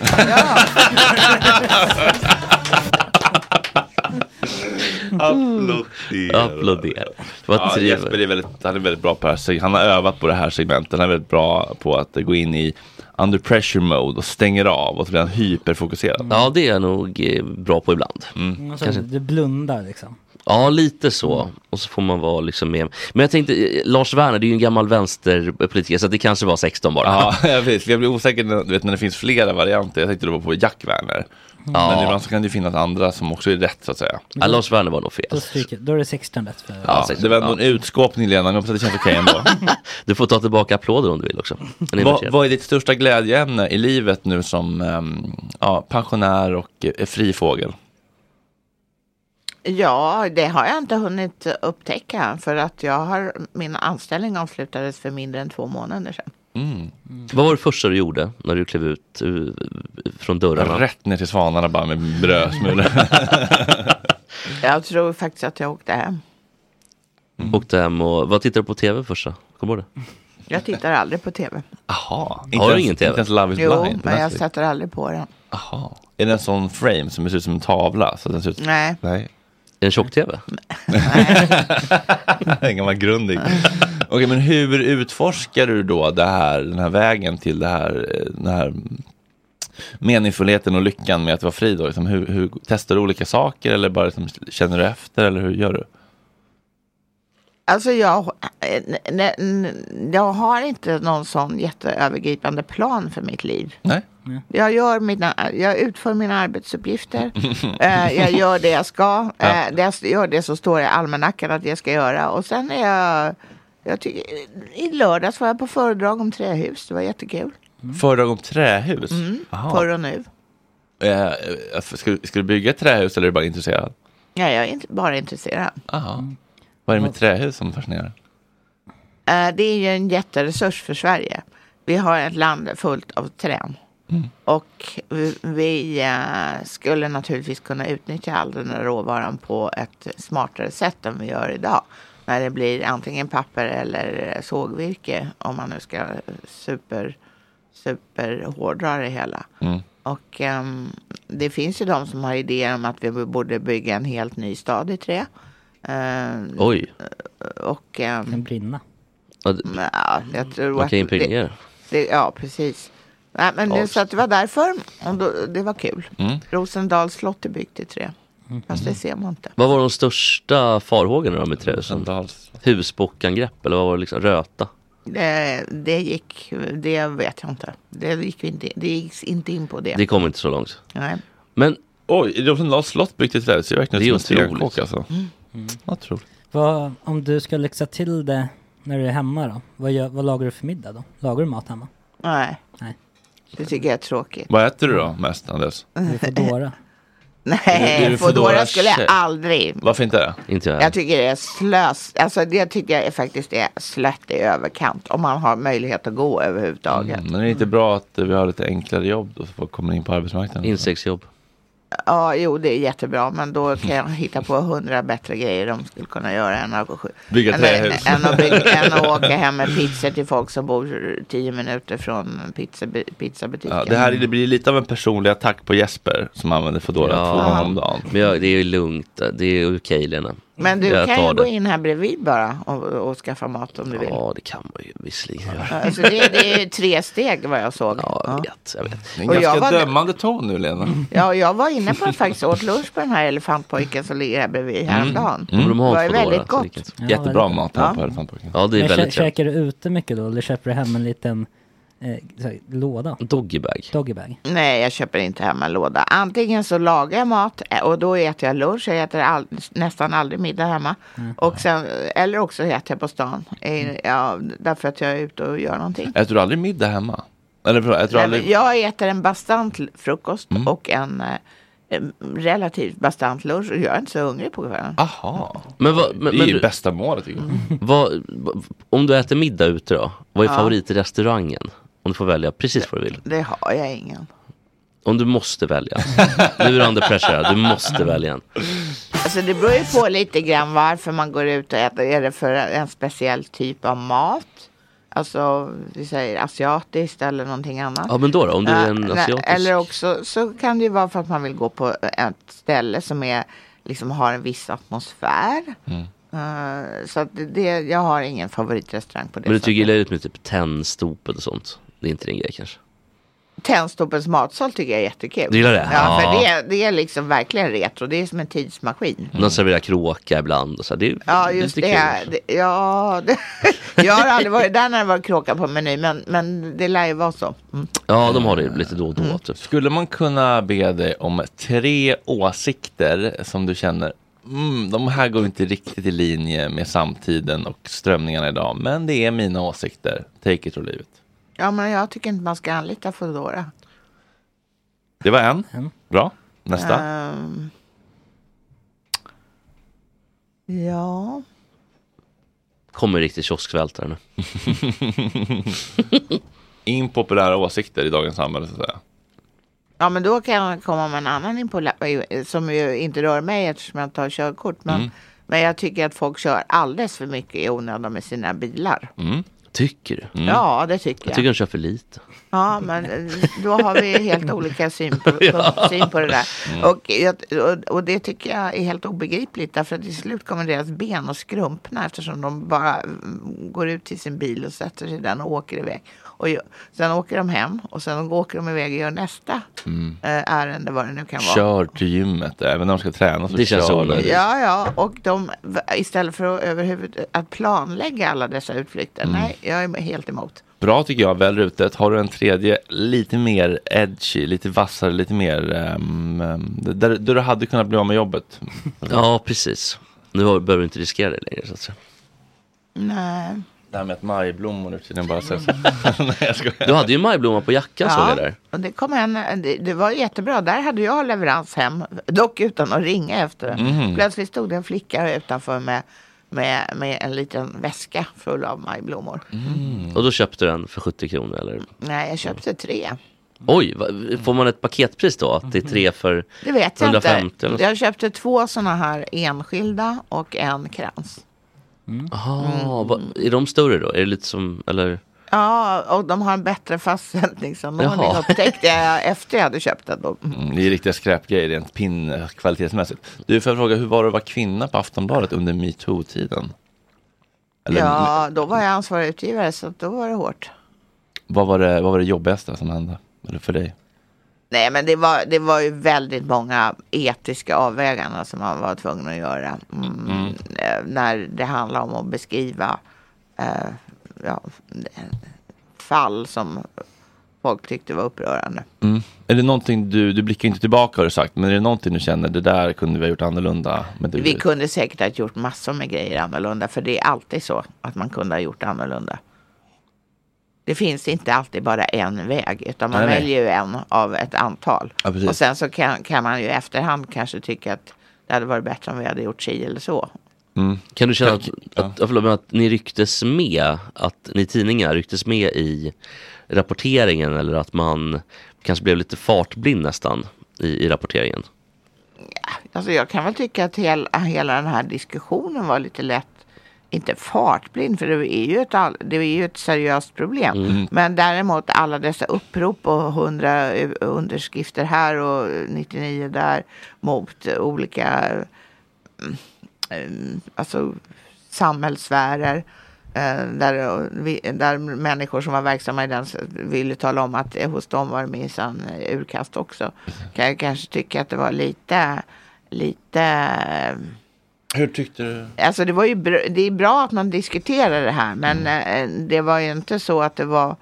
Mm. Applådera. Applådera. Det var Ja, tre- Jesper är väldigt, han är väldigt bra på det här. seg- Han har övat på det här segmentet. Han är väldigt bra på att gå in i under pressure mode och stänger av och så blir han hyperfokuserad. Ja, det är jag nog eh, bra på ibland. Alltså, Kanske Du blundar liksom. Ja, lite så. Och så får man vara liksom med. Men jag tänkte, eh, Lars Werner, det är ju en gammal vänsterpolitiker, så det kanske var 16 bara. Ja, jag vet. Jag blir osäker när, du vet, när det finns flera varianter. Jag tänkte då på Jack Werner. Ja. Men ibland så kan det finnas andra som också är rätt så att säga. Ja, Lars Werner var nog fel. Då, stryker, då är det 16 rätt för... Ja, det var ändå en utskåpning Lena, men det känns okej ändå. Du får ta tillbaka applåder om du vill också. En vad, inverterad. vad är ditt största glädjeämne i livet nu som ehm, ja, pensionär och eh, fri fågel? Ja, det har jag inte hunnit upptäcka för att jag har, min anställning avslutades för mindre än två månader sedan. Vad var det första du gjorde när du klev ut eh, från dörrarna? Rätt ner till svanarna bara med brödsmulor. Jag tror faktiskt att jag åkte hem. Åkte hem och, vad tittade du på tv första? Kommer du ihåg det? Jag tittar aldrig på tv. Jaha, Har du ingen TV? Inte ens Love is Jo, blind. på men jag Netflix. sätter aldrig på den. Jaha. Är det en sån frame som ser ut som en tavla? Så att den ser ut... Nej. Nej. En tjock-tv? En gammal grundig. Okej, men hur utforskar du då det här, den här vägen till det här, eh, den här meningsfullheten och lyckan med att vara fri? Då? Liksom, hur, hur, testar du olika saker eller bara liksom, känner du efter eller hur gör du? Alltså jag, n- n- n- jag har inte någon sån jätteövergripande plan för mitt liv. Nej. Jag, gör mina, jag utför mina arbetsuppgifter. Eh, jag gör det jag ska. Eh, det jag gör det som står i almanackan att jag ska göra. Och sen är jag... jag tycker, I lördags var jag på föredrag om trähus. Det var jättekul. Mm. Föredrag om trähus? Mm. Jaha. Förr och nu. Eh, eh, ska, du- ska du bygga ett trähus eller är du bara intresserad? Ja, jag är inte bara intresserad. Aha. Vad är det med trähus som fascinerar? Eh, Det är ju en jätteresurs för Sverige. Vi har ett land fullt av trän. Och vi- vi eh, skulle naturligtvis kunna utnyttja all den här råvaran på ett smartare sätt än vi gör idag. När det blir antingen papper eller eh, sågvirke om man nu ska super, super hårdra det hela. Mm. Och ehm, det finns ju de som har idéer om att vi borde bygga en helt ny stad i trä. Ehm, Oj. och Mm. ehm, Den brinna. Ja, d- Ja, jag tror Man kan att det- impregnera. det, Ja, precis. Nej, men det, så att det var därför. Och då, det var kul. Rosendals slott är byggt i trä. Fast det ser man inte. Vad var de största farhågorna då med Mm. trähusen? Husbockangrepp eller vad var det liksom? Röta? Det, det gick, det vet jag inte. Det gick vi inte, det gick inte in på det. Det kom inte så långt. Nej. Men Oj, Rosendals slott byggt i trä. Det ser verkligen Det är ut som en otroligt. stenkåk alltså. Otroligt. Vad, om du ska lyxa till det när du är hemma då? Vad, gör, vad lagar du för middag då? Lagar du mat hemma? Nej. Nej. Det tycker jag är tråkigt. Vad äter du då mest Anders? Du får dåra. Du- du Nej, får dåra Foodora skulle tjej. jag aldrig. Varför inte det? inte jag. Jag tycker det är slös. Alltså det tycker jag är faktiskt är slött i överkant. Om man har möjlighet att gå överhuvudtaget. Men är det inte bra att eh, vi har lite enklare jobb då så folk kommer in på arbetsmarknaden? Insektsjobb. Ja, jo det är jättebra men då kan jag hitta på hundra bättre grejer de skulle kunna göra än att, Bygga än, trähus. än, att, bygga, än att åka hem med pizzor till folk som bor tio minuter från pizza, pizzabutiken. Ja, det här är- det blir lite av en personlig attack på Jesper som använder Foodora Ja. två gånger om dagen. Men jag, det är ju lugnt. Det är okej Lena. men du jag kan tar ju gå det. in här bredvid bara och, och skaffa mat om du vill. Ja, det kan man ju visserligen göra. Alltså det, det är tre steg vad jag såg. Ja, jag Ja. vet. Jag vet. Det är en Och jag ganska var- Mm. dömande ton nu Lena. Ja, och jag var inne på faktiskt åt lunch på den här elefantpojken som ligger här bredvid häromdagen. Men de har Det var ju en Foodora, väldigt så gott. det kan- Ja, Jättebra väldigt- mat här på Elefantpojken. Ja, det är Men kä- väldigt trevligt. käkar du ute mycket då eller köper du hem en liten eh, så här, låda? Doggybag. Doggybag? Nej, jag köper inte hem en låda. Antingen så lagar jag mat eh, och då äter jag lunch. Jag äter all, nästan aldrig middag hemma. Och sen, eller också äter jag på stan. Eh, Ja, därför att jag är ute och gör någonting. Äter du aldrig middag hemma? Eller förlåt, äter du Nej, men aldrig... jag äter en bastant l- frukost och en, eh, eh, relativt bastant lunch och jag är inte så hungrig på kvällen. Aha. Men vad, men, Det är ju bästa målet tycker jag. Vad, vad- om du äter middag ute då, vad är Ja. favoritrestaurangen? Om du får välja precis vad du vill. Det har jag ingen. Om du måste välja. Nu är du under pressure, här, du måste välja en. Alltså det beror ju på lite grann varför man går ut och äter. Är det för en speciell typ av mat? Alltså vi säger asiatiskt eller någonting annat. Ja men då då, om du är Eh, en nej, asiatisk. Eller också så kan det ju vara för att man vill gå på ett ställe som är, liksom har en viss atmosfär. Eh, så att det- det, jag har ingen favoritrestaurang på det Men du sättet. tycker illa ut med typ tennstopet och sånt. Det är inte din grej kanske. Tennstopens matsal tycker jag är jättekul. Du gillar det? Ja, Ja. för det, är- det är liksom verkligen retro. Det är som en tidsmaskin. De serverar kråka ibland och så. här. Det är Ja, just lite kul. liksom. det. det ja, det, jag har aldrig varit där när det var kråka på menyn, men, men det lär ju vara så. Ja, de har det lite då och då. Mm. Typ. Skulle man kunna be dig om tre åsikter som du känner Mm, de här går inte riktigt i linje med samtiden och strömningarna idag. Men det är mina åsikter. Take it or leave it. Ja, men jag tycker inte man ska anlita Foodora. Det var en. Bra. Nästa. Ehm, ja. Kommer riktigt kioskvältare nu. Impopulära åsikter i dagens samhälle så att säga. ja, men då kan jag komma med en annan impopulära, som ju inte rör mig eftersom jag tar körkort. Men, Mm. men jag tycker att folk kör alldeles för mycket i onödan med sina bilar. Tycker du? Ja, det tycker Jag jag. tycker de kör för lite. Ja, Mm. men eh, då har vi helt olika syn på, Ja. syn på det där. Mm. Och, jag- och, och det tycker jag är helt obegripligt därför att till slut kommer deras ben att skrumpna eftersom de bara mm, går ut till sin bil och sätter sig i den och åker iväg. Och ju- sen åker de hem och sen åker de iväg och gör nästa Mm. eh, ärende vad det nu kan vara. Kör till gymmet. Även när de ska träna så Det känns kör onödigt. Ja, ja, och de, v- istället för att överhuvudtaget att planlägga alla dessa utflykter. Mm. Nej, jag är helt emot. Bra tycker jag, väl rutet. Har du en tredje lite mer edgy, lite vassare, lite mer ehm, ehm, där, där du hade kunnat bli av med jobbet? Ja, precis. Nu har- behöver du inte riskera det längre så att säga. Nej. Det här med att majblommor nu tiden bara sägs. Nej, jag skojar. Du hade ju majblomma på jackan såg jag där. Och det kom en, eh, det, det var jättebra. Där hade jag leverans hem, dock utan att ringa efter den. Mhm. Plötsligt stod det en flicka utanför med, med, med en liten väska full av majblommor. Och då köpte du den för 70 kronor eller? Nej, jag köpte tre. Oj, va- får man ett paketpris då? Att det är tre för Det vet jag 150 inte. eller något? Jag köpte två sådana här enskilda och en krans. Aha, Mm. va, är de större då? Är det lite som, eller? Ja, och de har en bättre fastsättningsanordning Jaha. upptäckte jag efter jag hade köpt den. Då. Mm, det är riktiga skräpgrejer rent pin eh, kvalitetsmässigt. Du, får jag fråga, hur var det att vara kvinna på Aftonbladet under metoo-tiden? Eller, Ja, då var jag ansvarig utgivare så då var det hårt. vad, var det, vad var det jobbigaste som hände? Eller för dig? Nej men det var, det var ju väldigt många etiska avväganden som man var tvungen att göra. Mm, Mm. eh, När det handlar om att beskriva eh, ja, fall som folk tyckte var upprörande. Mm. Är det någonting du, du blickar inte tillbaka har du sagt, men är det någonting du känner, det där kunde vi ha gjort annorlunda? Men det, Vi kunde säkert ha gjort massor med grejer annorlunda för det är alltid så att man kunde ha gjort annorlunda. Det finns inte alltid bara en väg utan man Nej, nej. väljer ju en av ett antal. Ja, precis. och sen så kan, kan man ju i efterhand kanske tycka att det hade varit bättre om vi hade gjort si eller så. Kan du känna att, att, ja, förlåt, men att ni rycktes med, att ni tidningar rycktes med i rapporteringen eller att man kanske blev lite fartblind nästan i, i rapporteringen? Alltså jag kan väl tycka att hel, hela den här diskussionen var lite lätt, inte fartblind för det är ju ett, all, det är ju ett seriöst problem. Mm. Men däremot alla dessa upprop och 100 u- underskrifter här och 99 där mot olika mm, mm, alltså, samhällssfärer. eh, Där, vi- där människor som var verksamma i den s- ville tala om att eh, hos dem var det minsann eh, urkast också. Kan jag kanske tycka att det var lite, lite eh, Hur tyckte du? Alltså det var ju bra, det är bra att man diskuterar det här men eh, det var ju inte så att det var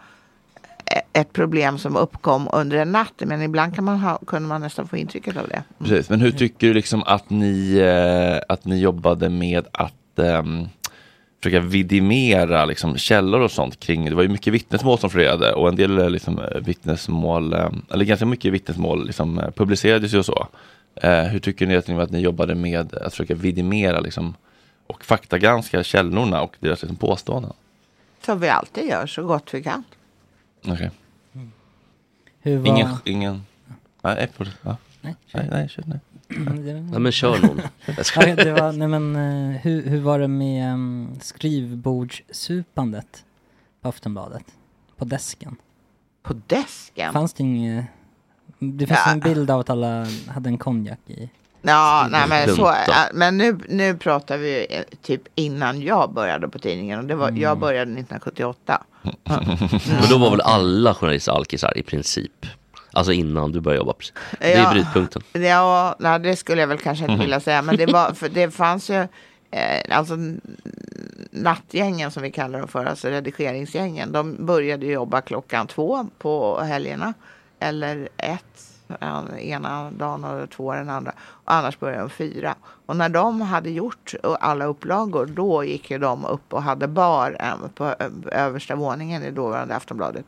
e- ett problem som uppkom under en natt men ibland kan man ha, kunde man nästan få intrycket av det. Precis, men hur tycker du liksom att ni, eh, att ni jobbade med att ehm, försöka vidimera liksom, källor och sånt kring, det var ju mycket vittnesmål som florerade och en del eh, liksom, eh, vittnesmål, ehm, eller ganska mycket vittnesmål liksom, eh, publicerades ju och så. Eh, hur tycker ni att ni, att ni jobbade med att försöka vidimera liksom, och faktagranska källorna och deras liksom, påståenden? Som vi alltid gör så gott vi kan. Okej. Hur var... Mm, Ingen, ingen... Nej, Apple. Ja. Nej, nej, nej, kör, nej. Nej, men kör någon. Jag ska- ja, det var, nej, men, eh, hur, hur var det med um, skrivbordssupandet på Aftonbladet? På desken? På desken? Fanns det inget... Det finns Ja. en bild av att alla hade en konjak i. Ja, nej, men, så, Lunta. äh, men nu, nu pratar vi ju, eh, typ innan jag började på tidningen. Och det var, Jag började 1978. Men då var väl alla journalister alkisar i princip? Alltså innan du började jobba. precis. Det är Ja. brytpunkten. Ja, nej, det skulle jag väl kanske inte Mhm. vilja säga. Men det, var, för det fanns ju, eh, alltså n- nattgängen som vi kallar dem för, alltså redigeringsgängen. De började ju jobba klockan två på helgerna. Eller ett, eh, ena dagen och två den andra. Och annars började de fyra. Och när de hade gjort eh, alla upplagor, då gick ju de upp och hade bar eh, på eh, översta våningen i dåvarande Aftonbladet.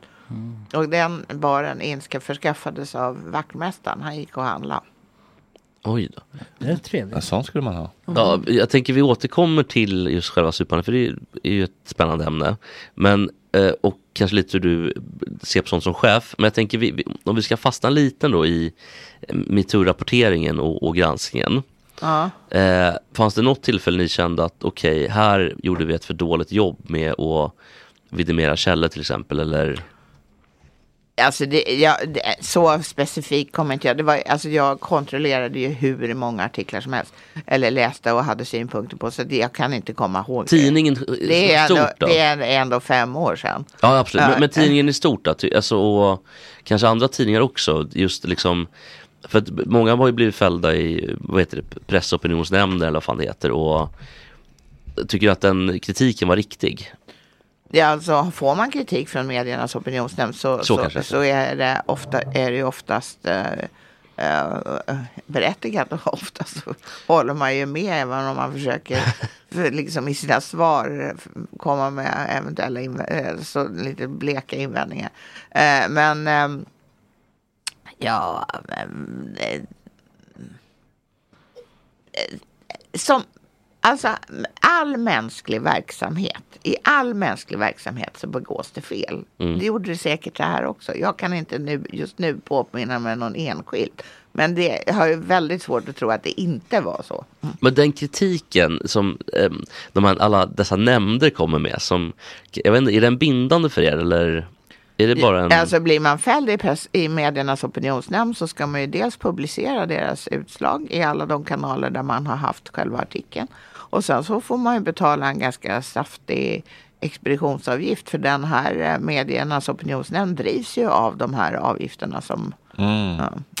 Och den baren inska förskaffades av vaktmästaren. Han gick och handlade. Oj då. Det är trevligt. En sån skulle man ha. Ja, Mm. jag tänker vi återkommer till just själva supandet, för det är ju ett spännande ämne. Men, eh, och kanske lite hur du ser på sånt som chef. Men jag tänker vi, vi- om vi ska fastna lite då i eh, metoo-rapporteringen och, och granskningen. Ja. Eh, fanns det något tillfälle ni kände att okej, här gjorde vi ett för dåligt jobb med att vidimera källor till exempel? Eller? Alltså det, jag, det, så specifikt kommer inte jag. Det var, alltså jag kontrollerade ju hur många artiklar som helst. Eller läste och hade synpunkter på. Så det, jag kan inte komma ihåg. det. Tidningen det är, stort ändå, då? det är ändå fem år sedan. Ja, absolut. Ja. eh. Men, men tidningen i stort då? Ty- Alltså, och kanske andra tidningar också. Just liksom, för att många har ju blivit fällda i vad heter det, pressopinionsnämnden eller vad fan det heter. Och tycker att den kritiken var riktig. Ja, alltså, får man kritik från mediernas opinionsnämnd så, Så så, kanske så, det är. är, det ofta, är det ju oftast eh, eh, berättigat och ofta så håller man ju med även om man försöker för, liksom, i sina svar eh, komma med eventuella inv- eh, så, lite bleka invändningar. Eh, men ehm, ja, men, eh, som, alltså, all mänsklig verksamhet, i all mänsklig verksamhet så begås det fel. Mm. Det gjorde det säkert det här också. Jag kan inte nu, just nu påminna mig någon enskild. Men det jag har ju väldigt svårt att tro att det inte var så. Men den kritiken som ehm, de här, alla dessa nämnder kommer med. Som, jag vet inte, är den bindande för er eller? Är det bara en... Alltså blir man fälld i, press, i mediernas opinionsnämnd så ska man ju dels publicera deras utslag i alla de kanaler där man har haft själva artikeln. Och sen så får man ju betala en ganska saftig expeditionsavgift för den här eh, mediernas opinionsnämnd drivs ju av de här avgifterna som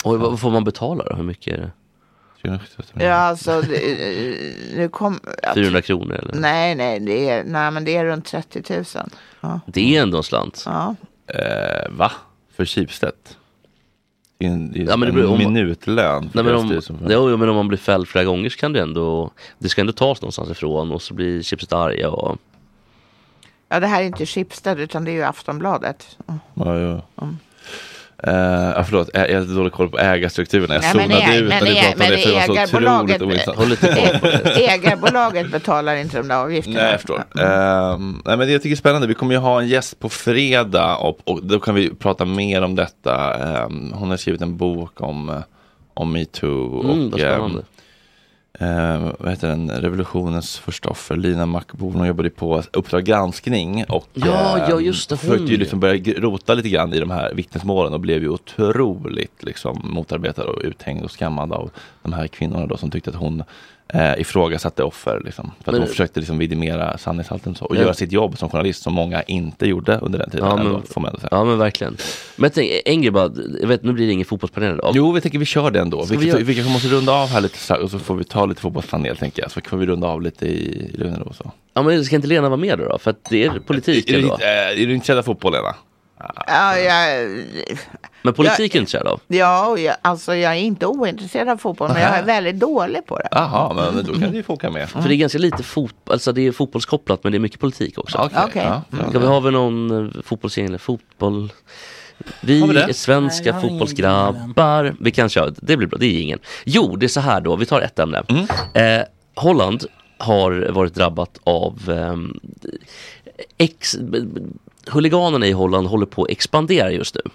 Oj, vad vad får man betala då? Hur mycket är det? Mm. Ja, alltså, det, eh, nu kom... jag tror- 400 kronor eller? Nej, nej, det är, nej, men det är runt 30 000. Ja. Det är ändå en slant. Ja. Eh, va? För Schibsted? Det är en, det är Ja, men det en beror- om- minutlön. för Nej, men deras om, styrelseordförande. jo, jo, men om man blir fälld flera gånger så kan det ändå, det ska ändå tas någonstans ifrån och så blir chipset arga och... ja, det här är inte Schibsted utan det är ju Aftonbladet. Ja, ja. Mm. Eh, ja, förlåt, Ä- jag har lite dålig koll på ägarstrukturen. Jag Nej, men zonade äg- ut när men du äg- pratade om men det för det var så otroligt ägarbolaget- ointressant. Håll lite koll på det. Ägarbolaget E-, betalar inte de där avgifterna. Nej, jag förstår. Ehm, nej, men det jag tycker är spännande, vi kommer ju ha en gäst på fredag och, och då kan vi prata mer om detta. Ehm, hon har skrivit en bok om, eh, om metoo Mm, vad och spännande. ehm, eh, vad heter den? Revolutionens första offer, Lina Mackborn, hon jobbade ju på Uppdrag granskning och Ja, ehm, ja, just det, hon försökte ju ju. liksom börja gr- rota lite grann i de här vittnesmålen och blev ju otroligt liksom, motarbetad och uthängd och skammad av de här kvinnorna då, som tyckte att hon eh, ifrågasatte offer. Liksom, för att Men- hon försökte liksom vidimera sanningshalten och, så, och Men- göra sitt jobb som journalist som många inte gjorde under den tiden. Ja, men- ändå, får man ändå säga. Ja men verkligen. Men jag tänker, en grej bara, jag vet, nu blir det ingen fotbollspanel idag. Jo, vi tänker vi kör den då. Ska Vi, vi göra- vi, kanske måste runda av här lite så- och så får vi ta lite fotbollspanel tänker jag. Så får vi runda av lite i, i lugn och ro. och Så. Ja men ska inte Lena vara med då? då? För att det är politik Är, du, ändå. inte- eh, är du intresserad av fotboll Lena? Ja, jag, Men politik är du intresserad av? ja och jag, alltså, jag är inte ointresserad av fotboll, men jag är väldigt dålig på det. Jaha, men då kan du ju få åka med. För det är ganska lite fotboll, alltså det är Mm. fotbollskopplat men det är mycket politik också. Okej. ja. Ska vi ha väl någon eh, fotbollsgäng eller fotboll? Vi Har vi det? är svenska Nej, jag har ingen fotbollsgrabbar. Vi kan köra, det blir bra, det är ingen. Jo, det är så här då, vi tar ett ämne. Mm. Eh, Holland har varit drabbat av ehm, ex, b- b- huliganerna i Holland håller på att expandera just nu.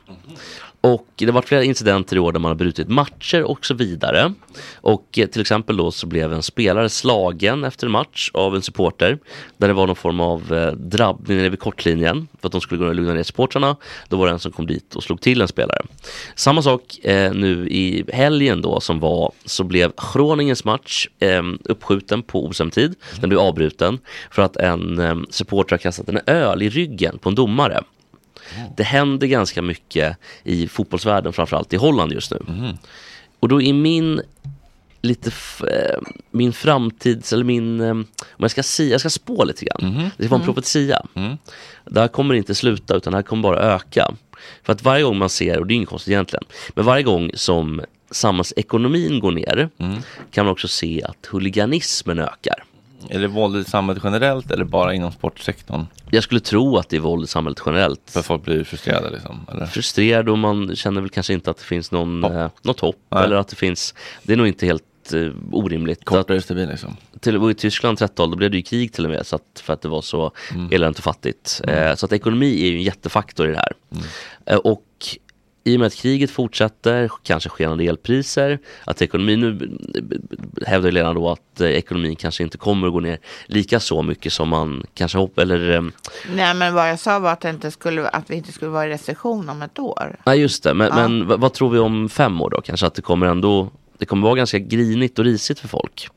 Och det har varit flera incidenter i år där man har brutit matcher och så vidare. Och eh, till exempel då så blev en spelare slagen efter en match av en supporter. Där det var någon form av eh, drabbning nere vid kortlinjen för att de skulle gå och lugna ner supportrarna. Då var det en som kom dit och slog till en spelare. Samma sak eh, nu i helgen då som var så blev Groningens match eh, uppskjuten på obestämd tid. Den blev avbruten för att en eh, supporter har kastat en öl i ryggen på en domare. Det händer ganska mycket i fotbollsvärlden, framförallt i Holland just nu. Mhm. Och då i min lite f- eh, min framtids, eller min, eh, om jag ska säga, jag ska spå lite grann. Det var en Mm. profetia. Det här kommer inte sluta utan det här kommer bara öka. För att varje gång man ser, och det är inget konstigt egentligen, men varje gång som samhällsekonomin går ner Mm. kan man också se att huliganismen ökar. Är det våld i samhället generellt eller bara inom sportsektorn? Jag skulle tro att det är våld i samhället generellt. För folk blir frustrerade liksom? Eller? frustrerad och man känner väl kanske inte att det finns någon, eh, något hopp. Nej. Eller att det finns, det är nog inte helt eh, orimligt. Kortare stabil liksom. Till, och I Tyskland 13 då blev det ju krig till och med så att, för att det var så eländigt och fattigt. Mm. Eh, så att ekonomi är ju en jättefaktor i det här. Eh, och i och med att kriget fortsätter, kanske skenande elpriser, att ekonomin nu b- b- b- hävdar ju Lena då att eh, ekonomin kanske inte kommer att gå ner lika så mycket som man kanske hoppas, eller ehm, Nej, men vad jag sa var att, det inte skulle, att vi inte skulle vara i recession om ett år. Nej just det, men, Ja. men vad, vad tror vi om fem år då? Kanske att det kommer ändå, det kommer vara ganska grinigt och risigt för folk.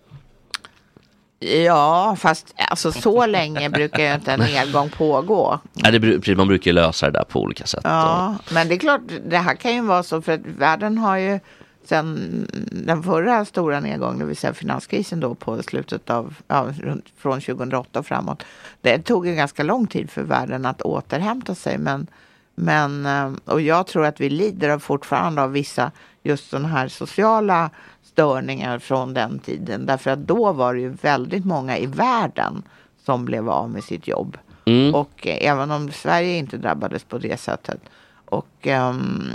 Ja, fast alltså, så länge brukar ju inte en nedgång pågå. Nej, det, bru- precis, man brukar ju lösa det där på olika sätt. Ja, men det är klart, det här kan ju vara så för att världen har ju sen den förra stora nedgången, det vill säga finanskrisen då på slutet av, ja, runt- från 2008 och framåt. Det tog ju ganska lång tid för världen att återhämta sig. Men, men, eh, och jag tror att vi lider av fortfarande av vissa just sådana här sociala störningar från den tiden. Därför att då var det ju väldigt många i världen som blev av med sitt jobb. mm. Och eh, även om Sverige inte drabbades på det sättet. Och ehm,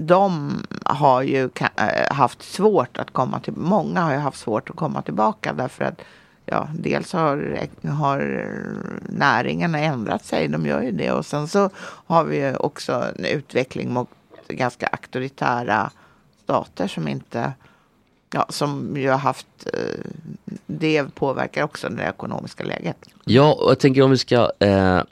de har ju ka- eh, haft svårt att komma till, många har ju haft svårt att komma tillbaka därför att ja, dels har, har näringarna ändrat sig, de gör ju det och sen så har vi ju också en utveckling mot ganska auktoritära stater som inte Ja, som ju har haft, eh, det påverkar också det ekonomiska läget. Ja, och jag tänker om vi ska eh,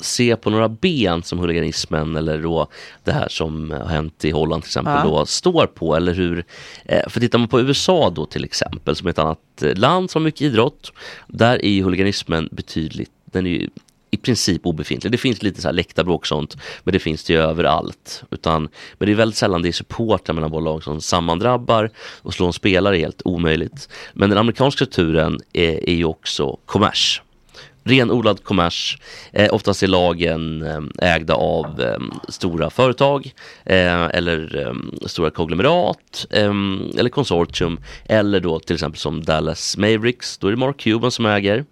se på några ben som huliganismen eller då det här som eh, har hänt i Holland till exempel Ja. då står på eller hur. Eh, för tittar man på USA då till exempel som är ett annat eh, land som har mycket idrott. Där är ju huliganismen betydligt, den är ju i princip obefintlig. Det finns lite så här läktarbråk och sånt, men det finns det ju överallt. Utan, men det är väldigt sällan det är supportrar mellan våra lag som sammandrabbar och slår en spelare är helt omöjligt. Men den amerikanska kulturen är, är ju också kommers. Renodlad kommers. Eh, oftast är lagen eh, ägda av eh, stora företag eh, eller eh, stora konglomerat eh, eller konsortium. Eller då till exempel som Dallas Mavericks, då är det Mark Cuban som äger.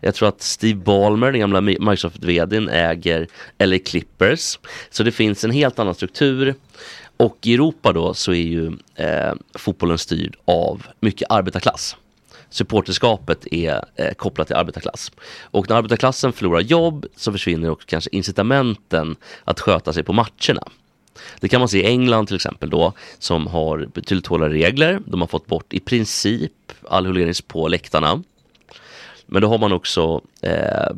Jag tror att Steve Ballmer, den gamla Mi- Microsoft-vdn, äger LA Clippers. Så det finns en helt annan struktur. Och i Europa då så är ju eh, fotbollen styrd av mycket arbetarklass supporterskapet är eh, kopplat till arbetarklass. Och när arbetarklassen förlorar jobb så försvinner också kanske incitamenten att sköta sig på matcherna. Det kan man se i England till exempel då, som har betydligt hårdare regler. De har fått bort i princip all huliganism på läktarna. Men då har man också eh,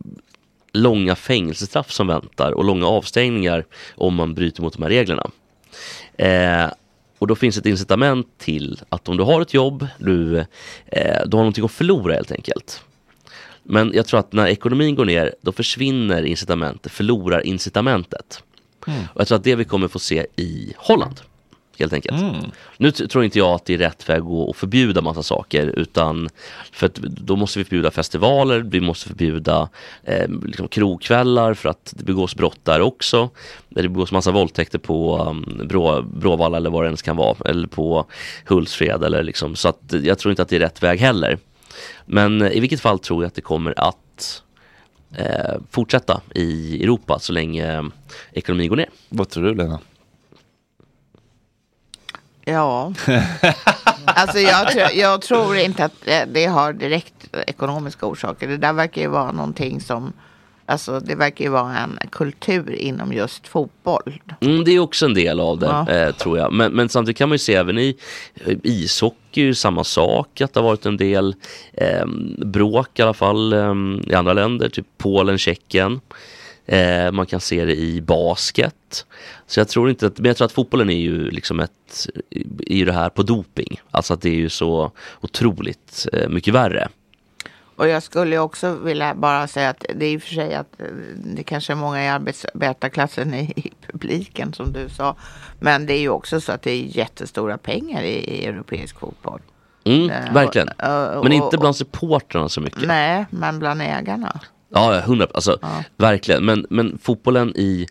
långa fängelsestraff som väntar och långa avstängningar om man bryter mot de här reglerna. Eh, och då finns ett incitament till att om du har ett jobb, du, eh, du har någonting att förlora helt enkelt. Men jag tror att när ekonomin går ner, då försvinner incitamentet, förlorar incitamentet. Och jag tror att det vi kommer få se i Holland, helt enkelt. Nu t- tror inte jag att det är rätt väg att gå och förbjuda massa saker, utan för att då måste vi förbjuda festivaler, vi måste förbjuda eh, liksom krogkvällar för att det begås brott där också. Där Det begås massa våldtäkter på um, Brå, Bråvalla eller vad det ens kan vara, eller på Hultsfred eller liksom, så att eh, jag tror inte att det är rätt väg heller. Men eh, i vilket fall tror jag att det kommer att eh, fortsätta i Europa så länge eh, ekonomin går ner. Vad tror du Lena? Ja. alltså jag, tror- jag tror inte att eh, det har direkt ekonomiska orsaker. Det där verkar ju vara någonting som, alltså det verkar ju vara en kultur inom just fotboll. Mm, det är också en del av det, Ja. eh, tror jag. Men, men samtidigt kan man ju se även i eh, ishockey, är ju samma sak, att det har varit en del eh, bråk i alla fall eh, i andra länder, typ Polen, Tjeckien. Eh, man kan se det i basket. Så jag tror inte att, men jag tror att fotbollen är ju liksom ett, är ju det här på doping. Alltså att det är ju så otroligt eh, mycket värre. Och jag skulle ju också vilja bara säga att det är i och för sig att eh, det kanske är många i arbetarklassen i, i publiken som du sa. Men det är ju också så att det är jättestora pengar i, i europeisk fotboll. Mm, Eh, verkligen. och- eh, Men och- inte bland supportrarna så mycket. Nej, men bland ägarna. Ja, ja, hundra alltså, verkligen. Men, men fotbollen i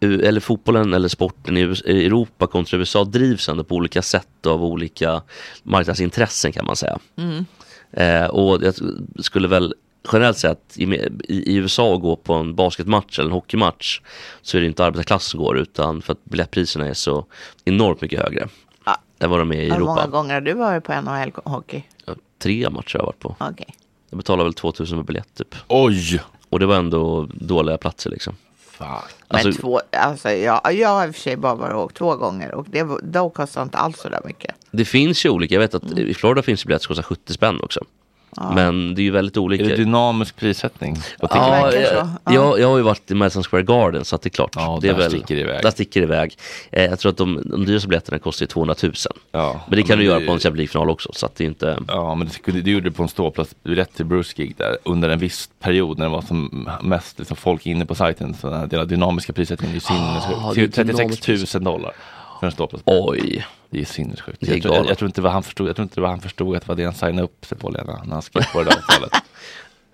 eller fotbollen eller sporten i US- i Europa kontra USA drivs ändå på olika sätt av olika marknadsintressen kan man säga. Mm. Eh, och jag skulle väl generellt säga att i, i, i USA att gå på en basketmatch eller en hockeymatch så är det inte arbetarklass som går utan för att biljettpriserna är så enormt mycket högre än vad de är i Hur många Europa. gånger har du varit på NHL-hockey? Tre matcher har jag varit på. Okej. Jag betalade väl 2000 per biljett typ. Oj! Och det var ändå dåliga platser liksom. Alltså, men två, alltså jag, jag har i och för sig bara varit och åkt två gånger och det, var- då kostar inte alls så där mycket. Det finns ju olika, jag vet att i Florida finns det biljetter som kostar 70 spänn också. Men det är ju väldigt olika. Är det dynamisk prissättning? Vad tycker Ja, du? jag, jag, jag har ju varit i Madison Square Garden så att det är klart. det är där sticker det iväg. Där sticker det iväg. Eh, jag tror att de, de dyraste biljetterna kostar ju 200 000. men det kan du göra på en Champions League-final också. Så att det är inte... Ja, men det, skulle- det gjorde du på en ståplats rätt till Bruce Gig där under en viss period när det var som mest liksom, folk inne på sajten. Så den här delen dynamiska priset är ju sinnessjukt. Ah, det är Till 36 dynamiskt. 000 dollar för en ståplats. Oj. Det är sinnessjukt. Det är Jag, tror- jag, galet. jag, tror inte vad han förstod, jag tror inte vad han förstod att det var det han signade upp sig på Lena, när han skrev på det där avtalet.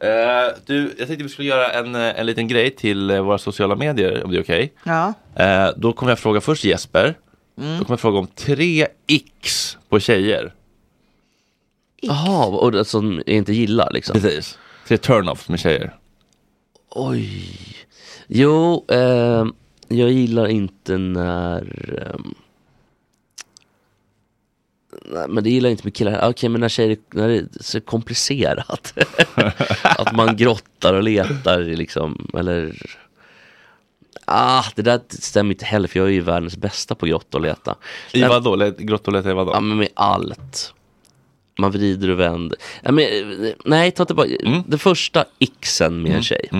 Eh, du, jag tänkte vi skulle göra en, eh, en liten grej till eh, våra sociala medier om det är okej. Ja. Eh, då kommer jag fråga först Jesper. Mm. Då kommer jag fråga om tre x på tjejer. Jaha, och det som jag inte gillar liksom. Precis. Tre turn-offs med tjejer. Oj. Jo, ehm, jag gillar inte när... ehm, nej, men det gillar jag inte med killar. Okej, men när tjejer, när det är så komplicerat. att man grottar och letar i liksom, eller... Ah, det där stämmer inte heller för jag är ju världens bästa på grotta och leta. I vadå? Grotta och leta i vadå? Ja, men med allt. Man vrider och vänder. Ja, men, eh, nej, ta tillbaka. Det första xen med en tjej.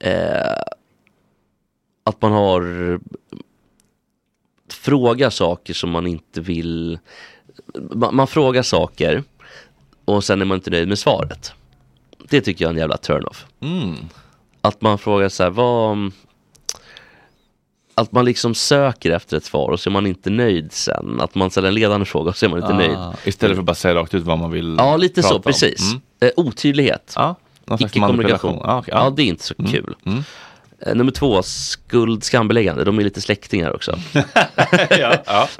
Eh, att man har frågar saker som man inte vill. Man, man frågar saker och sen är man inte nöjd med svaret. Det tycker jag är en jävla turn-off. Mm. Att man frågar så här, vad... mm, Att man liksom söker efter ett svar och så är man inte nöjd sen. Att man ställer en ledande fråga och så är man inte Ah, nöjd. Istället för att bara säga rakt ut vad man vill Ja, lite prata så, om. precis. Mm. Eh, otydlighet. Ja, någon slags Icke-kommunikation. manipulation. Ah, Mm. okej, ja. Ja, det är inte så kul. Eh, nummer två, skuld, skambeläggande. De är lite släktingar också.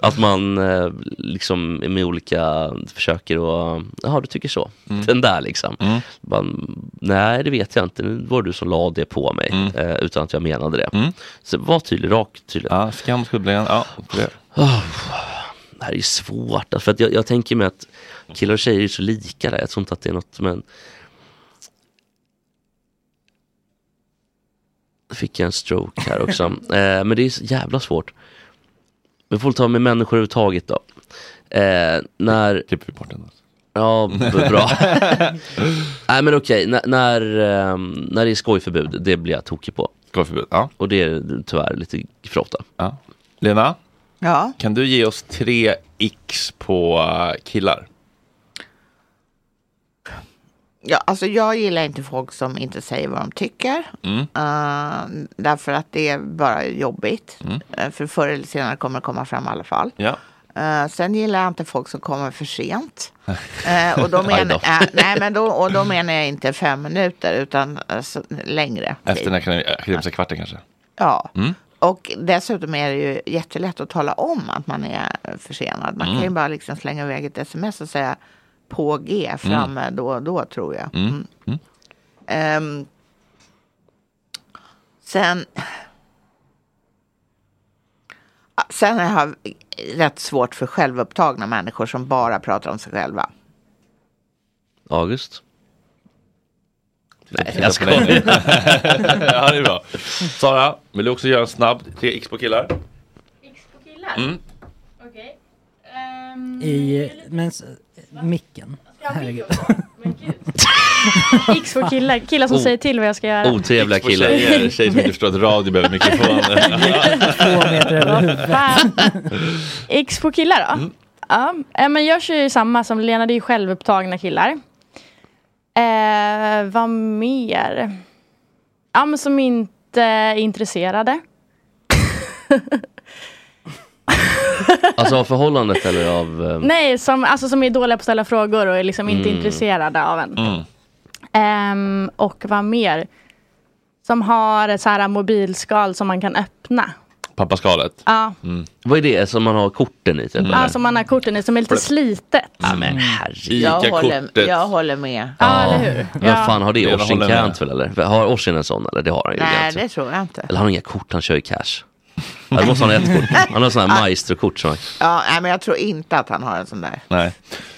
Att man eh, liksom med olika försöker och, jaha du tycker så. Den där liksom. Man, Nej det vet jag inte, nu var du som la det på mig eh, utan att jag menade det. Så var tydlig, rak tydlig. Ja, skam, skuldbeläggande. Ja, Oh, det här är ju svårt. För att jag, jag tänker mig att killar och tjejer är så lika där. Jag tror inte att det är något men... Fick jag en stroke här också. eh, men det är så jävla svårt. Vi får väl ta med människor överhuvudtaget då. Eh, när... Klipper vi bort den? Ja, b- bra. Nej men okej, N- när, ehm, när det är skojförbud, det blir jag tokig på. Skojförbud, ja. Och det är tyvärr lite för ofta. Ja. Lena, Ja. kan du ge oss tre x på eh, killar? Ja, alltså jag gillar inte folk som inte säger vad de tycker. Mm. Eh, därför att det är bara jobbigt. Mm. Eh, för förr eller senare kommer det komma fram i alla fall. Ja. Eh, sen gillar jag inte folk som kommer för sent. Eh, och då Aj menar, då. eh, nej, men då, och då menar jag inte fem minuter utan eh, så, längre. Efter den akademi- akademiska kvarten kanske? Ja. Mm. Och dessutom är det ju jättelätt att tala om att man är försenad. Man kan ju Mm. bara liksom slänga iväg ett sms och säga på G framme då och då tror jag. Mm. Mm. Ehm, Sen... Sen har jag rätt svårt för självupptagna människor som bara pratar om sig själva. August? Nej, jag skojar. ja, det är bra. Sara, vill du också göra en snabb tre X på killar? Mm. Okej. I, men, s- micken. Herregud. X för killar, killar som Oh. säger till vad jag ska göra. Otrevliga X på Tjejer, tjejer som inte förstår att radio behöver mikrofoner. Fan. X på killar då? Ja, eh, men jag kör ju samma som Lena, det är ju självupptagna killar. Eh, vad mer? Ja, men som inte är intresserade. Alltså av förhållandet eller av... eh, Nej, som, alltså som är dåliga på att ställa frågor och är liksom inte Mm. intresserade av en. Mm. Ehm, och vad mer? Som har ett så här mobilskal som man kan öppna. Pappaskalet. Ja, Vad är det som man har korten i? Typ, Mm. som eller? man har korten i som är lite Flipp. slitet. Ja men herregud. Jag håller, jag håller med. Ja, eller hur? Vem fan har det? Jag Orsin håller med. Kärnt väl eller? Har Orsin en sån eller? Det har han ju. Nej, garanterat. alltså? det tror jag inte. Eller han har inga kort, han kör ju cash. Ja, det måste han ha ett kort. Han har sådana här maestro-kort. Som han... Ja, nej, men jag tror inte att han har en sån där Nej.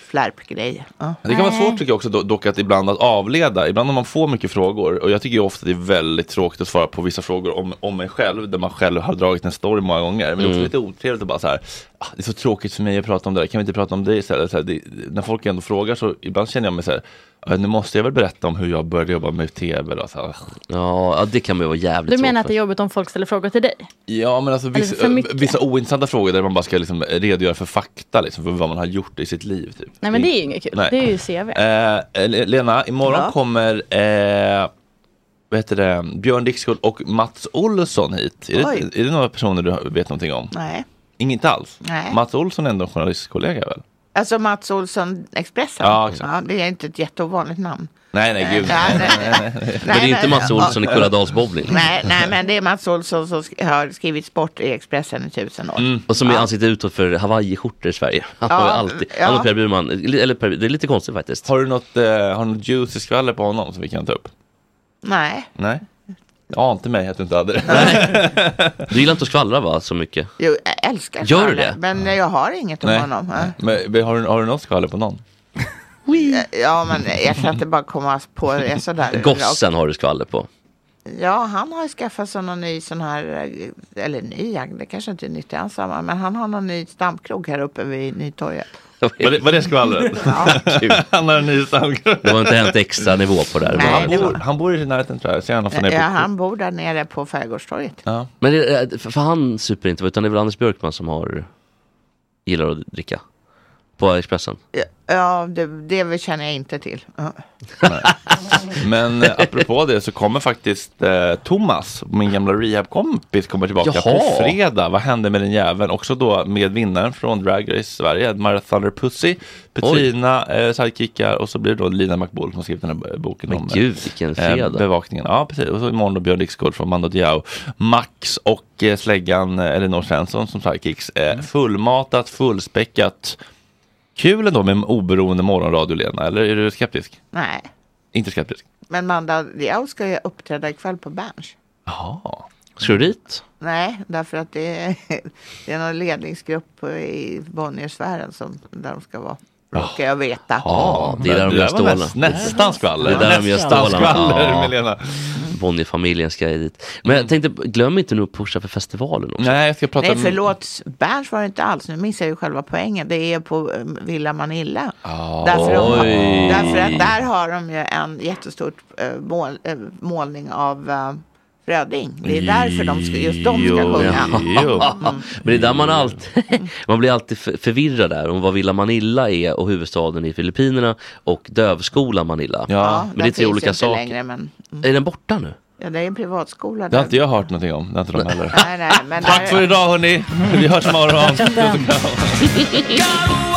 flärpgrej. Ja. Det kan vara svårt tycker jag också do- dock att ibland att avleda. Ibland om man får mycket frågor och jag tycker ju ofta att det är väldigt tråkigt att svara på vissa frågor om, om mig själv där man själv har dragit en story många gånger. Men det är också Mm. lite otrevligt att bara så här, "Ah, det är så tråkigt för mig att prata om det där, kan vi inte prata om det istället? Så här, det, när folk ändå frågar så ibland känner jag mig så här, "Ja, nu måste jag väl berätta om hur jag började jobba med tv då. Så här. "Ah." Ja, ja, det kan man ju vara jävligt Du menar att det tråkigt är jobbigt om folk ställer frågor till dig? Ja men alltså Eller för vissa, mycket. vissa ointressanta frågor där man bara ska liksom redogöra för fakta liksom, för vad man har gjort i sitt liv. Typ. Nej men det är ju inget kul, Nej. det är ju CV. Eh, Le- Lena, imorgon Ja. kommer eh, vad heter det, Björn Dixkull och Mats Olsson hit. Är Oj. det, är det några personer du vet någonting om? Nej. Inget alls? Nej. Mats Olsson är ändå en journalistkollega väl? Alltså Mats Olsson Expressen. Ja, exakt. det är inte ett jätteovanligt namn. Nej, nej, gud. Nej, nej. Men det är ju inte Mats Olsson i Kulladalsbowling. Nej, nej, men det är Mats Olsson som sk- har skrivit sport i Expressen i tusen år. Och som är ansiktet utåt för hawaii-skjortor i Sverige. Han Ja, har ju alltid, ja. han och Per Burman, eller per, det är lite konstigt faktiskt. Har du något, eh, har du något juicy skvaller på honom som vi kan ta upp? Nej, Nej? Jag ante mig att du inte hade det. Du gillar inte att skvallra va, så mycket? jo, jag älskar Gör du Charlie, det? Men jag har inget om Nej. honom. Nej. Men, men har, du, har du något skvaller på någon? Ja, men jag kan inte bara komma på det sådär. Gossen har du skvaller på. Ja, han har ju skaffat sig någon ny sån här, eh, eller ny, det kanske inte är nytt i hans sammanhang, men han har någon ny stamkrog här uppe vid Nytorget. Var det, var det skvallret? han har en ny stamkrog. Det har inte hänt extra nivå på det här. Nej, han, det bor, han bor i närheten tror jag. Ser han ofta Ja, nere på- han bor där nere på Skärgårdstorget. Ja. Men det, är- för för han super inte, utan det är väl Anders Björkman som har gillar att dricka? På Expressen? Ja, det, det känner jag inte till. Ja. Men eh, apropå det så kommer faktiskt eh, Thomas, min gamla rehabkompis, kommer tillbaka Jaha. på fredag. Vad hände med den jäveln? Också då med vinnaren från Drag Race Sverige, Mara Thunder Pussy, Petrina, eh, sidekickar och så blir det då Lina McBull som skrivit den här b- boken Men om eh, gud vilken fredag. bevakningen. Ja, precis. Och så imorgon då Björn Dixgård från Mando Diao, Max och eh, släggan eh, Elinor Svensson som sidekicks. Eh, Mm. fullmatat, fullspäckat. Kul ändå med oberoende morgonradio Lena, eller är du skeptisk? Nej, Inte skeptisk? men Manda Diao ska ju uppträda ikväll på Berns. Jaha. Ska du dit? Nej, därför att det är, det är någon ledningsgrupp på- i Bonniersfären som där de ska vara. Råkar jag veta. Ja, det är Men där de gör där var stålarna. näst- nästan skvaller. Det är där de gör Nästan stålarna. skvaller, Ja. Milena. Bonnierfamiljen ska ju dit. Men jag tänkte, glöm inte nu att pusha för festivalen också. Nej, jag ska prata Nej, om... förlåt. Berns var det inte alls. Nu missar jag ju själva poängen. Det är på eh, Villa Manilla. Ja. Därför, de har, Oj. därför att där har de ju en jättestor eh, mål, eh, målning av eh, Röding. Det är därför de ska, just de ska Jo, sjunga. Mm. jo. Men det är där man alltid, man blir alltid för- förvirrad där om vad Villa Manilla är och huvudstaden i Filippinerna och dövskolan Manila. Ja. men det är tre finns olika inte saker. Längre, men, Är den borta nu? ja, det är en privatskola. Det Där. har inte jag hört någonting om. Det har inte de heller. Nej, nej, men Tack där, för idag hörni. Vi hörs imorgon. Chatten. Puss och kram.